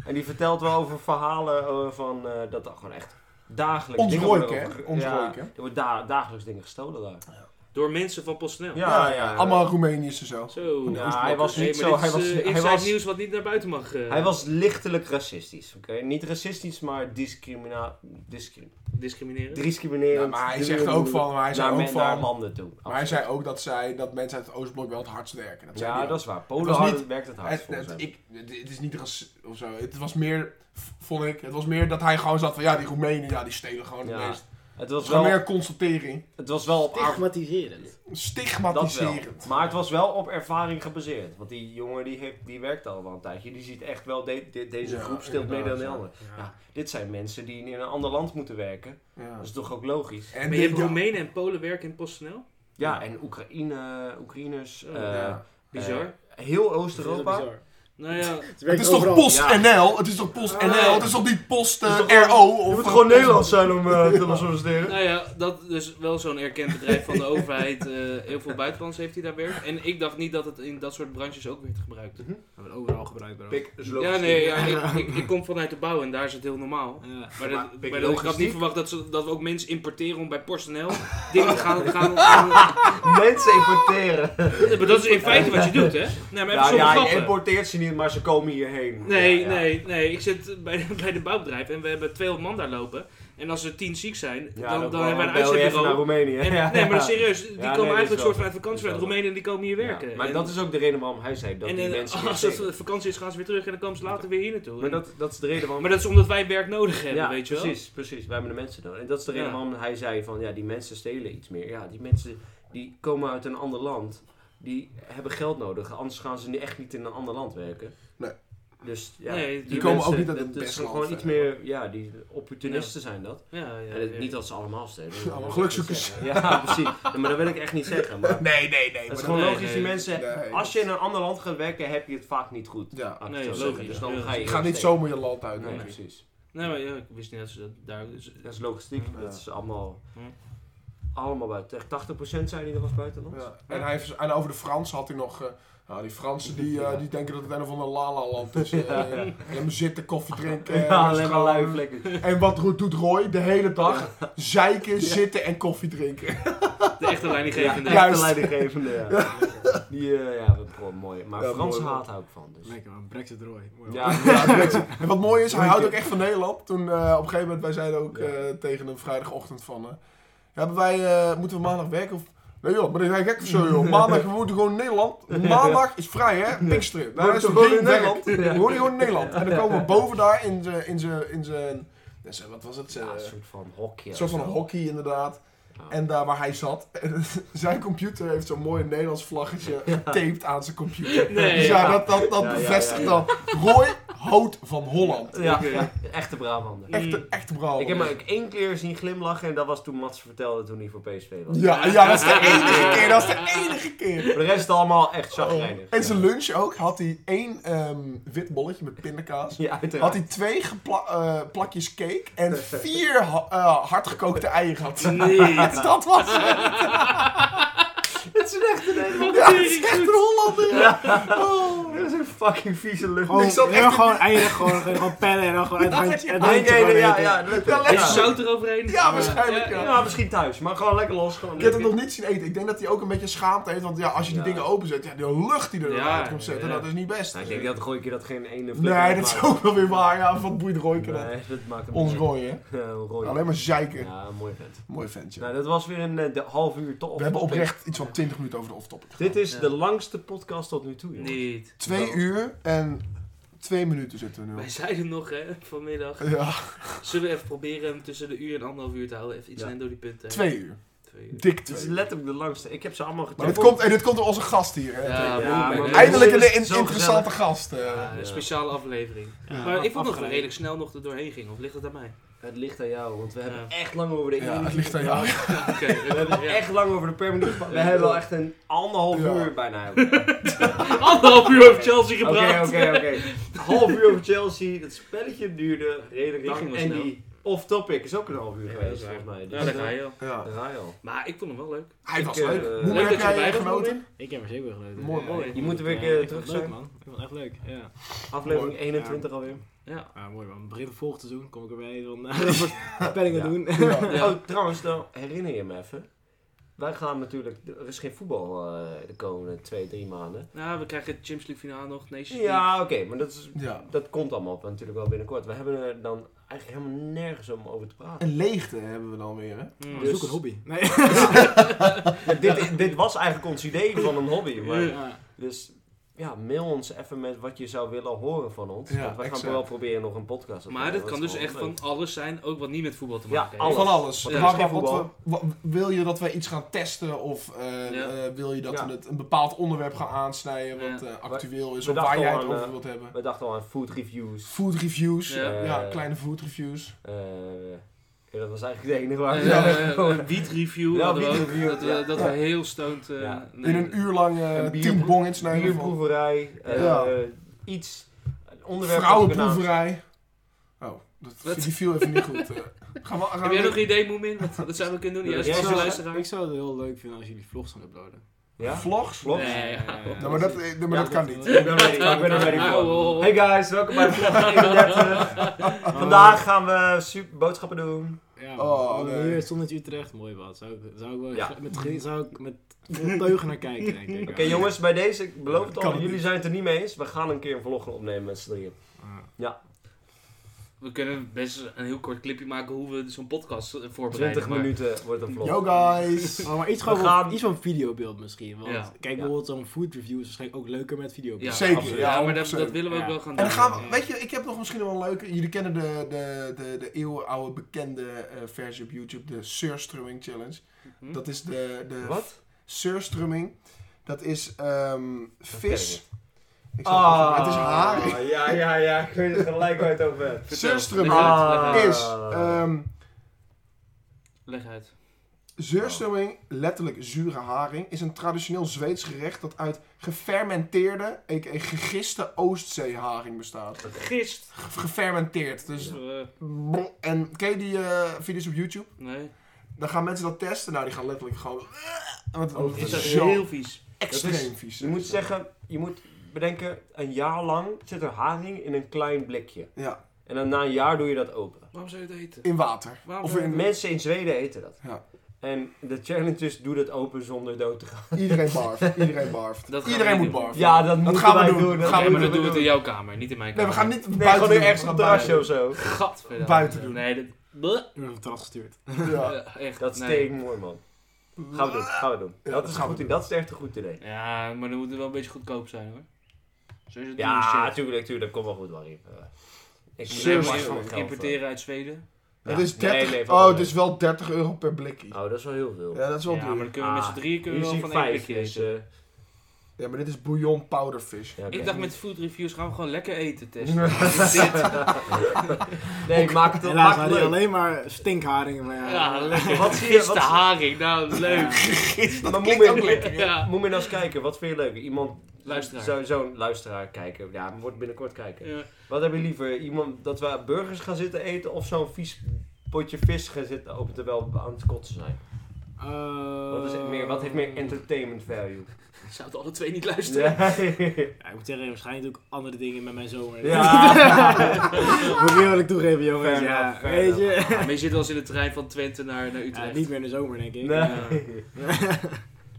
B: En die vertelt wel over verhalen eh, van eh, dat er gewoon echt dagelijks
C: Ons
B: dingen
C: Roy,
B: worden
C: hè?
B: over-
C: Ons
B: ja,
C: Roy, hè?
B: Er wordt da- dagelijks dingen gestolen daar.
A: Door mensen van PostNL.
B: Ja, eh, ja, ja.
C: Allemaal Roemeniërs en zo.
A: Zo.
B: Ja, hij was
A: Hey,
B: niet
A: maar dit
B: zo. Hij
A: is,
B: was,
A: eh,
B: hij,
A: inside
B: was,
A: nieuws wat niet naar buiten mag. eh,
B: hij was lichtelijk racistisch. Oké, Niet racistisch, maar discrimina discri
A: discrimineren.
B: discriminerend.
C: Ja, maar hij zegt ook van, maar hij zei
B: naar,
C: ook
B: men- naar
C: van,
B: landen toe.
C: maar hij zei ook dat, zij, dat mensen uit het Oostblok wel het hardst werken. Dat zei
B: ja,
C: hij
B: dat
C: ook.
B: is waar.
C: Het
B: Polen
C: was
B: hard
C: niet-
B: werkt het hard
C: Het,
B: volgens
C: het,
B: hem.
C: ik, het het is niet ras- of zo. Het was meer, v- vond ik, het was meer dat hij gewoon zat van, ja, die Roemenen, ja, die stelen gewoon
B: Ja.
C: het meest.
B: Het
C: Het
B: was
C: was gewoon
B: wel,
C: meer constatering.
B: het was wel op aard-
D: Stigmatiserend.
B: Dat wel.
C: Stigmatiserend.
B: Maar het was wel op ervaring gebaseerd. Want die jongen die, heeft, die werkt al wel een tijdje. Die ziet echt wel, de, de- deze
C: Ja,
B: groep steelt meer dan
C: inderdaad,
B: de
C: ja.
B: ander.
C: Ja.
B: Ja, dit zijn mensen die in een ander land moeten werken.
C: Ja.
B: Dat is toch ook logisch?
C: En
A: Maar je hebt
C: dit-
A: Roemenen en Polen werken in PostNL?
B: Ja, en Oekraïne, Oekraïners. eh,
C: Ja.
A: Bizar.
B: eh, heel
D: Dat is
B: Oost-Europa.
D: heel bizar.
A: nou ja,
C: Het is toch
B: Ja.
C: PostNL? Het is toch PostNL?
B: Ah.
C: Het is toch niet Post eh,
B: Het is toch
C: RO? Of
B: Je moet gewoon Nederlands zijn om eh, te solliciteren.
A: nou ja, dat dus wel zo'n erkend bedrijf van de overheid. eh, heel veel buitenlands heeft hij daar werk. En ik dacht niet dat het in dat soort branches ook werd gebruikt.
D: We hebben overal gebruikt, bro.
B: Pik is
A: Ja, nee, ja, ik, ik, ik kom vanuit de bouw en daar is het heel normaal.
D: Ja.
A: Maar,
B: Maar
A: dat,
B: pik
A: maar dat- ik had
B: logistiek?
A: niet verwacht dat, ze, dat we ook mensen importeren om bij PostNL dingen te gaan... gaan, gaan-
B: Mensen importeren.
A: maar dat is in feite wat je doet, hè? Nee, maar even
B: Ja,
A: zonder
B: ja, je
A: grappen.
B: importeert ze niet, maar ze komen hierheen.
A: Nee,
B: Ja, ja.
A: nee, nee. Ik zit bij de, bij de bouwbedrijf en we hebben 200 man daar lopen. En als er 10 ziek zijn,
B: Ja,
A: dan, dan hebben we
B: bel
A: een
B: je even naar
A: uitzendbureau.
B: Roemenië.
A: En,
B: Ja,
A: nee, maar
B: ja.
A: serieus, die
B: nee, dat
A: komen
B: is
A: eigenlijk
B: wel
A: soort van
B: zo.
A: vakantie
B: Dat
A: uit
B: is wel
A: Roemenen die komen hier
B: Ja,
A: werken.
B: Maar
A: En-
B: dat is ook de reden waarom hij zei dat
A: en,
B: die
A: en
B: mensen hier
A: als
B: steken.
A: het vakantie is, gaan ze weer terug en dan komen ze later weer hier naartoe.
B: Maar dat, dat is de reden waarom...
A: maar dat is omdat wij werk nodig hebben,
B: ja,
A: weet je wel.
B: precies, precies. Wij hebben de mensen dan. En dat is de reden
A: Ja.
B: waarom hij zei van, ja, die mensen stelen iets meer. Ja, die mensen die komen uit een ander land, die hebben geld nodig. Anders gaan ze nu echt niet in een ander land werken.
C: Nee.
B: Dus ja,
A: Nee, die
C: komen
B: mensen-
C: ook niet uit het
B: dat- dat
C: beste
B: is
C: land
B: gewoon iets
C: verder.
B: meer, ja, die opportunisten zijn dat.
A: Ja, ja,
B: En het-
A: ja.
B: niet dat ze allemaal stelen.
C: Ja, maar
B: Dat
C: gelukkig
B: wil ik niet
C: zoeken
B: zeggen. Ja, precies. Nee, maar dat wil ik echt niet zeggen. Maar
C: Nee, nee, nee.
B: het is
C: maar
B: gewoon
A: nee,
B: logisch, die
A: nee.
B: mensen...
C: Nee.
B: Als je in een ander land gaat werken, heb je het vaak niet goed.
C: Ja.
B: Ah,
A: Nee,
B: zo
A: logisch.
B: zeggen. Dus dan
A: Ja,
B: ga je...
C: Je gaat niet
B: stelen.
C: zomaar je land uit.
B: Nee,
C: denk ik.
B: precies.
A: Nee, maar ja, ik wist niet dat ze dat daar... dus-
B: Dat is logistiek.
C: Ja.
B: Dat is allemaal...
A: Hm.
B: Allemaal buiten. Echt 80% zijn die er als buitenland.
C: Ja. En, hij heeft, en over de Fransen had hij nog... eh, nou, die Fransen die, eh, die denken dat het een of ander lala-land is. eh, Alleen maar zitten, koffie drinken. eh,
B: alleen maar
C: schaam.
B: lui vlekken.
C: En wat ro- doet Roy de hele dag? Zeiken, zitten en koffie drinken.
A: De echte leidinggevende.
C: Ja.
B: de
C: Juist.
B: leidinggevende, ja. Die, eh, ja, dat is gewoon mooi. Maar
C: Ja,
B: Frans
C: mooi,
B: haat hou ik van, dus.
D: Lekker, man. Brexit Roy. Mooi, man.
B: Ja,
C: Ja, en wat mooi is, hij houdt ook echt van Nederland. Toen eh, op een gegeven moment, wij zeiden ook
B: Ja.
C: eh, tegen een vrijdagochtend van... eh, ja, hebben wij, eh, moeten we maandag werken? Of, nee joh, maar dat is gek of zo joh. Maandag, we moeten gewoon in Nederland. Maandag is vrij hè, Pinksteren. Daar
B: Wordt
C: is
B: toch
C: het
B: gewoon
C: ding
B: in
C: Nederland.
B: Nederland?
C: We worden gewoon in Nederland. En dan komen we boven daar in zijn... In zijn- in zijn- in zijn- wat was het? Zijn- eh,
B: Ja, een soort van hokje.
C: Een soort van
B: of zo.
C: hockey inderdaad.
B: Ja.
C: En daar waar hij zat. En zijn computer heeft zo'n mooi Nederlands vlaggetje getaped aan zijn computer.
A: Nee,
C: dus ja,
B: ja.
C: dat, dat, dat
B: Ja, ja,
C: bevestigt
B: ja, ja.
C: dan. Roy houdt van Holland.
B: Ja,
A: Oké.
B: ja, echte Brabander.
C: Echte, echte brouw.
B: Ik heb maar ook één keer zien glimlachen en dat was toen Mats vertelde toen hij voor PSV was.
C: ja, ja, dat is de enige keer. Dat is de enige keer.
B: Voor de rest is het allemaal echt chagrijnig.
C: Oh, En zijn lunch ook had hij één ehm, wit bolletje met pindakaas.
B: Ja, uiteraard.
C: Had hij twee gepla- eh, plakjes cake en vier ha- eh, hardgekookte eieren gehad.
A: Niet.
C: Dat was het.
B: Het is echt een hele...
C: Ja, het is echt een Hollander. Oh.
B: Dat is een fucking vieze lucht.
D: Gewoon,
C: Ik zat echt in-
D: gewoon eieren, gewoon, gewoon pennen en dan gewoon uit het handje.
C: Ja,
D: uit het
B: Nee,
D: handje
B: nee, nee,
D: gewoon
B: ja,
D: eten.
B: ja, dat-
C: Ja,
A: Even
C: lekker.
B: ja.
A: zout eroverheen.
C: Ja, waarschijnlijk
A: Ja,
C: ja.
B: Ja, misschien thuis, maar gewoon lekker los. Gewoon
C: Ik heb hem nog niet zien eten. Ik denk dat hij ook een beetje schaamte heeft. Want ja, als je die
B: Ja.
C: dingen openzet, ja, de lucht die er
A: Ja,
C: uit komt zetten,
A: ja.
C: dat is niet best.
B: Nou, ik denk dat gooi ik je dat geen ene flikker
C: nee,
B: op
C: dat is
B: maakt.
C: ook wel weer waar. Ja, wat boeit Royke dat?
B: Nee, dat maakt hem
C: Ons
B: niet.
C: Roy, hè?
B: Ja, een rooi.
C: Alleen maar zeiken.
B: Ja, een mooi vent.
C: Mooi ventje.
B: Nou, dat was weer een eh, de half uur top.
C: We hebben oprecht iets van 20 minuten over de off-topic.
B: Dit is
A: Ja.
B: de langste podcast tot nu toe, jongens.
A: Niet.
C: Twee uur en twee minuten zitten we nu
A: Wij
C: op.
A: zeiden nog, hè, vanmiddag.
C: Ja,
A: Zullen we even proberen hem tussen de uur en anderhalf uur te houden? Even iets
B: Ja.
A: alleen door die punten.
C: twee uur.
B: twee uur.
C: Dik
B: Dit is
C: twee.
B: letterlijk de langste. Ik heb ze allemaal
C: Maar
B: gecheckt.
C: dit komt, en dit komt door onze gast hier. hè.
A: Ja,
B: Ja,
A: broer,
B: maar
A: man.
C: Eindelijk een,
B: dit is
C: in-
B: zo
C: interessante gast. eh.
A: Ja, een speciale aflevering.
D: Ja,
A: maar ik vond dat we
D: afgeleid.
A: redelijk snel nog er doorheen gingen. Of ligt het aan mij?
B: Het ligt aan jou, want we
A: Ja.
B: hebben echt lang over de
C: Ja,
B: ene
C: het
B: minuut
C: ligt aan jou.
A: Oké.
B: We hebben
A: ja.
B: echt lang over de per minuut gepakt. We hebben wel echt een anderhalf
C: Ja.
B: uur bijna. Oké,
A: Anderhalf uur over Chelsea gepraat.
B: oké, oké. Half uur over Chelsea. Dat spelletje duurde redelijk
A: Die
B: lang.
A: ging wel
B: en
A: snel.
B: die off-topic is ook een half uur
A: Ja, dat
B: geweest,
A: is waar.
B: volgens mij.
A: Ja, daar ga je al.
C: Ja.
B: daar ga je al.
A: Maar ik vond hem wel leuk.
C: Hij was
B: Ik, eh,
C: leuk.
B: leuk
C: Hoe heb
A: dat je
C: jij
A: erbij bent,
C: genoten?
D: Ik heb er zeker weer gelezen.
C: Mooi, mooi.
B: Je moet er weer,
D: Ja,
B: eh,
D: ik vond
B: terug
D: het leuk,
B: zijn.
D: man. Ik vond het echt leuk, ja.
B: Aflevering
D: Mooi.
B: 21 alweer.
A: Ja.
D: Ah, mooi man. Begin van volgend seizoen kom ik erbij. Dan eh, wat voorspellingen
B: Ja.
D: doen.
C: Ja.
A: Ja.
B: Oh, trouwens, nou herinner je me even. Wij gaan natuurlijk... Er is geen voetbal eh, de komende twee, drie maanden.
A: Nou, we krijgen de Champions League finale nog. Nations League.
B: Ja, oké. maar dat, is,
C: Ja.
B: dat komt allemaal natuurlijk wel binnenkort. We hebben er dan eigenlijk helemaal nergens om over te praten.
C: Een leegte hebben we dan weer, hè?
A: Mm.
B: Dus-
D: Zoek een hobby. Nee.
B: Ja, dit, dit was eigenlijk ons idee van een hobby. Maar,
D: Ja.
B: dus ja, mail ons even met wat je zou willen horen van ons.
C: Ja,
B: want wij gaan
C: exact.
B: wel proberen nog een podcast op te
A: Maar
B: nemen,
A: dat kan
B: is
A: dus
B: gewoon
A: echt
B: leuk.
A: van alles zijn, ook wat niet met voetbal te
B: Ja,
A: maken
B: alles.
A: heeft.
C: Van alles.
B: Ja.
C: Maar
B: Geen
C: wat
B: voetbal.
C: we, wat- wil je dat wij iets gaan testen? Of eh,
A: Ja.
C: eh, wil je dat
B: Ja.
C: we het, een bepaald onderwerp gaan aansnijden wat
A: Ja.
C: eh, actueel is?
B: We
C: Of waar
B: dachten
C: jij
B: al
C: het
B: aan,
C: over
B: eh,
C: wilt hebben?
B: We dachten al aan food reviews.
C: Food reviews.
A: Ja.
C: Ja,
B: Eh,
C: kleine food reviews.
B: eh, ja, dat was eigenlijk de enige waar we
A: Eh,
B: zouden gewoon-
A: een wietreview
B: Ja,
A: hadden we ook.
B: wietreview,
A: Dat we,
B: ja.
A: dat we heel stoned... eh,
B: Ja.
A: nee,
C: In een uur lang eh
B: Een bier-
C: tien bongets nemen. van-
B: Bierproeverij, eh,
C: Ja.
B: iets, een onderwerp dat we kunnen
C: Vrouwenproeverij. Oh, dat
A: Wat?
C: die viel even niet goed. eh. gaan we, gaan
A: Heb
C: we-
A: jij nog een idee, Moemin? Wat, wat zouden we kunnen doen?
B: Ja,
A: Juist
B: jij
A: voor de
B: zou-
A: luisteraar.
D: Ik zou het heel leuk vinden als jullie vlogs gaan uploaden.
B: aan- Ja?
C: vlogs?
B: Vlogs?
A: Nee, ja.
C: Nou, maar dat, eh, nee, maar
B: Ja,
C: dat kan
D: dat-
C: niet.
B: Ik ben ready, ik ben er ready
A: Nou,
B: voor.
A: oh.
B: Hey guys, welkom bij de vlog 31. Vandaag gaan we super boodschappen doen.
D: Oh. Ja,
C: Oh,
D: oh,
C: nee.
D: weer zonnetje Utrecht. Mooi wat. Zou ik, zou ik wel
B: Ja.
D: met, ge- zou ik met vol teugen naar kijken, denk ik.
B: Oké jongens, bij deze, ik beloof het
C: Kan
B: al,
C: het
B: jullie
C: niet.
B: zijn het er niet mee eens. We gaan een keer een vlog opnemen met z'n drieën.
D: Ja.
A: We kunnen best een heel kort clipje maken hoe we zo'n podcast eh, voorbereiden.
B: 20
A: maar-
B: minuten wordt een vlog.
C: Yo guys!
D: Oh, maar iets,
B: We
D: gewoon van-
B: gaan-
D: iets van videobeeld misschien. Want
A: Ja.
D: kijk, bijvoorbeeld zo'n food review is waarschijnlijk ook leuker met videobeeld.
A: Ja,
C: Zeker,
A: absoluut.
C: ja,
A: Ja, maar dat,
C: 100%.
A: dat willen we ook
D: Ja.
A: wel gaan
C: En
A: doen.
C: dan gaan we, weet je, ik heb nog misschien wel een leuke. Jullie kennen de, de, de, de eeuwenoude bekende eh, versie op YouTube, de surstrumming challenge.
A: Hm?
C: Dat is de, de
B: Mhm. Wat?
C: surstrumming. Dat is ehm,
B: ken
C: vis. Ik zal het opzoeken,
B: Ah,
C: maar het is haar.
B: Ja, ja, ja, ik weet het gelijk waar je het over hebt.
A: Vertel,
C: Surstrumming
A: leg uit, leg uit.
B: Ah.
C: is ehm
A: Leg uit.
C: Zuurstomming, letterlijk zure haring, is een traditioneel Zweeds gerecht dat uit gefermenteerde, a.k.a. gegiste Oostzeeharing bestaat.
A: Gist.
C: Ge- Gefermenteerd, dus...
A: Eh,
C: brrr. En ken je die eh, video's op YouTube?
A: nee.
C: Dan gaan mensen dat testen, nou die gaan letterlijk gewoon... eh, Want
B: Oh,
C: het
A: Is
C: is
A: dat
C: zo
A: heel vies.
B: Dat
C: extreem
B: is-
C: vies.
B: Je moet zeggen, je moet bedenken, een jaar lang zit er haring in een klein blikje.
C: Ja,
B: En dan na een jaar doe je dat open.
A: Waarom zou je het eten?
C: in water.
A: Waarom
C: Of
A: zou je
C: in
B: Mensen in Zweden eten dat.
C: Ja.
B: En de challenge is, doe dat open zonder dood te gaan.
C: iedereen barft, iedereen barft.
A: Dat gaan
C: iedereen
A: we
C: moet
A: doen.
C: barfen.
B: Ja, dat moeten
C: gaan we
B: wij
C: doen.
B: Dat
C: Gaan
A: Nee,
C: we
A: maar dan
C: doen,
A: doen we
C: we
A: het in jouw kamer, niet in mijn
C: Nee,
A: kamer.
C: we gaan niet
B: Nee, gewoon
C: buiten
B: nu
C: doen,
B: ergens
C: we
B: op
C: gaan
B: het terrasje of
C: buiten
B: zo.
A: Gadverdamme.
C: Buiten doen.
A: Nee, dat... Bleh.
D: Ik heb een tas gestuurd.
C: doen. Ja.
A: Eh, echt.
B: Dat is
A: nee.
B: tegenmooi, man. Gaan we doen, gaan we doen.
C: Ja,
B: dat, is
C: gaan we
B: goed,
C: doen.
B: dat is echt een goed idee.
A: Ja, maar dan moet het wel een beetje goedkoop zijn hoor. Zo is het
B: Ja,
A: niet.
B: tuurlijk, tuurlijk. Kom wel goed, Warrie. Eh, Ik moet
A: Shit.
C: tuurlijk.
A: Surf
B: even wat
C: Serieus,
B: van geld
A: importeren uit Zweden.
C: Dat
B: Ja.
C: is
B: Nee,
C: 30,
B: nee, valt
C: oh,
B: wel
C: het is wel 30 euro per blikje.
B: Oh, dat is wel heel veel.
C: Ja, dat is wel
A: ja,
C: duur.
A: maar dan kunnen we met
B: Ah,
A: z'n drieën kunnen we
B: Hier
A: wel
B: zie ik
A: van één
B: vijf,
A: blikje
B: dus...
A: eten.
B: eh,
C: Ja, maar dit is bouillon powderfish.
B: ja, oké.
A: Ik dacht met food reviews gaan we gewoon lekker eten testen.
B: nee, ik maak Dus het
D: Helaas
B: maak
D: hadden
B: het
D: die
B: leuk.
D: alleen maar stinkharingen. Maar ja,
A: Ja, lekker.
B: Wat
A: Wat
B: zie je-
A: gisteren
B: wat-
A: haring, nou leuk.
B: Maar moet
C: klinkt
B: men,
C: ook lekker.
A: Ja.
B: moet men eens kijken, wat vind je leuk? Iemand,
A: Luisteraar.
B: zo- Zo'n luisteraar kijken. Ja, wordt binnenkort kijken.
A: Ja.
B: Wat hebben je liever? Iemand dat we burgers gaan zitten eten of zo'n vies potje vis gaan zitten open terwijl we aan het kotsen zijn?
D: Eh,
B: Wat, is het meer, wat heeft meer entertainment value?
A: Ik zou Oh. het alle twee niet luisteren.
B: Nee.
D: Ja, ik moet zeggen, waarschijnlijk doe ik andere dingen met mijn zomer.
B: Ja.
D: Moet ik eerlijk toegeven, jongens.
B: Fair
D: Ja,
B: enough, fair
D: weet je.
A: Maar je zit wel eens in de trein van Twente naar, naar
D: Ja,
A: Utrecht.
D: niet meer in de zomer, denk ik.
B: Nee.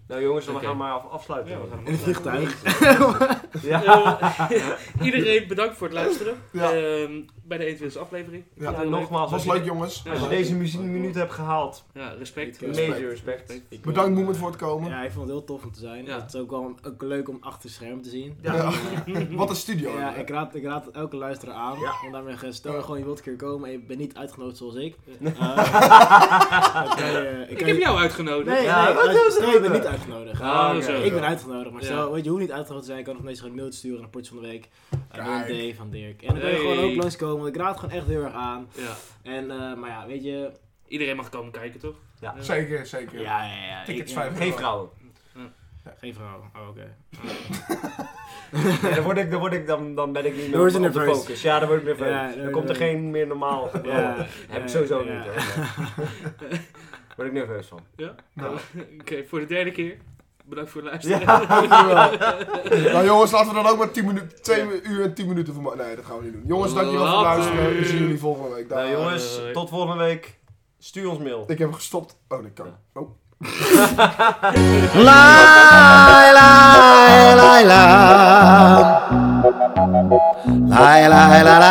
B: Nou jongens, we
A: Oké.
B: gaan maar af- afsluiten.
A: Ja, we gaan hem
D: In het vliegtuig.
B: Ja.
A: Eh, iedereen bedankt voor het luisteren
C: Ja.
A: Ehm, bij de 21e aflevering.
C: Ja.
A: Vond
B: Ja,
A: het leuk.
B: nogmaals,
C: was
B: als
C: leuk
B: je,
C: jongens.
A: Ja,
B: als je deze muziek minuut hebt gehaald,
A: Ja, respect.
D: Ik, eh,
B: major respect.
A: Respect.
C: Bedankt Moemet voor het komen.
D: Ja, ik vond het heel tof om te zijn.
A: Ja.
D: Het is ook wel ook leuk om achter het scherm te zien. eh,
C: Ja. eh, Wat een studio.
D: Ja,
C: Ja,
D: ik raad, ik raad elke luisteraar aan.
B: Ja.
D: Want daarmee ge- stel je gewoon je wilt een keer komen en je bent niet uitgenodigd zoals ik.
A: Ja.
D: Eh, dan kan je- ik
A: Ik
D: kan
A: heb
D: je-
A: jou uitgenodigd.
D: Nee,
B: Ja,
D: nee,
B: wat
D: als-
B: doen ze
D: stel
B: dan?
D: je bent niet uitgenodigd.
A: Ah,
B: Ah,
A: zo.
B: oké.
D: Ik ben uitgenodigd, maar
A: Ja.
D: stel, weet je, je hoeft niet uitgenodigd te zijn. Je kan nog ineens een mailtje sturen naar Portje van de Week.
C: Kijk.
D: Aan D van Dirk. En dan kan je
A: Hey.
D: gewoon ook langskomen, want ik raad het gewoon echt heel erg aan.
A: Ja.
D: En, eh, maar ja, weet je...
A: Iedereen mag komen kijken, toch?
B: Ja.
C: Zeker, zeker.
D: Ja, ja, ja.
C: Tickets
D: ik- ja,
C: 5
B: Geen vrouwen.
D: Geen vrouw. Oh, oké.
B: Ja, dan, word ik, dan, word ik, dan, dan ben ik niet
D: Dan
B: meer
D: word
B: op,
D: je
B: op de
D: nerveus.
B: focus. Ja, dan word ik nerveus.
D: Ja,
B: dan komt er
D: nee, nee.
B: geen meer normaal.
D: Ja,
B: Ja, heb
D: ja,
B: ik sowieso
D: ja.
B: niet. Hoor. Word ik nerveus van.
C: Nou.
A: Oké, voor de derde keer. Bedankt voor het luisteren.
C: Nou, jongens, laten we dan ook maar 10 minuten, 2 uur en 10 minuten voor. Nee, dat gaan we niet doen. Jongens, dankjewel voor het
A: Later.
C: luisteren. We zien jullie volgende week.
B: Nou
C: Dag.
B: jongens,
A: eh,
B: tot volgende week. Stuur ons mail.
C: Ik heb hem gestopt. Oh, dat kan. Oh.
E: Lai, lai, lai, lai. Lai, lai, lai,